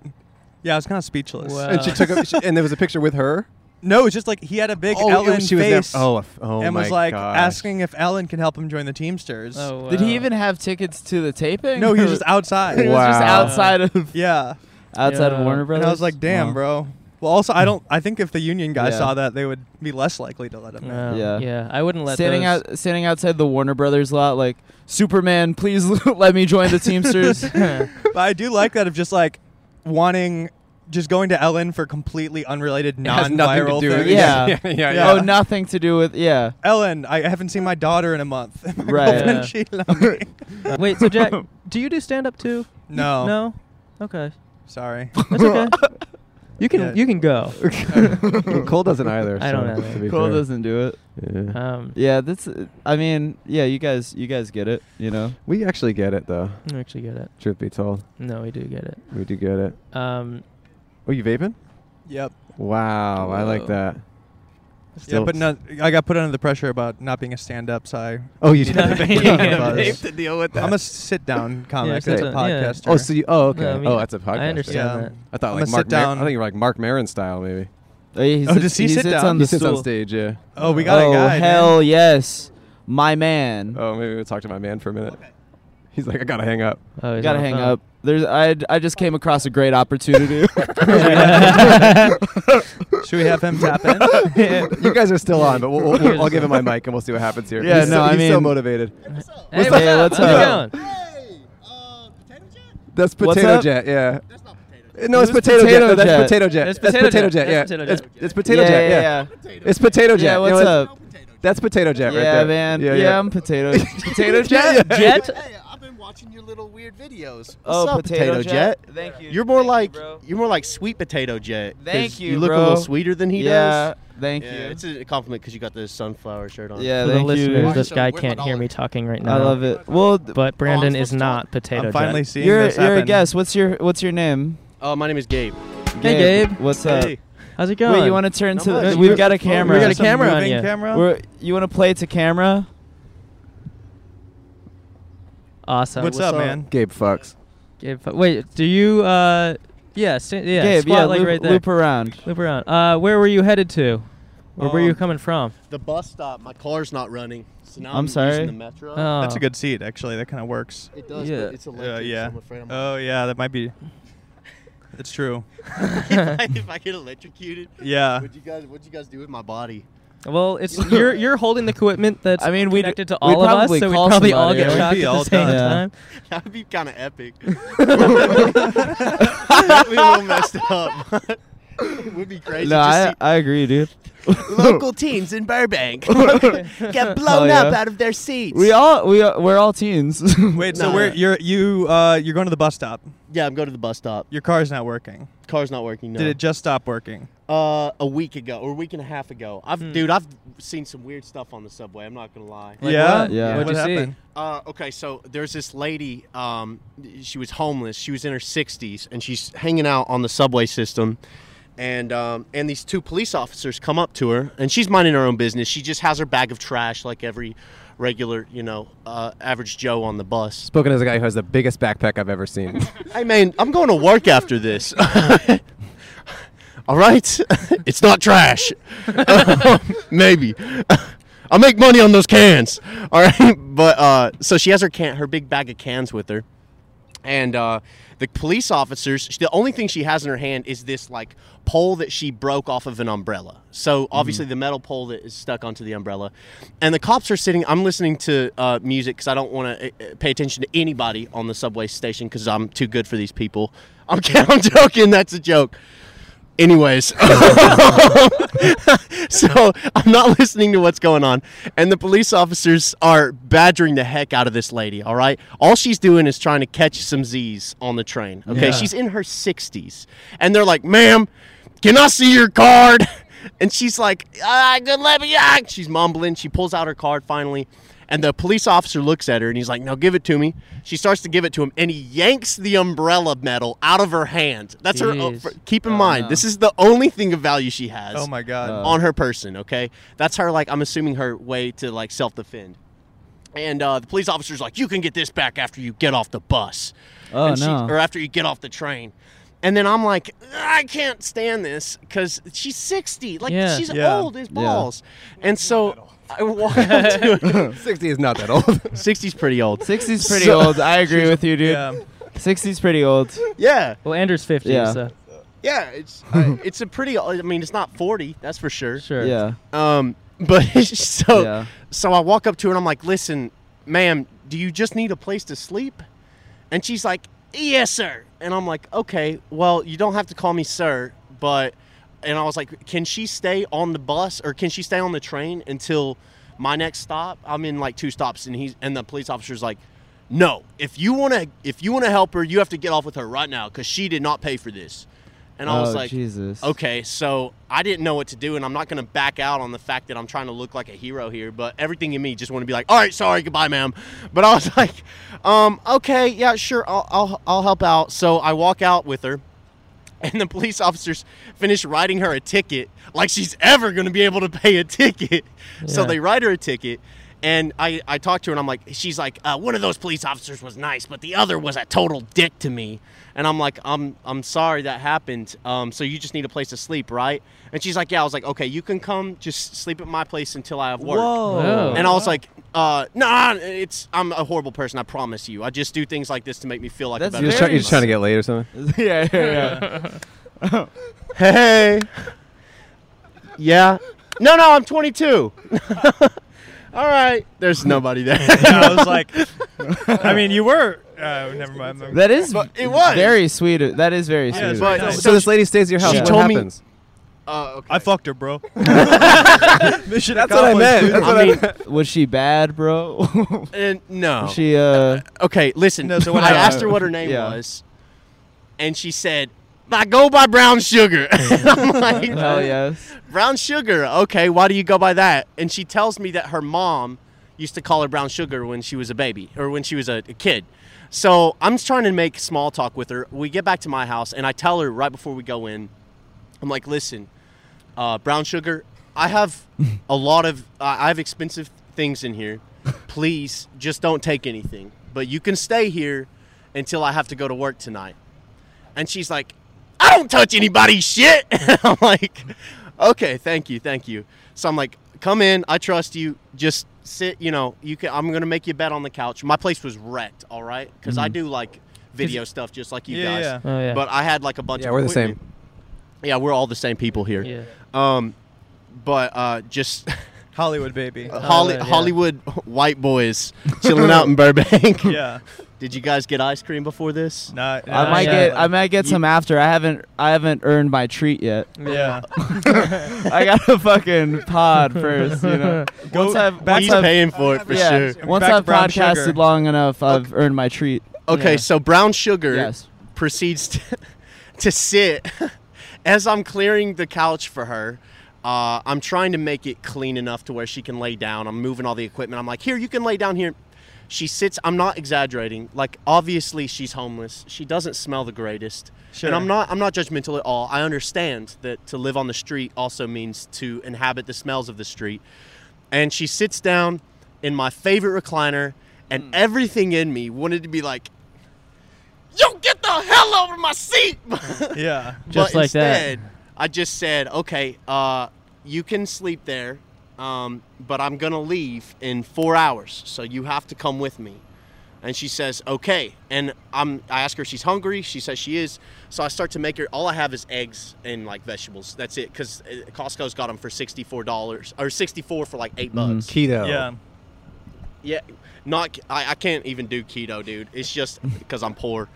[SPEAKER 12] yeah, I was kind of speechless.
[SPEAKER 2] Uh. And she took. A, she, and there was a picture with her.
[SPEAKER 12] No, it's just like he had a big
[SPEAKER 2] Oh, it
[SPEAKER 12] Ellen
[SPEAKER 2] was- she was there-
[SPEAKER 12] face.
[SPEAKER 2] oh, f- oh
[SPEAKER 12] and was
[SPEAKER 2] my
[SPEAKER 12] like
[SPEAKER 2] gosh.
[SPEAKER 12] asking if Ellen can help him join the Teamsters.
[SPEAKER 7] Oh,
[SPEAKER 14] Did he even have tickets to the taping?
[SPEAKER 12] No, he was just outside.
[SPEAKER 14] he was just outside of
[SPEAKER 12] yeah,
[SPEAKER 14] outside of Warner Brothers.
[SPEAKER 12] And I was like, damn,
[SPEAKER 14] Wow.
[SPEAKER 12] bro. Well, also,
[SPEAKER 2] Hmm.
[SPEAKER 12] I don't. I think if the union guys
[SPEAKER 14] Yeah.
[SPEAKER 12] saw that, they would be less likely to let him in.
[SPEAKER 14] Yeah.
[SPEAKER 7] I wouldn't let
[SPEAKER 14] standing
[SPEAKER 7] those-
[SPEAKER 14] out standing outside the Warner Brothers lot like Superman, please let me join the Teamsters.
[SPEAKER 12] but I do like that of just like wanting, just going to Ellen for completely unrelated,
[SPEAKER 14] has nothing to
[SPEAKER 12] non-viral
[SPEAKER 14] do with-
[SPEAKER 12] things.
[SPEAKER 14] Yeah. Yeah, yeah, yeah. Oh, nothing to do with yeah.
[SPEAKER 12] Ellen, I haven't seen my daughter in a month. My
[SPEAKER 14] Right.
[SPEAKER 12] girlfriend,
[SPEAKER 14] Yeah.
[SPEAKER 12] she loved me.
[SPEAKER 7] Wait, so Jack, do you do stand up too?
[SPEAKER 12] No.
[SPEAKER 7] No. Okay.
[SPEAKER 12] Sorry.
[SPEAKER 7] That's okay. You can
[SPEAKER 12] Yeah.
[SPEAKER 7] you can go.
[SPEAKER 2] And Cole doesn't either.
[SPEAKER 7] I don't
[SPEAKER 2] so,
[SPEAKER 7] either.
[SPEAKER 2] to be
[SPEAKER 14] Cole
[SPEAKER 2] fair.
[SPEAKER 14] doesn't do it.
[SPEAKER 2] Yeah.
[SPEAKER 7] Um,
[SPEAKER 14] Yeah, that's. uh, I mean, yeah, you guys, you guys get it. You know.
[SPEAKER 2] We actually get it though.
[SPEAKER 7] We actually get it.
[SPEAKER 2] Truth be told,
[SPEAKER 7] no, we do get it.
[SPEAKER 2] we do get it.
[SPEAKER 7] Um,
[SPEAKER 2] Oh, you vaping?
[SPEAKER 12] Yep.
[SPEAKER 2] Wow, I like
[SPEAKER 7] Whoa.
[SPEAKER 2] that.
[SPEAKER 12] yeah,
[SPEAKER 2] Still-
[SPEAKER 12] but no, I got put under the pressure about not being a stand-up, so I.
[SPEAKER 2] Oh, you did.
[SPEAKER 12] needed
[SPEAKER 2] You
[SPEAKER 12] vape
[SPEAKER 2] had a
[SPEAKER 12] buzz.
[SPEAKER 2] vape to deal with that.
[SPEAKER 12] I'm a sit-down comic.
[SPEAKER 2] Yeah,
[SPEAKER 12] that's a
[SPEAKER 2] sit down, yeah.
[SPEAKER 12] podcaster.
[SPEAKER 2] Oh, so you? Oh, okay.
[SPEAKER 12] No, I mean,
[SPEAKER 2] oh, that's a podcast.
[SPEAKER 12] I understand that.
[SPEAKER 2] I thought
[SPEAKER 12] I'm
[SPEAKER 2] like
[SPEAKER 12] a
[SPEAKER 2] Mark. Maron,
[SPEAKER 12] sit-down.
[SPEAKER 2] I think you were like Mark Maron style, maybe.
[SPEAKER 12] Oh, does he sit down?
[SPEAKER 2] He sits on stage. Yeah.
[SPEAKER 12] Oh, we got a
[SPEAKER 14] oh,
[SPEAKER 12] guy,
[SPEAKER 14] hell yes, my man.
[SPEAKER 2] Oh, maybe we'll talk to my man for a minute. He's like, I gotta hang up.
[SPEAKER 7] Oh,
[SPEAKER 14] Gotta hang up. There's. I. I just came across a great opportunity.
[SPEAKER 12] Should we have him tap in?
[SPEAKER 2] you guys are still on, but we'll, we'll, we'll- I'll give him my mic and we'll see what happens here.
[SPEAKER 14] Yeah,
[SPEAKER 2] he's
[SPEAKER 14] no,
[SPEAKER 2] so,
[SPEAKER 14] I
[SPEAKER 2] he's so
[SPEAKER 14] mean-
[SPEAKER 2] motivated.
[SPEAKER 7] Hey,
[SPEAKER 14] what's
[SPEAKER 7] up?
[SPEAKER 14] what's
[SPEAKER 7] How's it
[SPEAKER 14] up?
[SPEAKER 7] going?
[SPEAKER 2] uh, That's
[SPEAKER 14] What's
[SPEAKER 2] potato
[SPEAKER 14] up?
[SPEAKER 2] jet. Yeah. Uh, No, it's
[SPEAKER 14] Who's
[SPEAKER 2] potato, jet.
[SPEAKER 14] Potato
[SPEAKER 2] No,
[SPEAKER 14] Jet?
[SPEAKER 2] that's potato jet.
[SPEAKER 14] That's
[SPEAKER 2] That's
[SPEAKER 14] Potato
[SPEAKER 2] potato jet.
[SPEAKER 14] Jet. That's
[SPEAKER 2] Yeah.
[SPEAKER 14] Potato
[SPEAKER 2] It's
[SPEAKER 14] Jet.
[SPEAKER 2] it's potato
[SPEAKER 14] Yeah,
[SPEAKER 2] jet. Yeah.
[SPEAKER 14] yeah, yeah.
[SPEAKER 2] It's potato
[SPEAKER 14] Yeah,
[SPEAKER 2] jet. You know,
[SPEAKER 14] what's
[SPEAKER 2] it's-
[SPEAKER 14] up?
[SPEAKER 2] That's potato jet right
[SPEAKER 14] yeah,
[SPEAKER 2] there.
[SPEAKER 14] man. Yeah, I'm potato. potato
[SPEAKER 2] Yeah,
[SPEAKER 14] jet.
[SPEAKER 2] yeah.
[SPEAKER 15] Hey, I've been watching your little weird videos. What's
[SPEAKER 14] Oh,
[SPEAKER 15] up,
[SPEAKER 14] Potato
[SPEAKER 15] potato,
[SPEAKER 14] Jet?
[SPEAKER 15] jet?
[SPEAKER 14] Thank you.
[SPEAKER 15] You're more like you, are more like sweet potato jet. 'cause
[SPEAKER 14] Thank you,
[SPEAKER 15] You look a
[SPEAKER 14] bro.
[SPEAKER 15] little sweeter than he
[SPEAKER 14] Yeah,
[SPEAKER 15] does.
[SPEAKER 14] thank
[SPEAKER 15] Yeah,
[SPEAKER 14] you.
[SPEAKER 15] It's a compliment because you got the sunflower shirt on.
[SPEAKER 14] Yeah,
[SPEAKER 7] For the
[SPEAKER 14] thank you.
[SPEAKER 7] listeners,
[SPEAKER 14] Watch
[SPEAKER 7] this
[SPEAKER 14] him
[SPEAKER 7] guy
[SPEAKER 14] whip
[SPEAKER 7] can't hear me talking right now.
[SPEAKER 14] I love it. Well, th-
[SPEAKER 7] but Brandon is not potato.
[SPEAKER 12] I'm finally
[SPEAKER 7] jet.
[SPEAKER 12] seeing
[SPEAKER 14] you're
[SPEAKER 12] this
[SPEAKER 14] you're a
[SPEAKER 12] happen.
[SPEAKER 14] guest. What's your What's your name?
[SPEAKER 15] Oh, my name is Gabe.
[SPEAKER 7] Hey, Gabe.
[SPEAKER 14] What's
[SPEAKER 15] Hey.
[SPEAKER 14] up?
[SPEAKER 7] How's it going?
[SPEAKER 14] Wait, you want to turn
[SPEAKER 15] Not
[SPEAKER 14] to?
[SPEAKER 15] much.
[SPEAKER 14] The, we've
[SPEAKER 15] You're-
[SPEAKER 14] got a
[SPEAKER 15] oh,
[SPEAKER 14] camera.
[SPEAKER 7] we got a
[SPEAKER 14] Some
[SPEAKER 7] camera on
[SPEAKER 14] moving
[SPEAKER 7] ya. camera?
[SPEAKER 14] We're, you want to play to camera?
[SPEAKER 7] Awesome.
[SPEAKER 12] What's up, man?
[SPEAKER 2] Gabe fucks.
[SPEAKER 1] Gabe, Fo- wait, do you? Uh, yeah, si- yeah.
[SPEAKER 14] Gabe,
[SPEAKER 1] squat
[SPEAKER 14] yeah,
[SPEAKER 1] leg
[SPEAKER 14] loop-
[SPEAKER 1] right there.
[SPEAKER 14] loop around.
[SPEAKER 1] Loop around. Uh, where were you headed to? Or where were you
[SPEAKER 15] Um,
[SPEAKER 1] coming from?
[SPEAKER 15] The bus stop. My car's not running, so now I'm,
[SPEAKER 1] I'm sorry? Oh.
[SPEAKER 15] using the metro.
[SPEAKER 14] Oh.
[SPEAKER 12] That's a good seat, actually. That kind of works.
[SPEAKER 15] It does, but Yeah. it's electric,
[SPEAKER 12] Uh,
[SPEAKER 15] so
[SPEAKER 12] yeah.
[SPEAKER 15] I'm afraid I'm-
[SPEAKER 12] oh, yeah. That might be. That's true.
[SPEAKER 15] if, I, if I get electrocuted,
[SPEAKER 12] Yeah.
[SPEAKER 15] What you guys? What you guys do with my body?
[SPEAKER 1] Well, it's you're you're holding the equipment that's I mean,
[SPEAKER 15] we'd-
[SPEAKER 1] connected to
[SPEAKER 15] we'd
[SPEAKER 1] all of us,
[SPEAKER 15] probably
[SPEAKER 1] so we
[SPEAKER 15] call
[SPEAKER 1] probably all
[SPEAKER 15] somebody,
[SPEAKER 1] get
[SPEAKER 15] yeah.
[SPEAKER 1] shocked
[SPEAKER 15] We'd be
[SPEAKER 1] at the
[SPEAKER 15] all
[SPEAKER 1] same
[SPEAKER 15] done.
[SPEAKER 1] time.
[SPEAKER 15] That would be kind of epic. That'd be a little messed up. it would be crazy.
[SPEAKER 14] No,
[SPEAKER 15] to see-
[SPEAKER 14] I, I agree, dude.
[SPEAKER 15] local teens in Burbank Oh,
[SPEAKER 14] Hell
[SPEAKER 15] get blown up
[SPEAKER 14] yeah.
[SPEAKER 15] out of their seats.
[SPEAKER 14] We all we are, we're all teens.
[SPEAKER 12] Wait, so where you're you uh you're going to the bus stop?
[SPEAKER 15] Yeah, I'm going to the bus stop.
[SPEAKER 12] Your car's not working.
[SPEAKER 15] Car's not working. No.
[SPEAKER 12] Did it just stop working?
[SPEAKER 15] Uh, a week ago or a week and a half ago. I've
[SPEAKER 12] Hmm.
[SPEAKER 15] dude, I've seen some weird stuff on the subway. I'm not gonna lie.
[SPEAKER 12] Like Yeah? what? Yeah. What'd What you see? happened?
[SPEAKER 15] Uh, okay, so there's this lady. Um, she was homeless. She was in her 60s, and she's hanging out on the subway system. And um, and these two police officers come up to her, and she's minding her own business. She just has her bag of trash, like every regular, you know, uh, average Joe on the bus.
[SPEAKER 2] Spoken as a guy who has the biggest backpack I've ever seen.
[SPEAKER 15] Hey man, I'm going to work after this. All right, it's not trash. Maybe I'll make money on those cans. All right, but uh, so she has her can, her big bag of cans with her, and uh, the police officers. The only thing she has in her hand is this like pole that she broke off of an umbrella. So obviously the metal pole that is stuck onto the umbrella, and the cops are sitting. I'm listening to uh, music because I don't want to pay attention to anybody on the subway station because I'm too good for these people. I'm, I'm joking. That's a joke. Anyways, so I'm not listening to what's going on, and the police officers are badgering the heck out of this lady. All right, all she's doing is trying to catch some Z's on the train. Okay,
[SPEAKER 4] Yeah.
[SPEAKER 15] she's in her 60s, and they're like, "Ma'am, can I see your card?" And she's like, "Ah, good let me." Ah. She's mumbling. She pulls out her card finally. And the police officer looks at her and he's like, Now give it to me. She starts to give it to him and he yanks the umbrella medal out of her hand. That's her. uh,
[SPEAKER 12] Jeez.
[SPEAKER 15] for- keep in mind, this is the only thing of value she has.
[SPEAKER 12] Oh my God. Uh.
[SPEAKER 15] On her person, okay? That's her, like, I'm assuming her way to, like, self defend. And uh, the police officer's like, You can get this back after you get off the bus.
[SPEAKER 14] Oh,
[SPEAKER 15] And she-
[SPEAKER 14] no.
[SPEAKER 15] or after you get off the train. And then I'm like, I can't stand this because she's 60. Like,
[SPEAKER 2] Yeah.
[SPEAKER 15] she's
[SPEAKER 2] Yeah.
[SPEAKER 15] old as
[SPEAKER 2] Yeah.
[SPEAKER 15] balls. And so I walk up to her.
[SPEAKER 2] 60 is not that old.
[SPEAKER 15] 60's pretty old.
[SPEAKER 14] 60's pretty
[SPEAKER 15] So-
[SPEAKER 14] old. I agree with you, dude.
[SPEAKER 15] Yeah.
[SPEAKER 14] 60's pretty old.
[SPEAKER 15] Yeah.
[SPEAKER 1] Well, Andrew's 50,
[SPEAKER 14] Yeah.
[SPEAKER 1] so.
[SPEAKER 15] Yeah, it's uh, it's a pretty. I mean, it's not forty, that's for sure.
[SPEAKER 1] Sure.
[SPEAKER 14] Yeah.
[SPEAKER 15] Um, but so
[SPEAKER 14] Yeah.
[SPEAKER 15] so I walk up to her and I'm like, "Listen, ma'am, do you just need a place to sleep?" And she's like, "Yes, sir." And I'm like, "Okay, well, you don't have to call me sir, but." And I was like, "Can she stay on the bus or can she stay on the train until my next stop? I'm in like two stops." And he's and the police officer's like. No, if you want to if you want to help her, you have to get off with her right now cuz she did not pay for this. And I was
[SPEAKER 14] Oh,
[SPEAKER 15] like,
[SPEAKER 14] Jesus.
[SPEAKER 15] okay, so I didn't know what to do, and I'm not going to back out on the fact that I'm trying to look like a hero here, but everything in me just want to be like, all right, sorry, goodbye, ma'am. But I was like, um, okay, yeah, sure, I'll, I'll, I'll help out. So I walk out with her, and the police officers finish writing her a ticket like she's ever going to be able to pay a ticket. So
[SPEAKER 4] Yeah.
[SPEAKER 15] they write her a ticket. And I, I talked to her and I'm like, she's like, uh, one of those police officers was nice, but the other was a total dick to me. And I'm like, I'm, I'm sorry that happened. Um, so you just need a place to sleep, right? And she's like, yeah. I was like, okay, you can come just sleep at my place until I have work.
[SPEAKER 4] Whoa. Whoa.
[SPEAKER 15] And I was like, uh, nah, it's, I'm a horrible person. I promise you. I just do things like this to make me feel like a better
[SPEAKER 2] you're, just try-
[SPEAKER 15] person.
[SPEAKER 2] you're just trying to get laid or something.
[SPEAKER 14] yeah,
[SPEAKER 15] yeah. hey. Yeah. No, no, I'm 22. All right. There's nobody there.
[SPEAKER 12] I was like, I mean, you were. Uh, never mind.
[SPEAKER 14] That is
[SPEAKER 15] But it was.
[SPEAKER 14] very sweet. of- That is very
[SPEAKER 12] Yeah,
[SPEAKER 14] sweet.
[SPEAKER 12] but-
[SPEAKER 14] of-
[SPEAKER 12] So So this she- lady stays at your house.
[SPEAKER 14] She
[SPEAKER 12] What
[SPEAKER 14] told me-
[SPEAKER 12] happens?
[SPEAKER 15] Uh, okay.
[SPEAKER 12] I fucked her, bro. Mission
[SPEAKER 14] That's what I
[SPEAKER 12] accomplished,
[SPEAKER 14] meant.
[SPEAKER 12] dude.
[SPEAKER 14] That's what I meant. was she bad, bro?
[SPEAKER 15] Uh, no.
[SPEAKER 14] She uh.
[SPEAKER 15] Okay, listen.
[SPEAKER 14] No, so what
[SPEAKER 15] I
[SPEAKER 14] happened-
[SPEAKER 15] asked her what her name
[SPEAKER 14] Yeah.
[SPEAKER 15] was, and she said, "I go by Brown Sugar." and I'm like,
[SPEAKER 14] Hell yes.
[SPEAKER 15] Brown Sugar. Okay, why do you go by that? And she tells me that her mom used to call her Brown Sugar when she was a baby or when she was a, a kid. So I'm just trying to make small talk with her. We get back to my house, and I tell her right before we go in, I'm like, "Listen, uh, Brown Sugar, I have a lot of, I I have expensive things in here. Please, just don't take anything. But you can stay here until I have to go to work tonight. And she's like, I don't touch anybody's shit. I'm like, okay, thank you, thank you. So I'm like, come in, I trust you. Just sit, you know, you can. I'm gonna make you a bed on the couch. My place was wrecked, all right, because I
[SPEAKER 12] Mm-hmm.
[SPEAKER 9] Mhm.
[SPEAKER 15] do like video stuff just like you
[SPEAKER 9] Yeah,
[SPEAKER 15] guys.
[SPEAKER 9] yeah. Oh, yeah.
[SPEAKER 15] But I had like a bunch.
[SPEAKER 9] Yeah,
[SPEAKER 15] of
[SPEAKER 9] we're the same.
[SPEAKER 15] equipment. Yeah, we're all the same people here.
[SPEAKER 9] Yeah.
[SPEAKER 15] Um, but uh, just Uh,
[SPEAKER 12] Hollywood baby,
[SPEAKER 15] Holly,
[SPEAKER 12] Hollywood, yeah.
[SPEAKER 15] Hollywood white boys chilling out in Burbank.
[SPEAKER 12] Yeah.
[SPEAKER 15] Did you guys get ice cream before this?
[SPEAKER 12] No.
[SPEAKER 15] Uh,
[SPEAKER 14] I might get I might get some after. I haven't I haven't earned my treat yet.
[SPEAKER 12] Yeah.
[SPEAKER 14] I got a fucking pod first, you know.
[SPEAKER 12] Go back
[SPEAKER 14] once
[SPEAKER 12] to- paying for it for
[SPEAKER 14] yeah,
[SPEAKER 15] sure.
[SPEAKER 14] Once
[SPEAKER 15] Back to
[SPEAKER 14] I've
[SPEAKER 15] brown
[SPEAKER 14] podcasted
[SPEAKER 15] sugar.
[SPEAKER 14] long enough, I've earned my treat.
[SPEAKER 15] Okay,
[SPEAKER 14] Yeah.
[SPEAKER 15] so brown sugar
[SPEAKER 14] Yes.
[SPEAKER 15] proceeds to, to sit as I'm clearing the couch for her. Uh, I'm trying to make it clean enough to where she can lay down. I'm moving all the equipment. I'm like, here, you can lay down here. She sits. I'm not exaggerating. Like, obviously, she's homeless. She doesn't smell the greatest.
[SPEAKER 12] Sure.
[SPEAKER 15] And I'm not. I'm not judgmental at all. I understand that to live on the street also means to inhabit the smells of the street. And she sits down in my favorite recliner,
[SPEAKER 12] Hmm.
[SPEAKER 15] and everything in me wanted to be like, "Yo, get the hell over my seat!"
[SPEAKER 12] yeah.
[SPEAKER 15] but instead, I just said, okay, uh, you can sleep there, um, but I'm going to leave in four hours, so you have to come with me. And she says, okay. And I'm, I ask her if she's hungry. She says she is. So I start to make her, all I have is eggs and like vegetables. That's it. Because Costco's got them for $64 or 64 for like eight bucks.
[SPEAKER 2] Keto.
[SPEAKER 12] Yeah.
[SPEAKER 15] Yeah, not I, I can't even do keto, dude. It's just because I'm poor.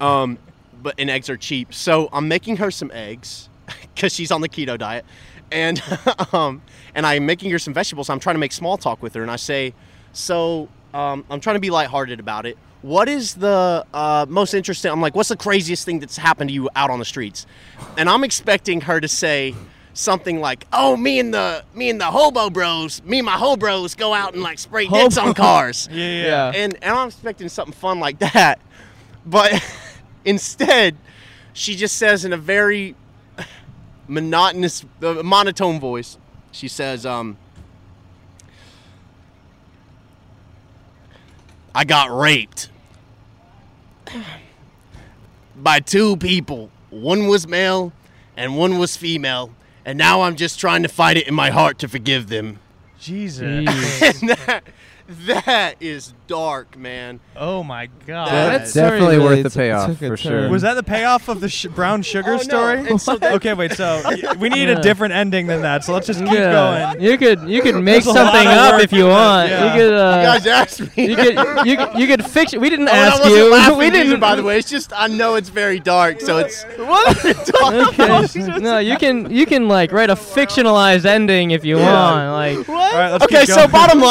[SPEAKER 15] Um, but and eggs are cheap, so I'm making her some eggs because she's on the keto diet, and um, and I'm making her some vegetables. I'm trying to make small talk with her, and I say, so um, I'm trying to be lighthearted about it. What is the uh, most interesting? I'm like, what's the craziest thing that's happened to you out on the streets? And I'm expecting her to say something like, "Oh, me and the me and the hobo bros, me and my hobo bros go out and like spray
[SPEAKER 12] Hobo-
[SPEAKER 15] dicks on cars."
[SPEAKER 12] Yeah, yeah, yeah.
[SPEAKER 15] And and I'm expecting something fun like that, but instead, she just says in a very monotonous, uh, monotone voice, she says, "Um, I got raped." by two people. One was male and one was female. And now I'm just trying to fight it in my heart to forgive them.
[SPEAKER 12] Jesus.
[SPEAKER 15] And that, that is dark, man.
[SPEAKER 12] Oh my god.
[SPEAKER 2] That's definitely worth the payoff for sure.
[SPEAKER 12] Was that the payoff of the sh- brown sugar story?
[SPEAKER 15] And Oh, so that-
[SPEAKER 12] okay, wait. So y- we need
[SPEAKER 1] Yeah.
[SPEAKER 12] a different ending than that. So let's just keep
[SPEAKER 1] Yeah.
[SPEAKER 12] going.
[SPEAKER 1] You could you could make
[SPEAKER 12] There's a lot
[SPEAKER 1] something
[SPEAKER 12] of
[SPEAKER 1] up
[SPEAKER 12] work
[SPEAKER 1] if you
[SPEAKER 12] in this,
[SPEAKER 1] want.
[SPEAKER 12] yeah.
[SPEAKER 1] You could. Uh,
[SPEAKER 15] You guys asked me.
[SPEAKER 1] You could you could, you could fix. We didn't
[SPEAKER 15] Oh, and I
[SPEAKER 1] ask
[SPEAKER 15] wasn't
[SPEAKER 1] you.
[SPEAKER 15] laughing
[SPEAKER 1] we
[SPEAKER 15] either,
[SPEAKER 1] didn't.
[SPEAKER 15] by the way. It's just I know it's very dark, so it's
[SPEAKER 1] Okay. no, you can you can like write a fictionalized ending if you want. Like
[SPEAKER 12] All right, let's keep going.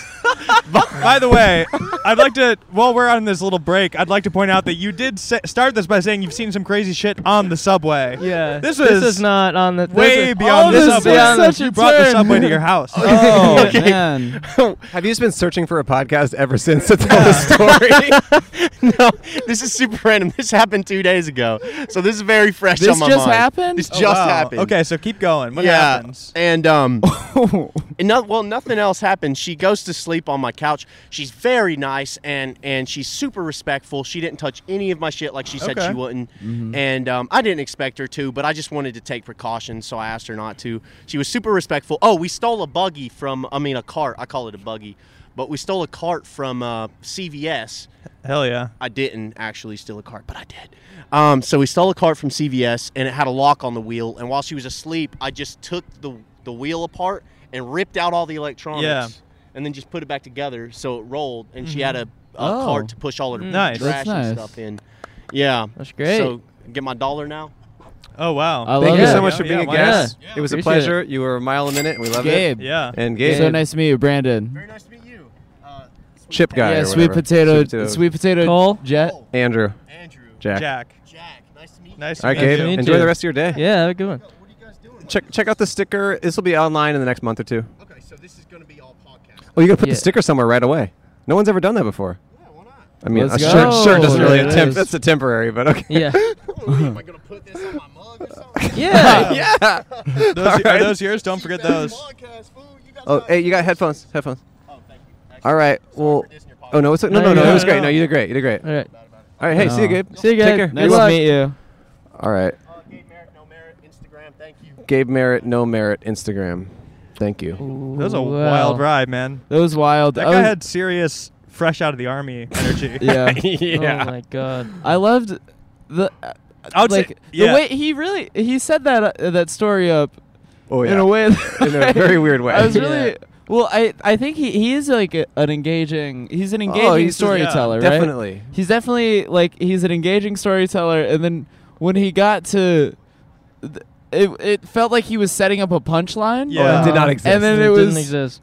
[SPEAKER 12] by the way, I'd like to, while we're on this little break, I'd like to point out that you did sa- start this by saying you've seen some crazy shit on the subway.
[SPEAKER 1] Yeah.
[SPEAKER 12] This
[SPEAKER 1] This
[SPEAKER 12] was
[SPEAKER 1] is not on the- this
[SPEAKER 12] way
[SPEAKER 1] is-
[SPEAKER 12] beyond
[SPEAKER 1] Oh,
[SPEAKER 12] the
[SPEAKER 1] this is
[SPEAKER 12] subway.
[SPEAKER 1] beyond the-
[SPEAKER 12] you brought the
[SPEAKER 1] turn.
[SPEAKER 12] subway to your house.
[SPEAKER 1] Oh,
[SPEAKER 2] Okay.
[SPEAKER 14] man.
[SPEAKER 2] Have you just been searching for a podcast ever since to tell this story?
[SPEAKER 15] no, this is super random. This happened two days ago, so this is very fresh
[SPEAKER 12] This
[SPEAKER 15] on my
[SPEAKER 12] just
[SPEAKER 15] mind.
[SPEAKER 12] happened?
[SPEAKER 15] This
[SPEAKER 12] Oh,
[SPEAKER 15] just
[SPEAKER 12] wow.
[SPEAKER 15] happened.
[SPEAKER 12] Okay, so keep going. What happens?
[SPEAKER 15] And um, and no, well, nothing else happened. She goes to sleep on my couch. She's very nice and and she's super respectful. She didn't touch any of my shit like she said
[SPEAKER 12] Okay.
[SPEAKER 15] she wouldn't.
[SPEAKER 12] Mhm.
[SPEAKER 15] And um, I didn't expect her to, but I just wanted to take precautions, so I asked her not to. She was super respectful. Oh, we stole a buggy from I mean a cart. I call it a buggy, but we stole a cart from uh, CVS.
[SPEAKER 12] Hell yeah.
[SPEAKER 15] I didn't actually steal a cart, but I did. Um, so we stole a cart from CVS, and it had a lock on the wheel. And while she was asleep, I just took the the wheel apart and ripped out all the electronics,
[SPEAKER 12] Yeah.
[SPEAKER 15] and then just put it back together so it rolled. And she
[SPEAKER 2] Mm-hmm.
[SPEAKER 12] Mhm.
[SPEAKER 15] had a, a
[SPEAKER 12] Oh.
[SPEAKER 15] cart to push all her
[SPEAKER 12] Mm. Nice.
[SPEAKER 15] trash
[SPEAKER 12] That's
[SPEAKER 15] and
[SPEAKER 12] nice.
[SPEAKER 15] stuff in. Yeah,
[SPEAKER 1] that's great.
[SPEAKER 15] So get my dollar now.
[SPEAKER 12] Oh, wow.
[SPEAKER 2] Thank you so much for being a guest. It was a
[SPEAKER 14] Appreciate it.
[SPEAKER 2] pleasure. You were a mile a minute. and We love
[SPEAKER 14] Gabe.
[SPEAKER 2] it. And Gabe.
[SPEAKER 14] So nice to meet you, Brandon.
[SPEAKER 2] Chip guy.
[SPEAKER 14] Yeah,
[SPEAKER 2] or
[SPEAKER 14] sweet
[SPEAKER 2] whatever.
[SPEAKER 14] potato- sweet potato Cole? Jet.
[SPEAKER 2] Andrew. Andrew. Jack.
[SPEAKER 12] Jack. Jack. Nice to meet you. Nice
[SPEAKER 2] All right, Gabe. Enjoy the rest of your day.
[SPEAKER 1] Yeah, have a good one.
[SPEAKER 2] Check check out the sticker. This will be online in the next month or two. Okay, so this is going to be all podcast. Well, you got to put
[SPEAKER 1] Yeah.
[SPEAKER 2] the sticker somewhere right away. No one's ever done that before. Yeah, why not? I mean,
[SPEAKER 1] Let's
[SPEAKER 2] a shirt,
[SPEAKER 1] go.
[SPEAKER 2] shirt doesn't really
[SPEAKER 1] There it
[SPEAKER 2] attempt.
[SPEAKER 1] is.
[SPEAKER 2] That's a temporary, but okay.
[SPEAKER 1] Yeah.
[SPEAKER 2] Am I going to put this on my mug or something?
[SPEAKER 1] Yeah.
[SPEAKER 2] yeah.
[SPEAKER 12] Those,
[SPEAKER 2] All
[SPEAKER 12] Are
[SPEAKER 2] right.
[SPEAKER 12] those yours? Don't forget those.
[SPEAKER 2] Oh, hey, you got headphones. Headphones. Oh, thank you. All right. Well. Oh no, it's no, no, no. It was great. No, you did great. You did great.
[SPEAKER 1] All right.
[SPEAKER 2] All right. Hey, see you,
[SPEAKER 14] No.
[SPEAKER 2] Gabe.
[SPEAKER 14] See you,
[SPEAKER 2] Take
[SPEAKER 14] Gabe.
[SPEAKER 2] care.
[SPEAKER 14] Nice
[SPEAKER 2] Good
[SPEAKER 14] to
[SPEAKER 2] luck.
[SPEAKER 14] meet you.
[SPEAKER 2] All right. Gabe Merritt, no merit, Instagram. Thank you.
[SPEAKER 12] That was a wild ride, man.
[SPEAKER 14] That was wild.
[SPEAKER 12] That
[SPEAKER 14] I
[SPEAKER 12] guy
[SPEAKER 14] was-
[SPEAKER 12] had serious fresh out of the army energy.
[SPEAKER 14] yeah.
[SPEAKER 12] yeah.
[SPEAKER 14] god. I loved the.
[SPEAKER 12] I would say-
[SPEAKER 14] like
[SPEAKER 12] yeah.
[SPEAKER 14] the way he really he set that uh, that story up.
[SPEAKER 2] Oh
[SPEAKER 14] In
[SPEAKER 2] yeah.
[SPEAKER 14] a way.
[SPEAKER 2] In a very weird way.
[SPEAKER 14] I was
[SPEAKER 2] Yeah.
[SPEAKER 14] really. Well, I, I think he, he is like a, an engaging he's an
[SPEAKER 2] Oh,
[SPEAKER 14] engaging
[SPEAKER 2] he's just- yeah,
[SPEAKER 14] storyteller, right?
[SPEAKER 2] definitely.
[SPEAKER 14] He's definitely like he's an engaging storyteller and then when he got to th- it, it felt like he was setting up a punchline.
[SPEAKER 16] Yeah. Oh, it did not
[SPEAKER 14] And
[SPEAKER 16] exist.
[SPEAKER 14] then
[SPEAKER 16] It
[SPEAKER 14] it,
[SPEAKER 16] didn't
[SPEAKER 14] was
[SPEAKER 16] exist.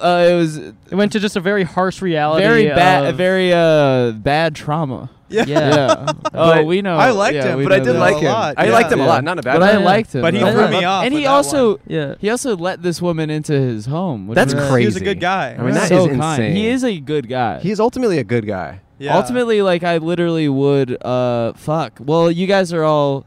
[SPEAKER 14] Uh, it was
[SPEAKER 16] It went to just a very harsh reality.
[SPEAKER 14] very bad,
[SPEAKER 16] of-
[SPEAKER 14] very uh, bad trauma.
[SPEAKER 16] Yeah.
[SPEAKER 14] oh,
[SPEAKER 2] But-
[SPEAKER 14] we know.
[SPEAKER 2] I liked
[SPEAKER 14] yeah,
[SPEAKER 2] him,
[SPEAKER 14] we
[SPEAKER 2] but I
[SPEAKER 14] know
[SPEAKER 2] did
[SPEAKER 14] that.
[SPEAKER 2] like him. I liked him a lot, not in a bad
[SPEAKER 14] But I
[SPEAKER 2] way.
[SPEAKER 14] liked him.
[SPEAKER 2] But he
[SPEAKER 14] I
[SPEAKER 2] threw
[SPEAKER 14] liked
[SPEAKER 2] me
[SPEAKER 14] him.
[SPEAKER 2] off
[SPEAKER 14] And
[SPEAKER 2] with
[SPEAKER 14] he
[SPEAKER 2] that
[SPEAKER 14] also,
[SPEAKER 16] yeah,
[SPEAKER 14] he also let this woman into his home. which
[SPEAKER 2] That's
[SPEAKER 14] was-
[SPEAKER 2] crazy. I mean, that is
[SPEAKER 14] so
[SPEAKER 2] insane.
[SPEAKER 14] kind. He is a good guy.
[SPEAKER 2] He is ultimately a good guy.
[SPEAKER 14] Ultimately, like I literally would. Uh, fuck. Well, you guys are all.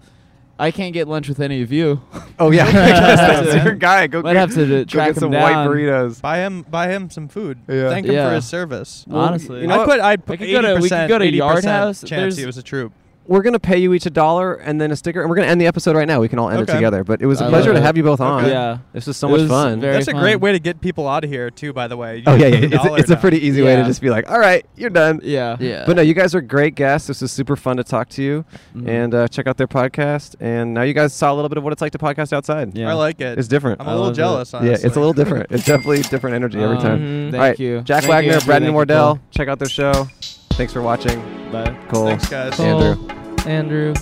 [SPEAKER 14] I can't get lunch with any of you.
[SPEAKER 2] Oh yeah, I guess that's your guy. Go
[SPEAKER 14] Might
[SPEAKER 2] get-
[SPEAKER 14] have to
[SPEAKER 2] go
[SPEAKER 14] track
[SPEAKER 2] get
[SPEAKER 14] him
[SPEAKER 2] some white
[SPEAKER 14] down.
[SPEAKER 2] burritos.
[SPEAKER 12] Buy him, buy him some food.
[SPEAKER 2] Yeah.
[SPEAKER 12] Thank him
[SPEAKER 2] Yeah.
[SPEAKER 12] for his service.
[SPEAKER 2] Well, Honestly. you know
[SPEAKER 12] I
[SPEAKER 2] what?
[SPEAKER 12] put, I
[SPEAKER 2] We
[SPEAKER 12] put
[SPEAKER 2] could go to-
[SPEAKER 12] eighty
[SPEAKER 2] we could
[SPEAKER 12] percent,
[SPEAKER 2] go to
[SPEAKER 12] eighty
[SPEAKER 2] Yard
[SPEAKER 12] percent
[SPEAKER 2] House.
[SPEAKER 12] chance
[SPEAKER 2] There's-
[SPEAKER 12] he was a troop.
[SPEAKER 2] We're gonna pay you each a dollar and then a sticker, and we're gonna end the episode right now. We can all end
[SPEAKER 12] Okay.
[SPEAKER 2] it together. But it was a
[SPEAKER 12] I
[SPEAKER 2] pleasure
[SPEAKER 12] love
[SPEAKER 2] to
[SPEAKER 12] it.
[SPEAKER 2] have you both on.
[SPEAKER 12] Okay. Yeah.
[SPEAKER 2] this was so
[SPEAKER 12] It
[SPEAKER 2] much
[SPEAKER 12] was
[SPEAKER 2] fun.
[SPEAKER 12] That's a great way to get people out of here too. By the way. You
[SPEAKER 2] Oh yeah, yeah.
[SPEAKER 12] just put
[SPEAKER 2] It's, a,
[SPEAKER 12] dollar
[SPEAKER 2] it's a
[SPEAKER 12] down.
[SPEAKER 2] pretty easy way to just be like, all right, you're done.
[SPEAKER 14] Yeah. Yeah.
[SPEAKER 2] But no, you guys are great guests. This was super fun to talk to you,
[SPEAKER 12] Mm-hmm.
[SPEAKER 2] and uh, check out their podcast. And now you guys saw a little bit of what it's like to podcast outside.
[SPEAKER 12] Yeah. I like it.
[SPEAKER 2] It's different.
[SPEAKER 12] I'm a I little love it. Um, jealous,
[SPEAKER 2] Yeah, it's a little different. it's definitely different energy every time.
[SPEAKER 14] Mhm.
[SPEAKER 2] All
[SPEAKER 14] Thank
[SPEAKER 2] right,
[SPEAKER 14] you.
[SPEAKER 2] Jack
[SPEAKER 14] Thank you,
[SPEAKER 2] Wagner,
[SPEAKER 14] everybody.
[SPEAKER 2] Brendan
[SPEAKER 14] Thank you,
[SPEAKER 2] Wardell.
[SPEAKER 14] Cole.
[SPEAKER 2] Check out their show. Thanks for watching.
[SPEAKER 14] Bye.
[SPEAKER 2] Cole.
[SPEAKER 12] Thanks, guys.
[SPEAKER 2] Andrew.
[SPEAKER 16] Paul, Andrew,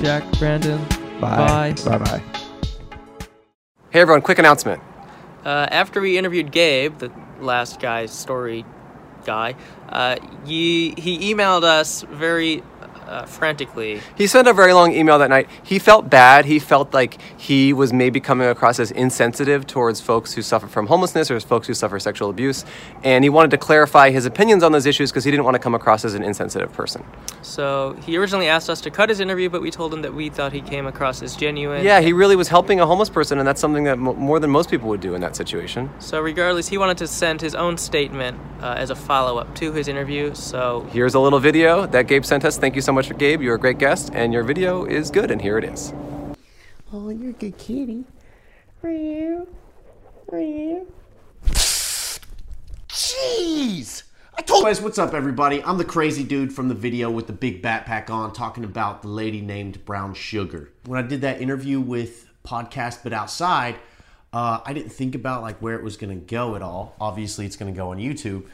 [SPEAKER 16] Jack, Brandon. Bye.
[SPEAKER 2] Bye. Bye-bye. Hey everyone, quick announcement.
[SPEAKER 1] Uh, after we interviewed Gabe, the last guy, story guy, uh, he, he emailed us very uh, frantically.
[SPEAKER 17] He sent a very long email that night. He felt bad. He felt like he was maybe coming across as insensitive towards folks who suffer from homelessness or folks who suffer sexual abuse. And he wanted to clarify his opinions on those issues because he didn't want to come across as an insensitive person.
[SPEAKER 1] So he originally asked us to cut his interview, but we told him that we thought he came across as genuine.
[SPEAKER 17] Yeah, he really was helping a homeless person, and that's something that mo more than most people would do in that situation.
[SPEAKER 1] So, regardless, he wanted to send his own statement uh, as a follow up to his interview. So,
[SPEAKER 17] Here's a little video that Gabe sent us. Thank you so much for Gabe. You're a great guest, and your video is good, and here it is.
[SPEAKER 4] Oh, you're a good kitty. Meow. Meow.
[SPEAKER 15] Jeez! I told you guys what's up, everybody. I'm the crazy dude from the video with the big backpack on, talking about the lady named Brown Sugar. When I did that interview with podcast, but outside, uh, I didn't think about like where it was going to go at all. Obviously, it's going to go on YouTube,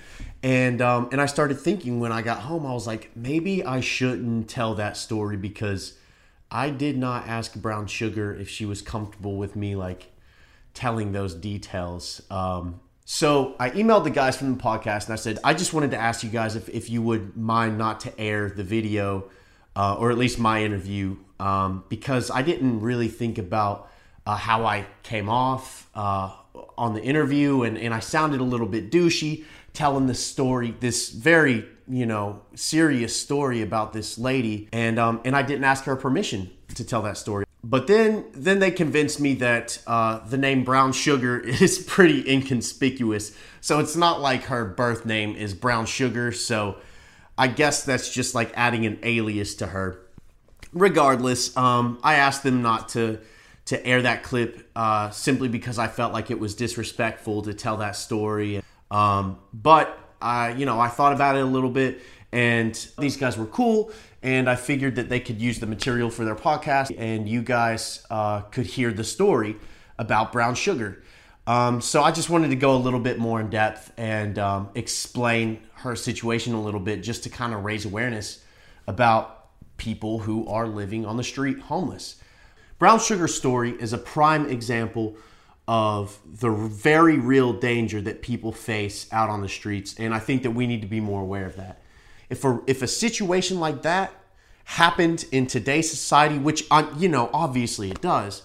[SPEAKER 15] and um, and I started thinking when I got home, I was like, maybe I shouldn't tell that story because I did not ask Brown Sugar if she was comfortable with me like telling those details. Um, so I emailed the guys from the podcast and I said, I just wanted to ask you guys if, if you would mind not to air the video uh, or at least my interview um, because I didn't really think about uh, how I came off uh, on the interview and, and I sounded a little bit douchey telling this story, this very, you know, serious story about this lady. And, um, and I didn't ask her permission to tell that story. But then, then they convinced me that uh, the name Brown Sugar is pretty inconspicuous. So it's not like her birth name is Brown Sugar. So I guess that's just like adding an alias to her. Regardless, um, I asked them not to to air that clip uh, simply because I felt like it was disrespectful to tell that story. Um, but I, you know, I thought about it a little bit, and these guys were cool, and I figured that they could use the material for their podcast, and you guys uh, could hear the story about brown sugar. Um, so I just wanted to go a little bit more in depth and um, explain her situation a little bit, just to kind of raise awareness about people who are living on the street homeless. Brown Sugar's story is a prime example of the very real danger that people face out on the streets, and I think that we need to be more aware of that. If a if a situation like that happened in today's society, which uh, you know obviously it does,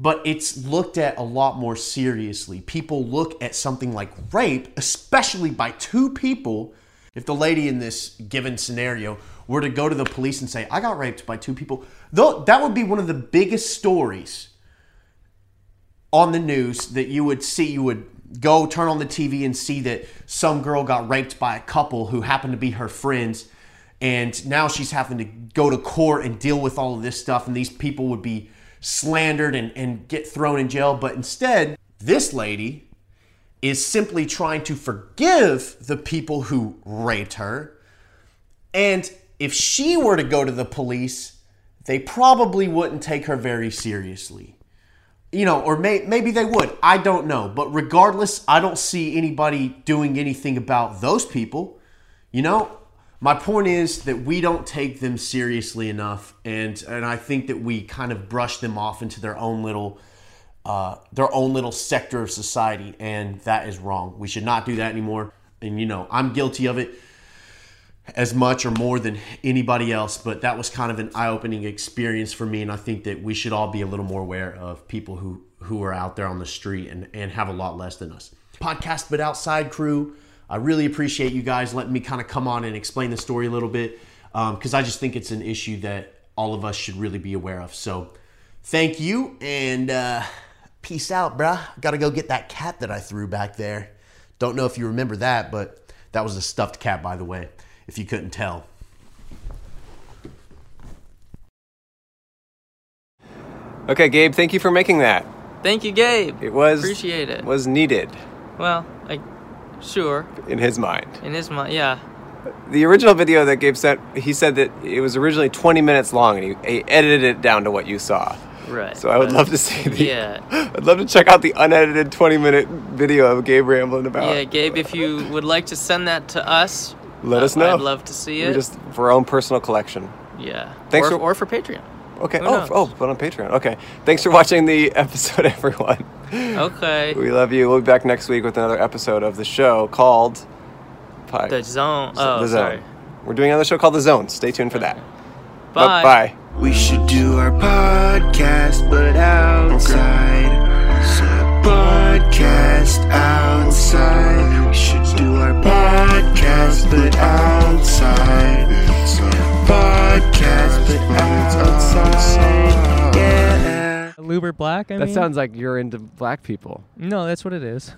[SPEAKER 15] but it's looked at a lot more seriously. People look at something like rape, especially by two people. If the lady in this given scenario were to go to the police and say, I got raped by two people, though that would be one of the biggest stories on the news that you would see. You would go turn on the TV and see that some girl got raped by a couple who happened to be her friends. And now she's having to go to court and deal with all of this stuff, and these people would be slandered and, and get thrown in jail. But instead, this lady is simply trying to forgive the people who raped her. And if she were to go to the police, they probably wouldn't take her very seriously. You know, or may, maybe they would. I don't know. But regardless, I don't see anybody doing anything about those people. You know, my point is that we don't take them seriously enough, and and I think that we kind of brush them off into their own little uh, their own little sector of society, and that is wrong. We should not do that anymore. And you know, I'm guilty of it as much or more than anybody else, but that was kind of an eye-opening experience for me, and I think that we should all be a little more aware of people who who are out there on the street and and have a lot less than us. Podcast But Outside crew, I really appreciate you guys letting me kind of come on and explain the story a little bit because I just think it's an issue that all of us should really be aware of. So thank you and uh, peace out, bruh. Gotta go get that cat that I threw back there. Don't know if you remember that, but that was a stuffed cat, by the way, if you couldn't tell.
[SPEAKER 2] Okay, Gabe, thank you for making that.
[SPEAKER 1] Thank you, Gabe.
[SPEAKER 2] It was
[SPEAKER 1] Appreciate it.
[SPEAKER 2] Was needed
[SPEAKER 1] Well, I, sure.
[SPEAKER 2] in his mind.
[SPEAKER 1] In his mind, yeah.
[SPEAKER 2] The original video that Gabe sent, he said that it was originally 20 minutes long, and he, he edited it down to what you saw.
[SPEAKER 1] Right.
[SPEAKER 2] So I would
[SPEAKER 1] but-
[SPEAKER 2] love to see the.
[SPEAKER 1] Yeah.
[SPEAKER 2] I'd love to check out the unedited 20 minute video of Gabe rambling about.
[SPEAKER 1] Yeah, Gabe, if you would like to send that to us,
[SPEAKER 2] Let
[SPEAKER 1] uh,
[SPEAKER 2] us know.
[SPEAKER 1] I'd love to see
[SPEAKER 2] We
[SPEAKER 1] it.
[SPEAKER 2] just for our own personal collection.
[SPEAKER 1] yeah.
[SPEAKER 2] Thanks
[SPEAKER 1] or,
[SPEAKER 2] for-
[SPEAKER 1] or for Patreon.
[SPEAKER 2] Okay.
[SPEAKER 1] Who
[SPEAKER 2] Oh,
[SPEAKER 1] knows?
[SPEAKER 2] oh, but on Patreon. Okay. Thanks for watching the episode, everyone.
[SPEAKER 1] Okay.
[SPEAKER 2] We love you. We'll be back next week with another episode of the show called Pi-
[SPEAKER 1] The Zone.
[SPEAKER 2] Z-
[SPEAKER 1] Oh,
[SPEAKER 2] the Zone.
[SPEAKER 1] sorry.
[SPEAKER 2] We're doing another show called The Zone. Stay tuned for that.
[SPEAKER 1] Bye.
[SPEAKER 2] Bye.
[SPEAKER 4] We should do our podcast, but outside. Podcast outside. We should do our podcast, but outside. Podcast, but outside. Yeah.
[SPEAKER 18] Luber Black. I
[SPEAKER 19] that
[SPEAKER 18] mean?
[SPEAKER 19] sounds like you're into black people.
[SPEAKER 18] No, that's what it is.